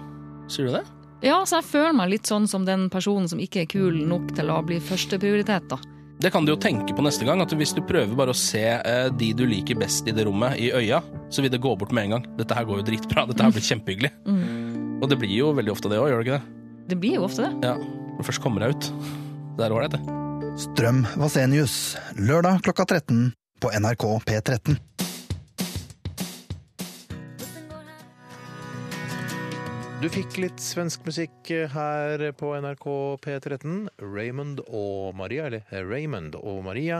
H: Sier du det?
G: Ja, så jeg føler meg litt sånn som den personen som ikke er kul nok til å bli førsteprioritet, da.
I: Det kan du jo tenke på neste gang, at hvis du prøver bare å se eh, de du liker best i det rommet, i øya, så vil det gå bort med en gang. Dette her går jo dritbra, dette her blir kjempehyggelig. Og det blir jo veldig ofte det òg, gjør det ikke det?
G: Det blir jo ofte det.
I: Ja. Når du først kommer deg ut. Det er ålreit, det.
E: Strøm Vasenius, lørdag klokka 13 på NRK P13.
B: Du fikk litt svensk musikk eh, her på NRK P13. Raymond og Maria, eller Raymond og Maria.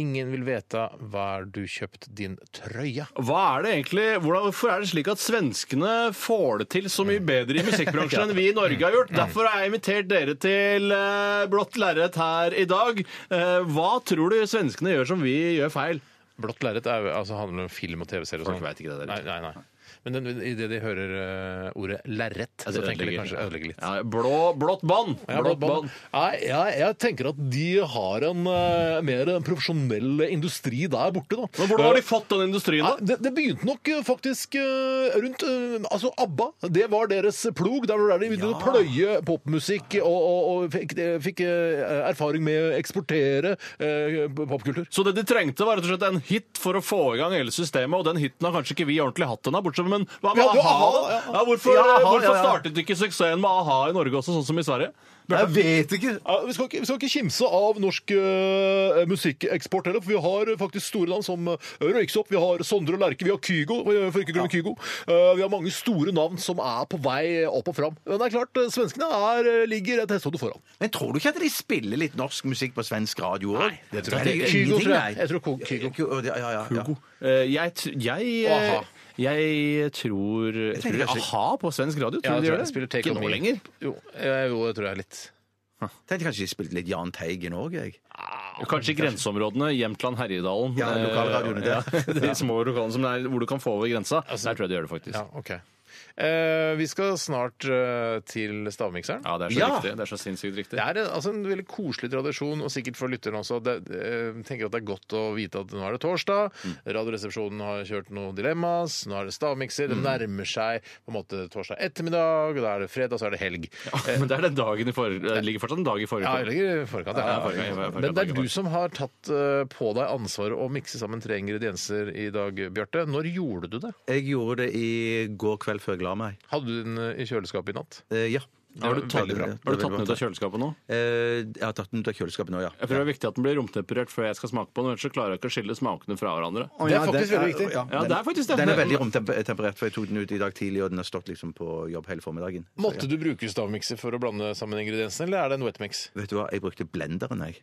B: Ingen vil vite hvor du kjøpt din trøye.
C: Hva er det egentlig, hvordan, Hvorfor er det slik at svenskene får det til så mye bedre i musikkbransjen enn vi i Norge har
B: Mm.
C: gjort? Derfor har jeg invitert dere til eh, Blått lerret her i dag. Eh, hva tror du svenskene gjør som vi gjør feil?
B: Blått lerret er jo- altså, handler om film og TV-serier og sånn.
C: Folk vet ikke det der
B: Nei,
C: ute.
B: nei, nei. Men den, i det de hører eh, ordet lerret, så tenker de kanskje ødelegger litt.
C: Ja, blå, blått bånd!
B: Ja, blått bånd. Nei, jeg, jeg tenker at de har en eh, mer profesjonell industri der borte, da.
C: Men Hvordan har
B: Eh,
C: de fått den industrien,
B: ja,
C: da?
B: det, det begynte nok eh, faktisk eh, rundt eh, Altså, ABBA, det var deres plog. Der var der de begynte å pløye popmusikk og, og, og fikk, eh, fikk eh, erfaring med å eksportere eh, popkultur.
C: Så det de trengte, var rett og slett en hit for å få i gang hele systemet, og den hiten har kanskje ikke vi ordentlig hatt ennå, bortsett fra Men hva med
B: Ja, du,
C: a-ha?
B: aha,
C: da?
B: ja.
C: Ja, hvorfor,
D: Ja, aha,
C: hvorfor
D: ja, ja.
C: startet ikke suksessen med a-ha i Norge også, sånn som i Sverige?
D: Jeg vet ikke.
B: Ja, vi, skal ikke, vi skal ikke kimse av norsk eh, musikkeksport heller, for vi har faktisk store navn som eh, Røyksopp, vi har Sondre Lerche, vi har Kygo, eh, for ikke å glemme Kygo. Eh, vi har mange store navn som er på vei opp og fram. Men det er klart, eh, svenskene er, eh, ligger et hestehode foran.
D: Men tror du ikke at de spiller litt norsk musikk på svensk radio òg?
B: det tror jeg ikke. Kygo, tror jeg. Jeg tror Ko- Kygo.
D: Ja, ja, ja. ja.
C: Eh, jeg, tr- jeg,
B: Og a-ha.
C: eh, jeg tror Jeg
D: tenker
C: tror
D: kanskje-
C: a-ha på svensk radio. Tror du de gjør det? Ikke nå lenger.
B: Jo, det tror jeg litt.
D: Tenkte kanskje de spilte litt Jahn Teigen òg, jeg.
C: Kanskje i grenseområdene. Hjemtland, Herjedalen.
D: Ja,
C: eh,
D: lokalradioene der.
C: ja, de små lokalene som er, hvor du kan få over grensa.
D: Altså-
C: Der tror jeg de gjør det, faktisk.
B: Ja,
C: Ja,
B: ok. Eh, vi skal snart eh, til stavmikseren.
C: det er så
B: Ja.
C: riktig. Det er så sinnssykt riktig.
B: Det er en, altså en veldig koselig tradisjon, og sikkert for lytterne også. Det, jeg tenker at det er godt å vite at nå er det torsdag, Radioresepsjonen har kjørt noen dilemmas, nå er det stavmikser, det nærmer seg på en måte torsdag ettermiddag, og da er det fredag, så er det helg.
C: Ja, Eh, Men det er den dagen i for... Det ligger fortsatt en dag i forrige
B: Ja, jeg ligger i forkant.
C: Ja, ja,
B: Ja.
C: forrige gang, forrige
B: Men
C: gang,
B: det er
C: forrige gang.
B: du som har tatt eh, på deg ansvaret å mikse sammen tre ingredienser i dag, Bjarte. Når gjorde du det?
D: Jeg gjorde det i går kveld før jeg la meg.
B: Hadde du den i kjøleskapet i natt?
D: Eh, ja.
C: Har du tatt,
D: Veldig bra.
C: har du tatt den ut av kjøleskapet nå?
D: Eh, jeg har tatt den ut av kjøleskapet nå, ja.
C: Jeg tror det er viktig at den blir romtemperert før jeg skal smake på den, ellers så klarer jeg ikke å skille smakene fra hverandre.
B: Det er faktisk veldig viktig.
C: Ja, det er faktisk det.
D: Den er veldig romtemperert, for jeg tok den ut i dag tidlig, og den har stått liksom på jobb hele formiddagen. Så,
B: Måtte du bruke stavmikser for å blande sammen ingrediensene, eller er det en wetmix?
D: ja. Vet du hva, jeg brukte blenderen, jeg.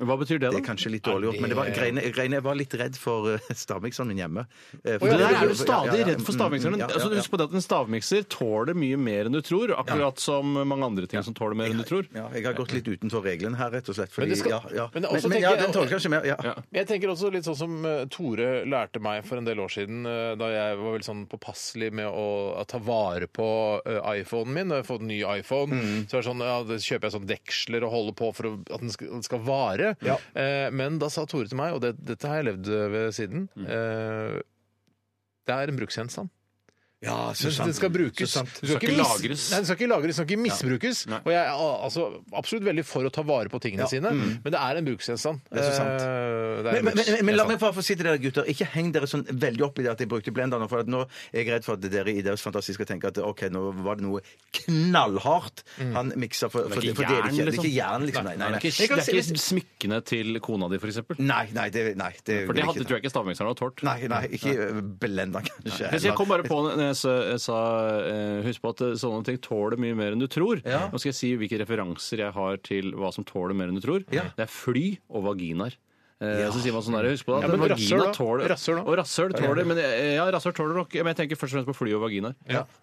C: Hva betyr det,
D: Det er
C: da?
D: kanskje litt dårlig gjort, men det var, greiene, greiene, jeg var litt redd for eh, stavmikseren min hjemme. Eh, for
C: Det
D: det-
C: der er du
D: Ja, ja,
C: stadig
D: ja.
C: redd for stavmikseren.
D: Mm, mm, ja,
C: Altså,
D: ja, ja.
C: husk på det at En stavmikser tåler mye mer enn du tror, akkurat som mange andre ting som tåler mer enn du tror.
D: Ja, jeg har gått litt utenfor reglene her, rett og slett. Fordi,
B: Men det skal-
D: ja, ja.
B: men
D: Men,
B: det er også
D: men, ja,
B: tenker jeg-
D: den tåler kanskje mer. Ja.
C: Ja.
B: Jeg tenker også litt sånn som eh, Tore lærte meg for en del år siden, eh, da jeg var veldig sånn påpasselig med å, å ta vare på eh, iPhonen min. Når jeg har fått en ny iPhone, så er det sånn, ja, da kjøper jeg sånn deksler og holder på for å, at den skal, den skal vare. Eh, men da sa Tore til meg, og det, dette har jeg levd ved siden eh, Det er en bruksgjenstand.
D: Ja, så
B: Den,
D: sant.
B: den skal brukes.
D: Så sant.
B: Den skal
C: ikke
B: mis-
C: lagres.
B: Nei, den skal ikke lagres, den skal ikke misbrukes.
C: Nei.
B: Og jeg er al- altså, absolutt veldig for å ta vare på tingene sine, men det er en bruksgjenstand.
D: Mm. Det er så sant.
B: Eh, det er en
D: Men, men, men, men la
B: bruksgjenstand.
D: meg bare få si til dere gutter, ikke heng dere sånn veldig opp i det at jeg brukte blenderen. For at nå er jeg redd for at dere i deres fantasi skal tenke at ok, nå var det noe knallhardt han miksa for,
C: Mm. Det
D: for,
C: er ikke
D: for det
C: jern,
D: er det ikke. Det er
C: liksom.
D: ikke jern, liksom. Nei, nei, nei.
C: Det er
D: Jeg
C: ikke,
D: kan
C: det er
D: si-
C: ikke smykkene til kona di, for eksempel.
D: Nei, nei, det, nei, det
C: For det
D: vil
C: hadde,
D: jeg
C: tror jeg ikke stavmikseren hadde tålt.
D: Nei, nei, ikke eh, blenderen, kanskje.
C: Jeg, jeg kom bare på når jeg sa, jeg sa eh, Husk på at eh, sånne ting tåler mye mer enn du tror. Nå skal jeg si hvilke referanser jeg har til hva som tåler mer enn du tror.
D: Ja.
C: Det er fly og vaginaer. Eh, Så sier man sånn der, husk på det, at
B: Ja, men
C: vagina
B: rasshøl da.
C: tåler
B: Rasshøl da.
C: Og rasshøl tåler men, eh, Ja, rasshøl tåler nok. Men jeg tenker først og fremst på fly og vaginaer.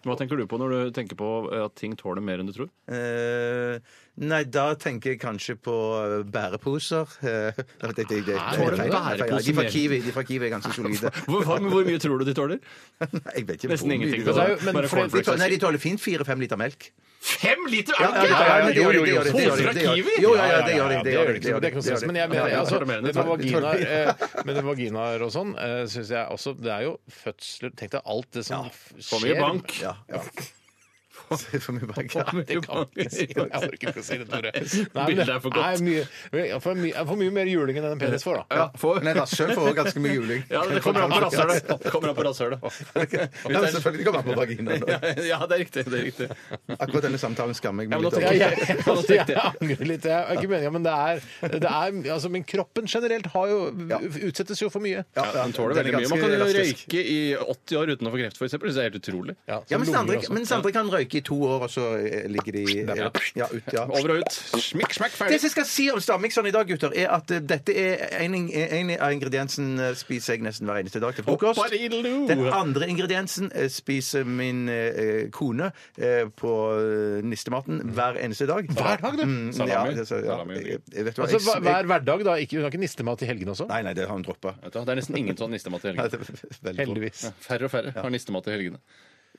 C: Hva tenker du på når du tenker på eh, at ting tåler mer enn du tror?
D: Eh, nei, da tenker jeg kanskje på eh, bæreposer. Eh, det- det- det- det-
C: tåler
D: feil,
C: Ah, bæreposer
D: feil. De fra
C: mer?
D: Kiwi, de fra Kiwi er ganske solide.
C: Hvor, hva- men hvor mye tror du de tåler?
D: Nei, jeg vet ikke.
C: Nesten
D: hvor mye
C: ingenting.
D: de
B: det er
D: tåler.
B: jo- men
C: Bare
B: fordi-
D: De
C: cornflakes.
D: tåler, nei, de tåler fint fire-fem liter melk.
C: Fem liter?
D: Ja, ja,
C: Er du
D: ja, ja,
C: gæren?
D: det gjør de, det gjør de, det gjør de.
C: Poser fra Kiwi?
D: Jo, ja, ja, det gjør de.
B: Ja,
D: Det gjør de. det gjør de,
B: det er ikke noe stress.
D: det gjør de.
B: Men jeg mener,
C: Ja, ja,
B: altså,
C: det er mer enn
B: det
C: det
B: med vaginaer, eh, men det med vaginaer og sånn, eh, syns jeg også Det er jo fødsler Tenk deg alt det som f-
C: Så mye
B: skjer.
C: bank.
D: Ja, ja. For mye
B: Ja, det kan vi ikke si. Jeg orker ikke å si det, Tore. Nei, men
C: Bildet er for godt.
B: Nei, mye, jeg får mye, jeg får mye mer juling enn en penis får, da.
C: Ja, får-
D: Nei, rasshøl får også ganske mye juling.
C: Ja, det kommer an på rasshølet. Det kommer an på rasshølet.
D: Ja, men selvfølgelig kommer det an på vaginaen.
C: Ja, ja, det er riktig. Det er riktig.
D: Akkurat denne samtalen skammer jeg meg litt
B: Ja,
D: over.
B: jeg, altså, jeg angrer litt. Jeg er ikke meningen, men det er, det er altså, Men kroppen generelt har jo, utsettes jo for mye.
D: Ja,
C: Ja, den tåler
D: den er
C: veldig mye. Man kan
D: ganske
C: jo
D: elastisk.
C: røyke i 80 år uten å få kreft, f.eks. Det er helt utrolig.
B: Ja, så
D: Ja, mens
B: lunger
D: andre,
B: også.
D: mens andre kan røyke i to år, og så eh, ligger de eh, ja, ut, ja.
C: Over og ut. Smikk, smekk,
D: Det
C: ferdig.
D: som jeg skal si om stavmikseren i dag, gutter, er at eh, dette er en, en av ingrediensen eh, spiser jeg nesten hver eneste dag til frokost.
C: Hoppadidelo.
D: Den andre ingrediensen eh, spiser min eh, kone eh, på eh, nistematen hver eneste dag.
B: Hver dag, du?
D: Mm, ja,
C: Salami.
D: det, så, ja.
C: Salami.
D: Jeg, jeg vet hva,
B: Altså, hver,
D: jeg, jeg,
B: hver hverdag, da? Ikke, hun har ikke nistemat i helgene også?
D: nei, nei, det har hun droppa.
C: Vet du hva, Det er nesten ingen sånn nistemat i helgene.
B: Heldigvis.
C: Færre og færre har nistemat i helgene.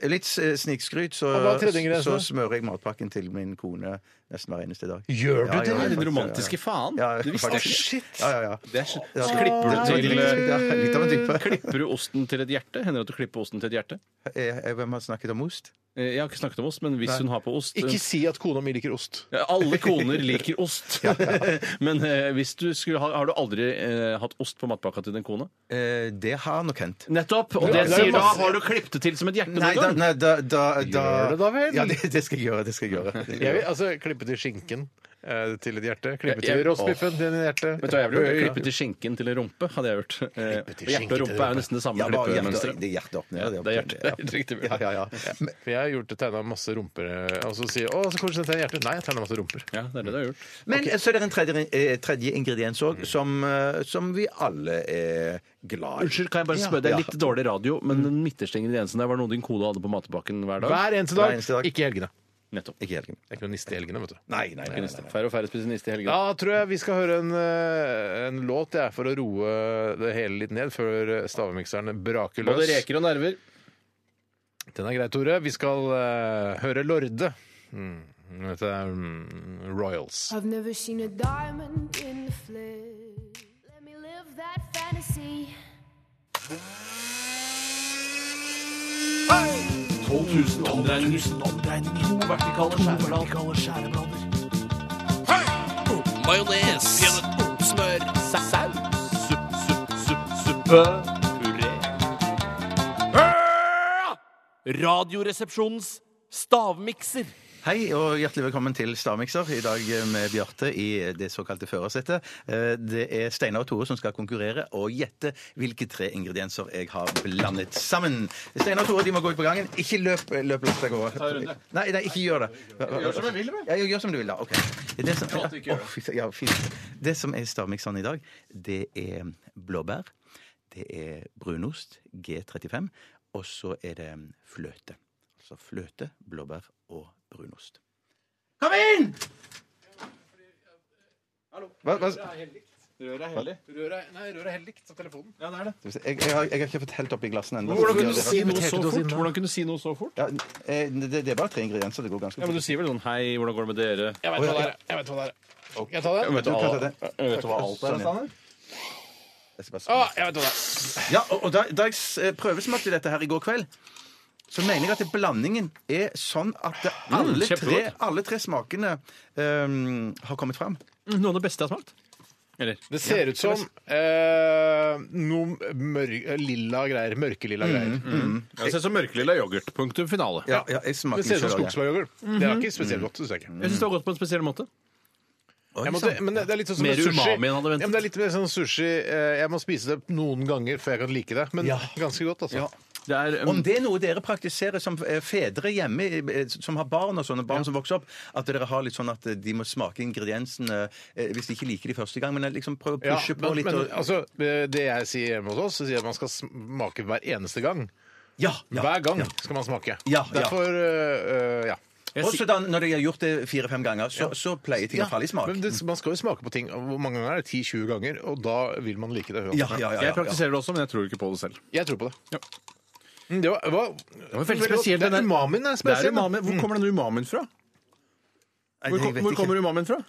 D: Litt eh, snikskryt, så,
B: Og hva er tredje ingrediensen?
D: så smører jeg matpakken til min kone nesten hver eneste dag.
B: Gjør du
D: Ja,
B: det?
D: ja,
C: Den
D: faktisk,
C: romantiske faen.
D: Ja, ja,
C: Du visste
D: faktisk.
C: ikke.
D: Ja, ja, ja.
C: Det er så-
D: Ja.
C: så klipper
D: Ja,
C: du
D: det
C: til
D: er litt av en type.
C: Klipper du osten til et hjerte? Hender det at du klipper osten til et hjerte?
D: Eh, eh, Hvem har snakket om ost?
C: Eh, Jeg har ikke snakket om ost, men hvis hun har på ost
B: Ikke si at kona mi liker ost.
C: Ja, Alle koner liker ost. Men eh, hvis du skulle ha, har du aldri eh, hatt ost på matpakka til din kone?
D: Eh, det har nok hendt.
C: Nettopp! Og
B: Ja,
C: det
B: det er
C: sier da
B: masse-
C: har du klippet det til som et hjerte
D: Nei, da,
C: noen gang?
D: nei, da, da, da
B: Gjør det da vel?
D: Ja, det, det skal jeg gjøre. Det skal jeg gjøre.
B: Jeg vil, altså, klippe til skinken eh, til et hjerte. Klippe til
C: Jeg- jeg-
B: rostbiffen til et hjerte.
C: Vet du hva jeg ville gjort? Klippe til skinken til en rumpe, hadde jeg gjort. Eh,
B: til
C: Hjerte og
B: skinken til
C: rumpe er jo nesten det samme
D: Ja, bare hjerte,
C: klippemønsteret.
D: det er hjertet opp ned.
C: Ja, det er hjertet. Det er helt riktig.
D: Ja, ja, ja. Men,
B: For jeg har gjort tegna masse rumper, eh, og så sier å, så koselig tegner hjertet. Nei, jeg tegna masse rumper.
C: Ja, det er det du har gjort.
D: men så er det en tredje, eh, tredje ingrediens òg, som, eh, som vi alle er glad i.
C: Unnskyld, kan jeg bare
D: Ja.
C: spørre? Det er
D: Ja.
C: litt dårlig radio, men den midterste ingrediensen der var noe din kone hadde på matpakken hver dag.
B: Hver eneste
D: Hver
B: dag.
D: eneste dag.
B: Ikke i helgene.
C: Nettopp.
D: Ikke helgen.
B: Det er ikke noe niste i helgene, vet du.
D: Nei, nei, nei. nei, nei.
C: Færre og færre spiser niste i helgen.
B: Da tror jeg vi skal høre en, eh, en låt jeg, for å roe det hele litt ned før stavemikseren braker
C: Både
B: løs.
C: reker og nerver.
B: Den er grei, Tore. Vi skal eh, høre Lorde. Mm. Dette er mm, Royals.
J: I've never seen a diamond in the flesh. Let me live that fantasy.
C: 12 000 omdreininger. To vertikale skjæreblader. Majones. Smør. Saus. Supp, supp, supp, suppe. Puré. Radioresepsjonens stavmikser.
D: Hei og hjertelig velkommen til Stavmikser. I dag med Bjarte i det såkalte førersetet. Eh, Det er Steinar og Tore som skal konkurrere og gjette hvilke tre ingredienser jeg har blandet sammen. Steinar og Tore de må gå ut på gangen. Ikke løp, løp langt av gårde. Nei, nei, ikke gjør det. Gjør som jeg vil, vel? Ja, gjør- gjør som du vil, da. OK. Det som, Å, fy søren, ja, fint. det som er stavmikseren i dag, det er blåbær, det er brunost, G35, og så er det fløte. Altså fløte, blåbær og brunost. Kom inn! Hva, hva?
C: Røret er hellig.
B: nei, røret er helt likt av telefonen.
C: Ja, det er det.
D: Jeg, jeg, har, jeg har ikke fått helt oppi glassene ennå.
C: Hvordan kunne du si noe
B: Inviterte
C: så
B: du oss inn
C: fort?
B: da?
C: Hvordan kunne du si noe så fort?
D: Ja, eh, det, det er bare tre ingredienser. Det går ganske
C: Ja, men
D: fort.
C: Du sier vel sånn Hei, hvordan går det med dere?
B: Jeg vet hva det er. Jeg vet hva det er. Jeg tar den.
C: Jeg vet
D: Du
C: hva
D: kan ta
C: alt-
D: det. Sånn,
C: jeg vet hva alt er. men-
D: Jeg skal
B: Å,
D: bare skru.
B: jeg vet hva det er.
D: Ja, og, og da, da jeg s- eh, prøvesmakte dette her i går kveld, så mener jeg at det- blandingen er sånn at det-
B: Mm,
D: alle, tre,
C: kjempegodt.
D: alle tre smakene ehm, har kommet fram.
C: Noe av det beste jeg har smakt. Eller?
B: Det ser ut som eh, noe mør lilla greier. Mørkelilla greier.
C: Jeg ser så mørkelilla yoghurt. Punktum finale.
D: Ja, ja, jeg smaker
B: Det ser ut som
D: selv, ja.
B: skogsbæryoghurt. Det er ikke spesielt godt, syns jeg ikke.
C: Jeg syns det var godt på en spesiell måte.
B: Jeg måtte, men det det er litt sånn som
C: Mer
B: med sushi.
C: umami enn jeg hadde ventet.
B: Ja, men det er litt mer sånn sushi eh, Jeg må spise det noen ganger før jeg kan like det, men ganske godt, altså.
C: Det er, um,
D: Om det er noe dere praktiserer som eh, fedre hjemme, eh, som har barn og sånne barn som vokser opp, at dere har litt sånn at eh, de må smake ingrediensene eh, hvis de ikke liker de første gang, men eh, liksom prøve å
B: Ja,
D: pushe på
B: men,
D: litt.
B: men
D: og,
B: altså, eh, det jeg sier hjemme hos oss, så sier jeg at man skal smake hver eneste gang.
D: ja, ja,
B: Hver gang
D: ja.
B: skal man smake.
D: Ja, ja.
B: Derfor eh, eh, ja.
D: Og så da, når de har gjort det fire-fem ganger, så, så pleier ting å falle i smak.
B: Men det, man skal jo smake på ting og hvor mange ganger er det? 10-20 ganger, og da vil man like det. uansett.
D: Ja, ja, ja, ja,
C: jeg
D: ja.
C: praktiserer det også, men jeg tror ikke på det selv.
B: Jeg tror på det.
C: Ja.
B: Mm, Det var, det var,
C: var veldig spesielt,
B: Det
C: den
B: er
C: der-
B: umamien er spesiell.
C: Hvor kommer den umamien fra?
D: Nei,
C: Hvor,
D: jeg vet
C: kom- hvor
D: ikke.
C: kommer umamien fra?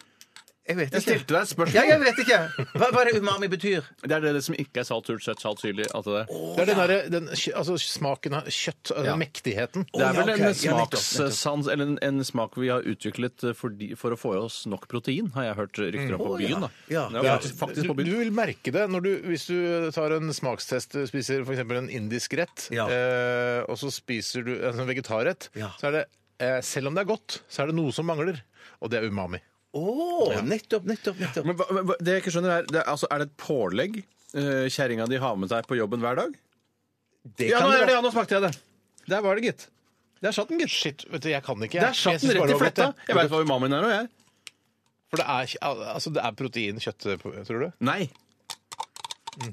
D: Jeg vet
C: Jeg
D: ikke.
C: stilte deg et spørsmål.
D: Ja, jeg vet ikke. Hva, hva er det umami betyr?
C: Det er det, det som ikke er salt, surt, søtt, salt, syrlig. Alt det der.
B: Det er den, derre- den kjø- altså, smaken av kjøtt, den mektigheten.
C: Det er vel en
B: Ja, nettopp, nettopp.
C: smakssans, eller en, en smak vi har utviklet fordi, for å få i oss nok protein, har jeg hørt rykter om på byen. da. Det er faktisk- faktisk på
B: Du, du vil merke det når du, hvis du tar en smakstest, du spiser f.eks. en indisk rett, eh, og så spiser du en sånn vegetarrett, så er det eh, selv om det er godt, så er det noe som mangler, og det er umami.
D: Oh, nettopp, nettopp, nettopp.
C: Men, hva- men hva- det jeg ikke skjønner Er det, er- altså, er det et pålegg uh, kjerringa di har med seg på jobben hver dag? ja,
B: kan
C: nå,
B: det
C: er det,
B: være.
C: ja, nå smakte jeg det. Der var det, gitt. Der satt den, gitt.
B: Shit, vet du, jeg kan ikke. jeg.
C: Der
B: Jeg
C: satt
B: synes
C: den
B: bare det
C: rett i
B: var godt,
C: fletta.
B: jeg.
C: Jeg veit hva umamien er nå, jeg.
B: For det er, altså, det er protein kjøtt, tror du?
C: Nei.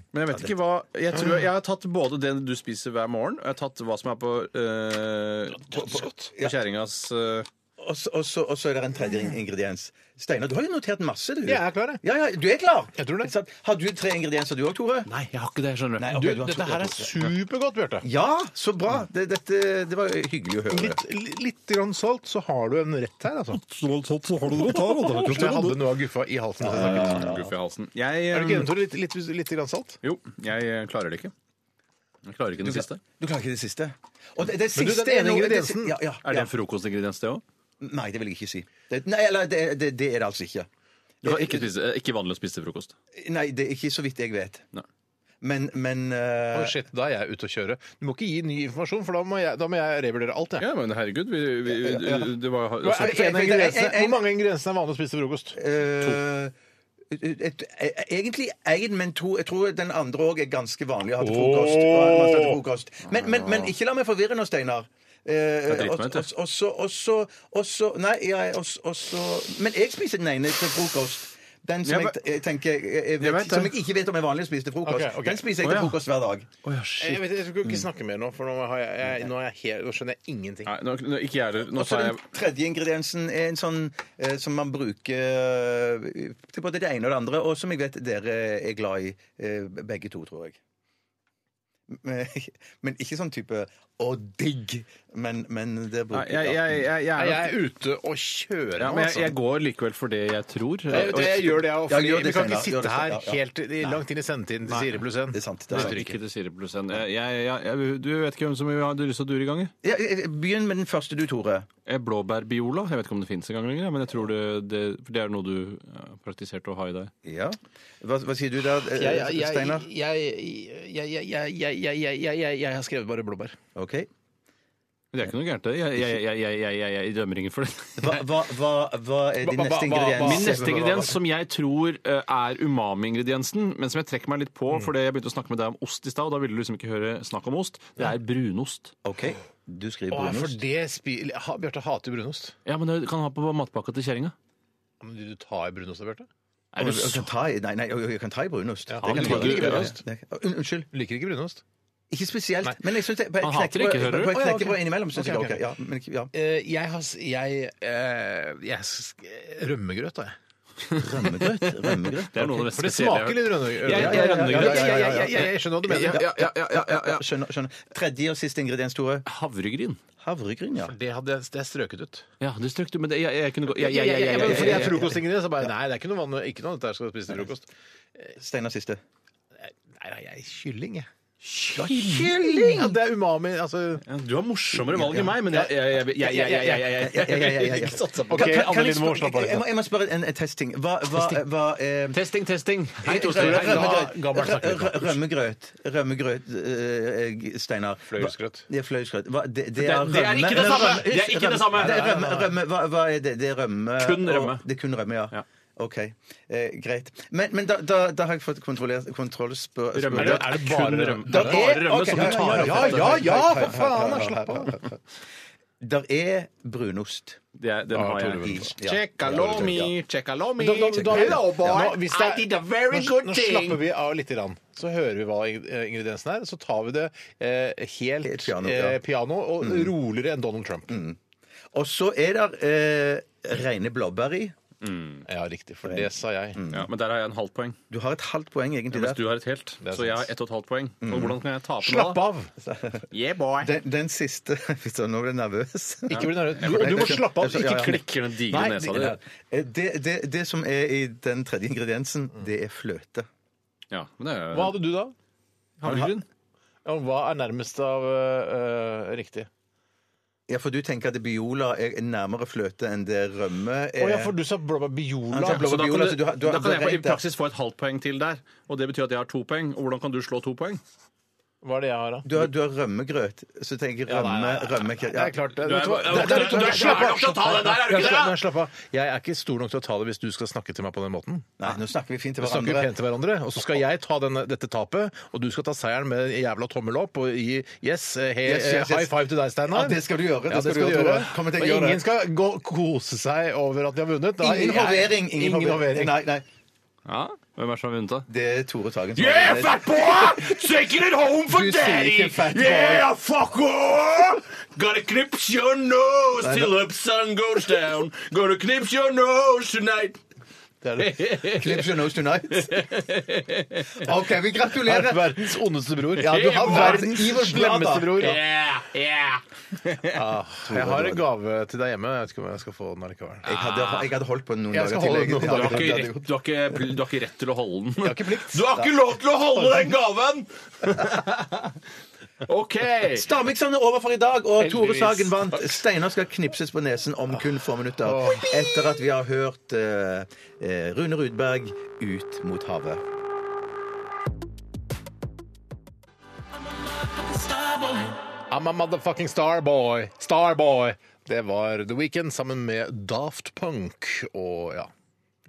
C: Men jeg vet ikke hva Jeg tror jeg, jeg har tatt både det du spiser hver morgen, og jeg har tatt hva som er på, uh, på, på, på kjerringas eh,
D: Og så- Og så og så er det en tredje in- ingrediens. Steinar, du har jo notert masse, du.
B: Ja, jeg er klar, jeg.
D: Ja, ja, du er klar.
B: Jeg tror det.
D: Sant? Har du tre ingredienser, du òg, Tore?
C: Nei, jeg har ikke det. skjønner
D: Nei,
B: Du,
C: du.
D: ok, du har to-
B: dette her er
D: to-
B: supergodt, Bjarte.
D: Ja, så bra. Det, dette, det var hyggelig å høre.
B: Litt, litt grann salt, så har du en rett her, altså. Jeg hadde noe av guffa i halsen. så jeg snakket.
C: Guff i halsen. Jeg,
B: Er du ikke enig,
C: eh,
B: Tore? Litt, litt, litt grann salt?
C: jo, jeg eh, klarer det ikke. Jeg klarer ikke den siste.
D: Du klarer ikke det siste? Og det, det
B: Men du,
D: siste
B: den
D: er
B: ene
D: noe- det-
B: ingrediensen,
D: ja, ja,
C: Er
D: ja.
C: det en frokostingrediens, det òg?
D: Nei, det vil jeg ikke si. Det, nei, eller det, det, det er det altså ikke.
C: Du kan ikke, spise, eh, ikke vanlig å spise til frokost.
D: Nei, det er ikke så vidt jeg vet.
C: Nei.
D: Men, men eh,
B: Å, shit, da er jeg ute å kjøre. Du må ikke gi ny informasjon, for da må jeg, da må jeg revurdere alt. Jeg.
C: Ja, men herregud, vi, vi, det var altså,
B: Hva er det
D: for-
B: ene
D: for-
B: ingrediensene?
D: en- en-
B: Hvor mange ingredienser er vanlig å spise til frokost?
D: eh, et, et, eh, egentlig én, men to. Jeg tror den andre òg er ganske vanlig å ha til frokost.
B: Åh!
D: Man skal til frokost. Men, men, men ikke la meg forvirre nå, Steinar. Eh,
C: Jeg driter
D: og-
C: meg ut, jeg.
D: og- og så- og så- og så- Nei, ja, og så- og så- Men jeg spiser den ene til frokost. Den
C: Ja,
D: som jeg,
C: men-
D: jeg tenker jeg
C: Jeg
D: vet,
C: vet det.
D: Som jeg ikke vet om er vanlig å spise til frokost.
B: Ok, ok.
D: Den spiser jeg
C: Å, ja.
D: til frokost hver dag.
B: Jeg, vet, jeg skal ikke snakke mer nå, for nå, har jeg, jeg, nå, er jeg helt, nå skjønner jeg ingenting.
C: Nei, nå, nå, ikke jeg heller. Nå
D: Og
B: Altså,
D: så
C: tar
D: den
C: jeg
D: tredje ingrediensen er en sånn eh, som man bruker eh, til både det ene og det andre, og som jeg vet dere er glad i, eh, begge to, tror jeg. Men, men ikke sånn type 'å, digg', men, men
C: Nei,
D: det bruker
C: jeg, jeg, jeg, jeg,
B: Nei,
C: er
B: jeg er ute og kjører
C: ja,
B: nå,
C: men jeg,
B: altså.
C: jeg går likevel for det jeg tror.
B: Jeg, jeg, jeg gjør det, jeg.
D: Ja,
B: fordi
D: gjør det,
B: Vi kan ikke
D: Steinar, gjør det,
B: sitte her
D: Steinar, ja.
B: helt i- langt inn i sendetiden til Sire pluss 1.
D: Det er sant. Det er sant.
C: Ikke til Siri pluss en. Jeg, jeg, jeg, du vet ikke hvem som har lyst til å dure i gang? jeg?
D: Ja, eh, begynn med den første du, Tore.
C: Eh, Blåbærbiola. Jeg vet ikke om det fins engang lenger, men jeg tror det, det, for det er noe du eh, praktiserte og har i deg.
D: Ja. Hva, hva sier du der, eh,
B: Jeg, jeg, jeg,
D: Steinar?
B: jeg, jeg, jeg, jeg, jeg, jeg, jeg, jeg, jeg, jeg har skrevet bare blåbær.
D: OK.
C: Men det er ikke noe gærent, det. Jeg, jeg, jeg, jeg, jeg, jeg, jeg dømmer ingen for det.
D: Hva, hva, hva, hva er din
B: Hva- hva- hva-
D: neste
B: hva-
D: ingrediens?
C: Min neste ingrediens, som jeg tror eh, er umami-ingrediensen, men som jeg trekker meg litt på fordi jeg begynte å snakke med deg om ost i stad, og da ville du liksom ikke høre snakk om ost, det er brunost.
D: OK. Du skriver
B: Å, for
D: brunost.
B: det spi... Ha- Bjarte hater brunost.
C: Ja, men du kan ha på matpakka til kjerringa.
B: Men du, du tar i brunost, Bjarte?
C: Er
D: Å,
C: du
D: Jeg
C: så-
D: kan ta i, nei, nei, jeg kan ta i brunost. Det
B: han
D: kan jeg
C: liker
D: ta i.
C: ikke
B: brunost.
D: Ja, ja. Un- Unnskyld.
B: Liker ikke brunost?
D: Ikke spesielt,
B: Nei.
D: men jeg synes det, på
C: Han hater det ikke, hører du?
D: På et
B: Å, ja, ok.
D: knekkebrød innimellom
B: Ok,
D: synes jeg
B: ok.
D: det er ok. Ja, men, ikke- ja.
B: Eh, jeg har jeg, eh, Rømmegrøt, da, jeg.
D: Rømmegrøt. rømmegrøt.
C: Det er noe av det
B: For det
C: spesielle jeg
B: smaker
C: har hørt.
B: litt rømmegrøt.
C: Ja, ja, ja, ja, ja, ja, ja, ja, ja.
B: Jeg skjønner hva du
C: Ja,
B: mener.
C: ja, ja, ja, ja, ja.
D: Skjønner, skjønner. Tredje og siste ingrediens, Tore.
C: Havregryn.
D: Havregryn, ja.
B: Det hadde jeg det er strøket ut.
C: Ja, det strøk du, men det, jeg, jeg kunne gå jeg- jeg- jeg- jeg- jeg-
B: Fordi jeg
C: jeg-
B: er frokostingrediens, så bare Nei, det er ikke noe vann, ikke noe av dette her skal spise til frokost.
D: Steinar siste.
B: Nei, nei, jeg er kylling, jeg.
C: Kylling!
B: Ja, det er umami, altså
C: Ja, Du har morsommere valg enn meg, men jeg- jeg- jeg- jeg- jeg- jeg- jeg- jeg- jeg- jeg- jeg- jeg-
B: OK,
D: Kan- kan- kan
B: Anne
D: jeg
B: Linn Moe, slapp
D: spørre-
B: av
D: Jeg må-
B: litt.
D: jeg må spørre en en testting. Hva, hva, hva eh,
C: Testing, testing. Hei, to store. Hei, da.
D: Rømmegrøt.
B: gammel snakker vi
D: Rø- rø- Rømmegrøt, rømmegrøt eh, eh, Steinar. Hva-
B: Fløyelsgrøt.
D: Ja, fløyelsgrøt. Hva- Det, det,
C: er
D: rømme-
C: ikke det samme!
D: rømme-
C: Det er ikke det samme!
D: Det er rømme, rømme, hva, hva er det? Det er rømme
C: Kun rømme.
D: og- Det er kun rømme, ja.
C: Ja.
D: OK, eh, greit. Men, men da, da, da har jeg fått kontrollert
C: Rømme,
D: kontrollspør... spørre-
C: er det bare
B: kun
C: rømme?
D: Der
C: Det er bare rømme
D: ok,
C: som
D: ja,
C: du tar
D: ja,
C: opp.
D: Ja, ja, ja, for faen! da, Slapp av. Der er brunost.
C: Det er- Den har jeg.
D: i- ja.
C: Checkalomi, checkalomi.
B: Da, da, da,
C: Hello, boy.
B: Nå, hvis det er-
C: I did a very
B: nå-
C: good
B: nå
C: thing.
B: slapper vi av litt, grann. så hører vi hva ing- eh, ingrediensen er, så tar vi det eh, helt,
D: Helt piano, ja.
B: eh, piano og
C: Mm.
B: roligere enn Donald Trump.
D: Og så er der eh, rene blåbær i.
B: Ja, riktig. For det sa jeg.
C: Ja, Mm. men der har jeg en halvt poeng.
D: Du har et halvt poeng egentlig
C: Mens
D: der.
C: du har et helt.
D: er
C: Så jeg har
D: sant.
C: ett og et halvt poeng.
D: Mm.
C: Og hvordan kan jeg tape nå?
D: Slapp
C: av! Yeah, boy.
D: Den, den siste Fy søren, nå ble jeg nervøs.
C: Ikke bli nervøs. Du- og du må slappe av, ikke klikke den digre
D: Nei,
C: nesa
D: det-
C: di.
D: eh, Det, det, det som er i den tredje ingrediensen,
B: Mm.
D: det er fløte.
C: Ja, men det er
B: Hva hadde du da? Havregryn? Ja, hva er nærmest av øh, øh, riktig?
D: Ja, for du tenker at biola er nærmere fløte enn det rømme
B: Å
D: er
B: ja, for du sa blåbær biola.
D: Ja, blåbær
C: Så da kan,
D: Biola,
C: du,
D: så du har- altså du har-
C: da kan
D: du har
C: jeg i
D: rett der.
C: praksis få et halvt poeng til der. Og det betyr at jeg har to poeng. Og hvordan kan du slå to poeng?
B: Hva er det jeg har, da?
D: Du har, du har rømmegrøt. Så du tenker
B: Ja, nei,
D: rømme,
B: nei, nei,
D: rømme
B: nei, Det er klart. det-
D: Du er-
B: vet du hva?
D: du er-
B: Det- det-
D: du er-
B: det-
D: du er
B: slapp av,
D: nok til å ta
B: slapp
D: den der, er du
B: av.
D: ikke det?
B: Nei, slapp av. Jeg er ikke stor nok til å ta det hvis du skal snakke til meg på den måten.
D: Nei, nå snakker vi fint til
B: Nå snakker vi
D: hverandre.
B: pent til hverandre, og så skal jeg ta denne, dette tapet, og du skal ta seieren med en jævla tommel opp og gi yes, eh, he,
D: Yes, yes, yes.
B: high five til deg, Steinar.
D: Ja, det skal du gjøre, det
B: Ja,
D: skal
B: det
D: du
B: skal du
D: gjøre,
B: gjøre.
D: Tore. Kommer til å
B: Og
D: gjøre det.
B: ingen skal gå, kose seg over at de har vunnet. Da- jeg-
D: Ingen hovering! Ingen,
B: Ingen hovering.
D: hovering. Nei, nei.
C: Ja, Hvem er det som har vunnet, da?
D: Det er Tore Sagen. som har
A: Yeah,
D: vunnet.
A: fat boy! Taking it home for
D: Du sier
A: daddy!
D: ikke fat boy.
A: Yeah, fucker! Gonna clips your nose
D: Nei,
A: till the sun goes down. Gonna clips your nose tonight.
D: Clips your nose tonight. OK, vi gratulerer.
B: Verdens ondeste bror.
D: Ja, du har
B: Verdens
D: verdens evil blood, da.
B: slemmeste bror. Ah, Ja.
A: Yeah, yeah.
B: Jeg har en gave til deg hjemme. Jeg vet ikke om jeg skal få den allikevel.
D: Jeg hadde, jeg hadde holdt på den noen
B: Jeg
D: dager
B: skal
D: til.
B: holde den
D: jeg-
B: noen
D: ja,
C: Du har
D: det
C: ikke
D: hadde jeg
C: rett,
D: gjort.
C: du har ikke, pl- du har ikke rett til å holde den.
B: Jeg har ikke plikt.
A: Du har ikke lov til å holde den gaven!
C: OK!
D: Stamikson er over for i dag, og Tore
C: Heldigvis.
D: Sagen vant. Steinar skal knipses på nesen om kun få minutter etter at vi har hørt eh, eh, Rune Rudberg ut mot havet.
B: I'm a motherfucking starboy. Starboy. Det var The Weeknd sammen med Daft Punk. Og ja,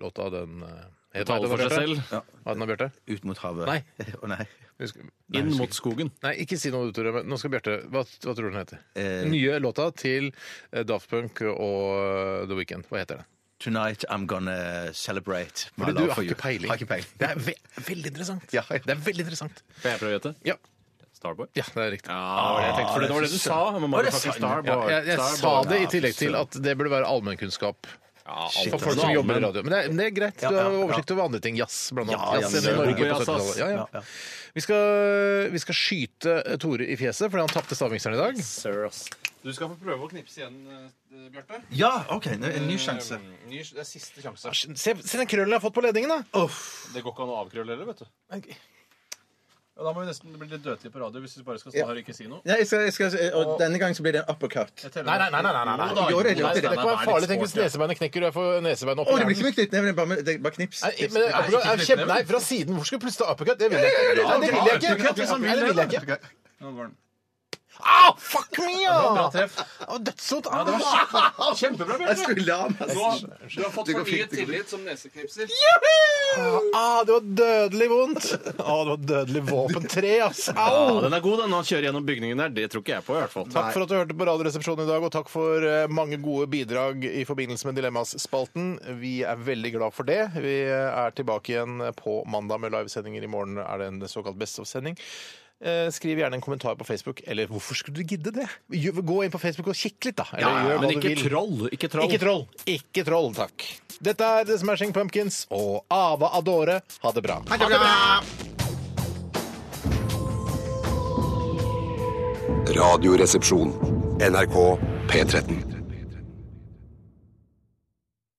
B: låta den eh, het
C: Taler
B: hva
C: for
B: den
C: seg
B: var, Bjarte?
C: selv.
B: Hva den har Bjarte?
D: Ut mot havet.
B: Nei.
D: Å, nei.
B: Husk- Nei,
C: Inn
B: husker
C: mot
B: ikke.
C: skogen.
B: Nei, ikke si noe, Tore. men Nå skal Bjarte hva, hva tror du den heter?
D: Eh.
B: Den nye låta til eh, Daft Punk og eh, The Weeknd. Hva heter den?
D: Tonight I'm gonna celebrate my
B: Fordi
D: love
B: du
D: for
B: har
D: you.
B: ikke peiling.
D: Har ikke peiling.
B: Det er ve veldig interessant.
D: Ja, ja.
B: Det er veldig interessant.
C: Kan jeg prøve å gjette?
B: Ja,
C: Starboy?
B: ja det er riktig.
C: Ja, det var det jeg tenkte. For det var det du sa. men
D: Var det
C: motherfucking
D: sa-
C: Starboy.
B: Ja, jeg, jeg sa
C: Starboy.
B: det i tillegg til at det burde være allmennkunnskap.
C: Ja, alt
D: Shit,
B: For
C: for
B: folk som
C: allmenn.
B: jobber i radio. Men det er, men det er greit. Du
D: Ja,
B: har
D: ja, ja.
B: oversikt over andre ting. Jazz, blant annet.
D: Ja, ja,
B: Jazz i
D: men det er
B: Norge
C: god
B: på
C: jazz, ass.
B: 70-tallet. Ja,
D: Ja, ja.
B: ja. Vi, skal- vi skal skyte eh, Tore i fjeset fordi han tapte stavmikseren i dag.
C: Sir, ass. Du skal få prøve å knipse igjen, eh, Bjarte.
D: Ja, OK. nå- En ny sjanse.
C: Eh, ny- Det er siste sjanse.
B: Se, se den krøllen jeg har fått på ledningen, da!
D: Uff.
C: Det går ikke an å avkrølle heller, vet du. Ja, da må vi nesten bli litt dødelige på radio hvis vi bare skal stå her og ikke si noe.
D: Nei, jeg skal, jeg skal, og denne gangen så blir det en uppercut.
C: Jeg teller
B: Nei, nei, nei. nei, nei, nei,
C: Jo da,
D: Jo, det er
C: jo da,
D: litt-
B: Det
C: Steinar,
B: kan være
C: det er
B: farlig.
C: litt
B: Tenk hvis
C: sport, ja.
B: nesebeinet knekker og jeg får nesebeinet opp.
D: Å, det blir ikke mye knyttneve, det er bare, det er bare knips.
B: Nei, men det er
C: Nei, ikke
B: kjempe... Nei, for å siden, hvor skal jeg plutselig ta uppercut? Det vil jeg ikke. Nei, det vil jeg ikke. Nei, det vil jeg ikke.
C: Nå går den.
B: Au, fuck me, ja!
C: Bra treff.
B: Å, Dødsvondt. Ah,
C: Ja, det
B: Au!
C: var kjempe- kjempebra,
D: Jeg
C: Bjarte.
D: skulle ha meg.
C: Du har, du har fått
D: Det går
C: for mye
D: fint, det går
C: tillit som neseknipser.
B: Ah, det var dødelig vondt. Ah, det var dødelig våpen 3, ass.
C: Ja,
B: Au!
C: den er god, den. Han kjører gjennom bygningen der. Det tror ikke jeg på, i hvert fall.
B: Takk for at du hørte på Radioresepsjonen i dag, og takk for eh, mange gode bidrag i forbindelse med Dilemmas-spalten. Vi er veldig glad for det. Vi eh, er tilbake igjen på mandag med livesendinger. I morgen er det en såkalt Best of-sending. Eh, Skriv gjerne en kommentar på Facebook. Eller hvorfor skulle du gidde det? Gjør- Gå inn på Facebook og kikk litt, da. Eller
C: Ja,
B: gjør hva
C: men
B: du
C: ikke
B: vil.
C: troll. Ikke troll.
B: Ikke troll. Ikke troll, takk. Dette er The Smashing Pumpkins og Ava Adore. Ha det bra.
K: Radioresepsjon. NRK P13.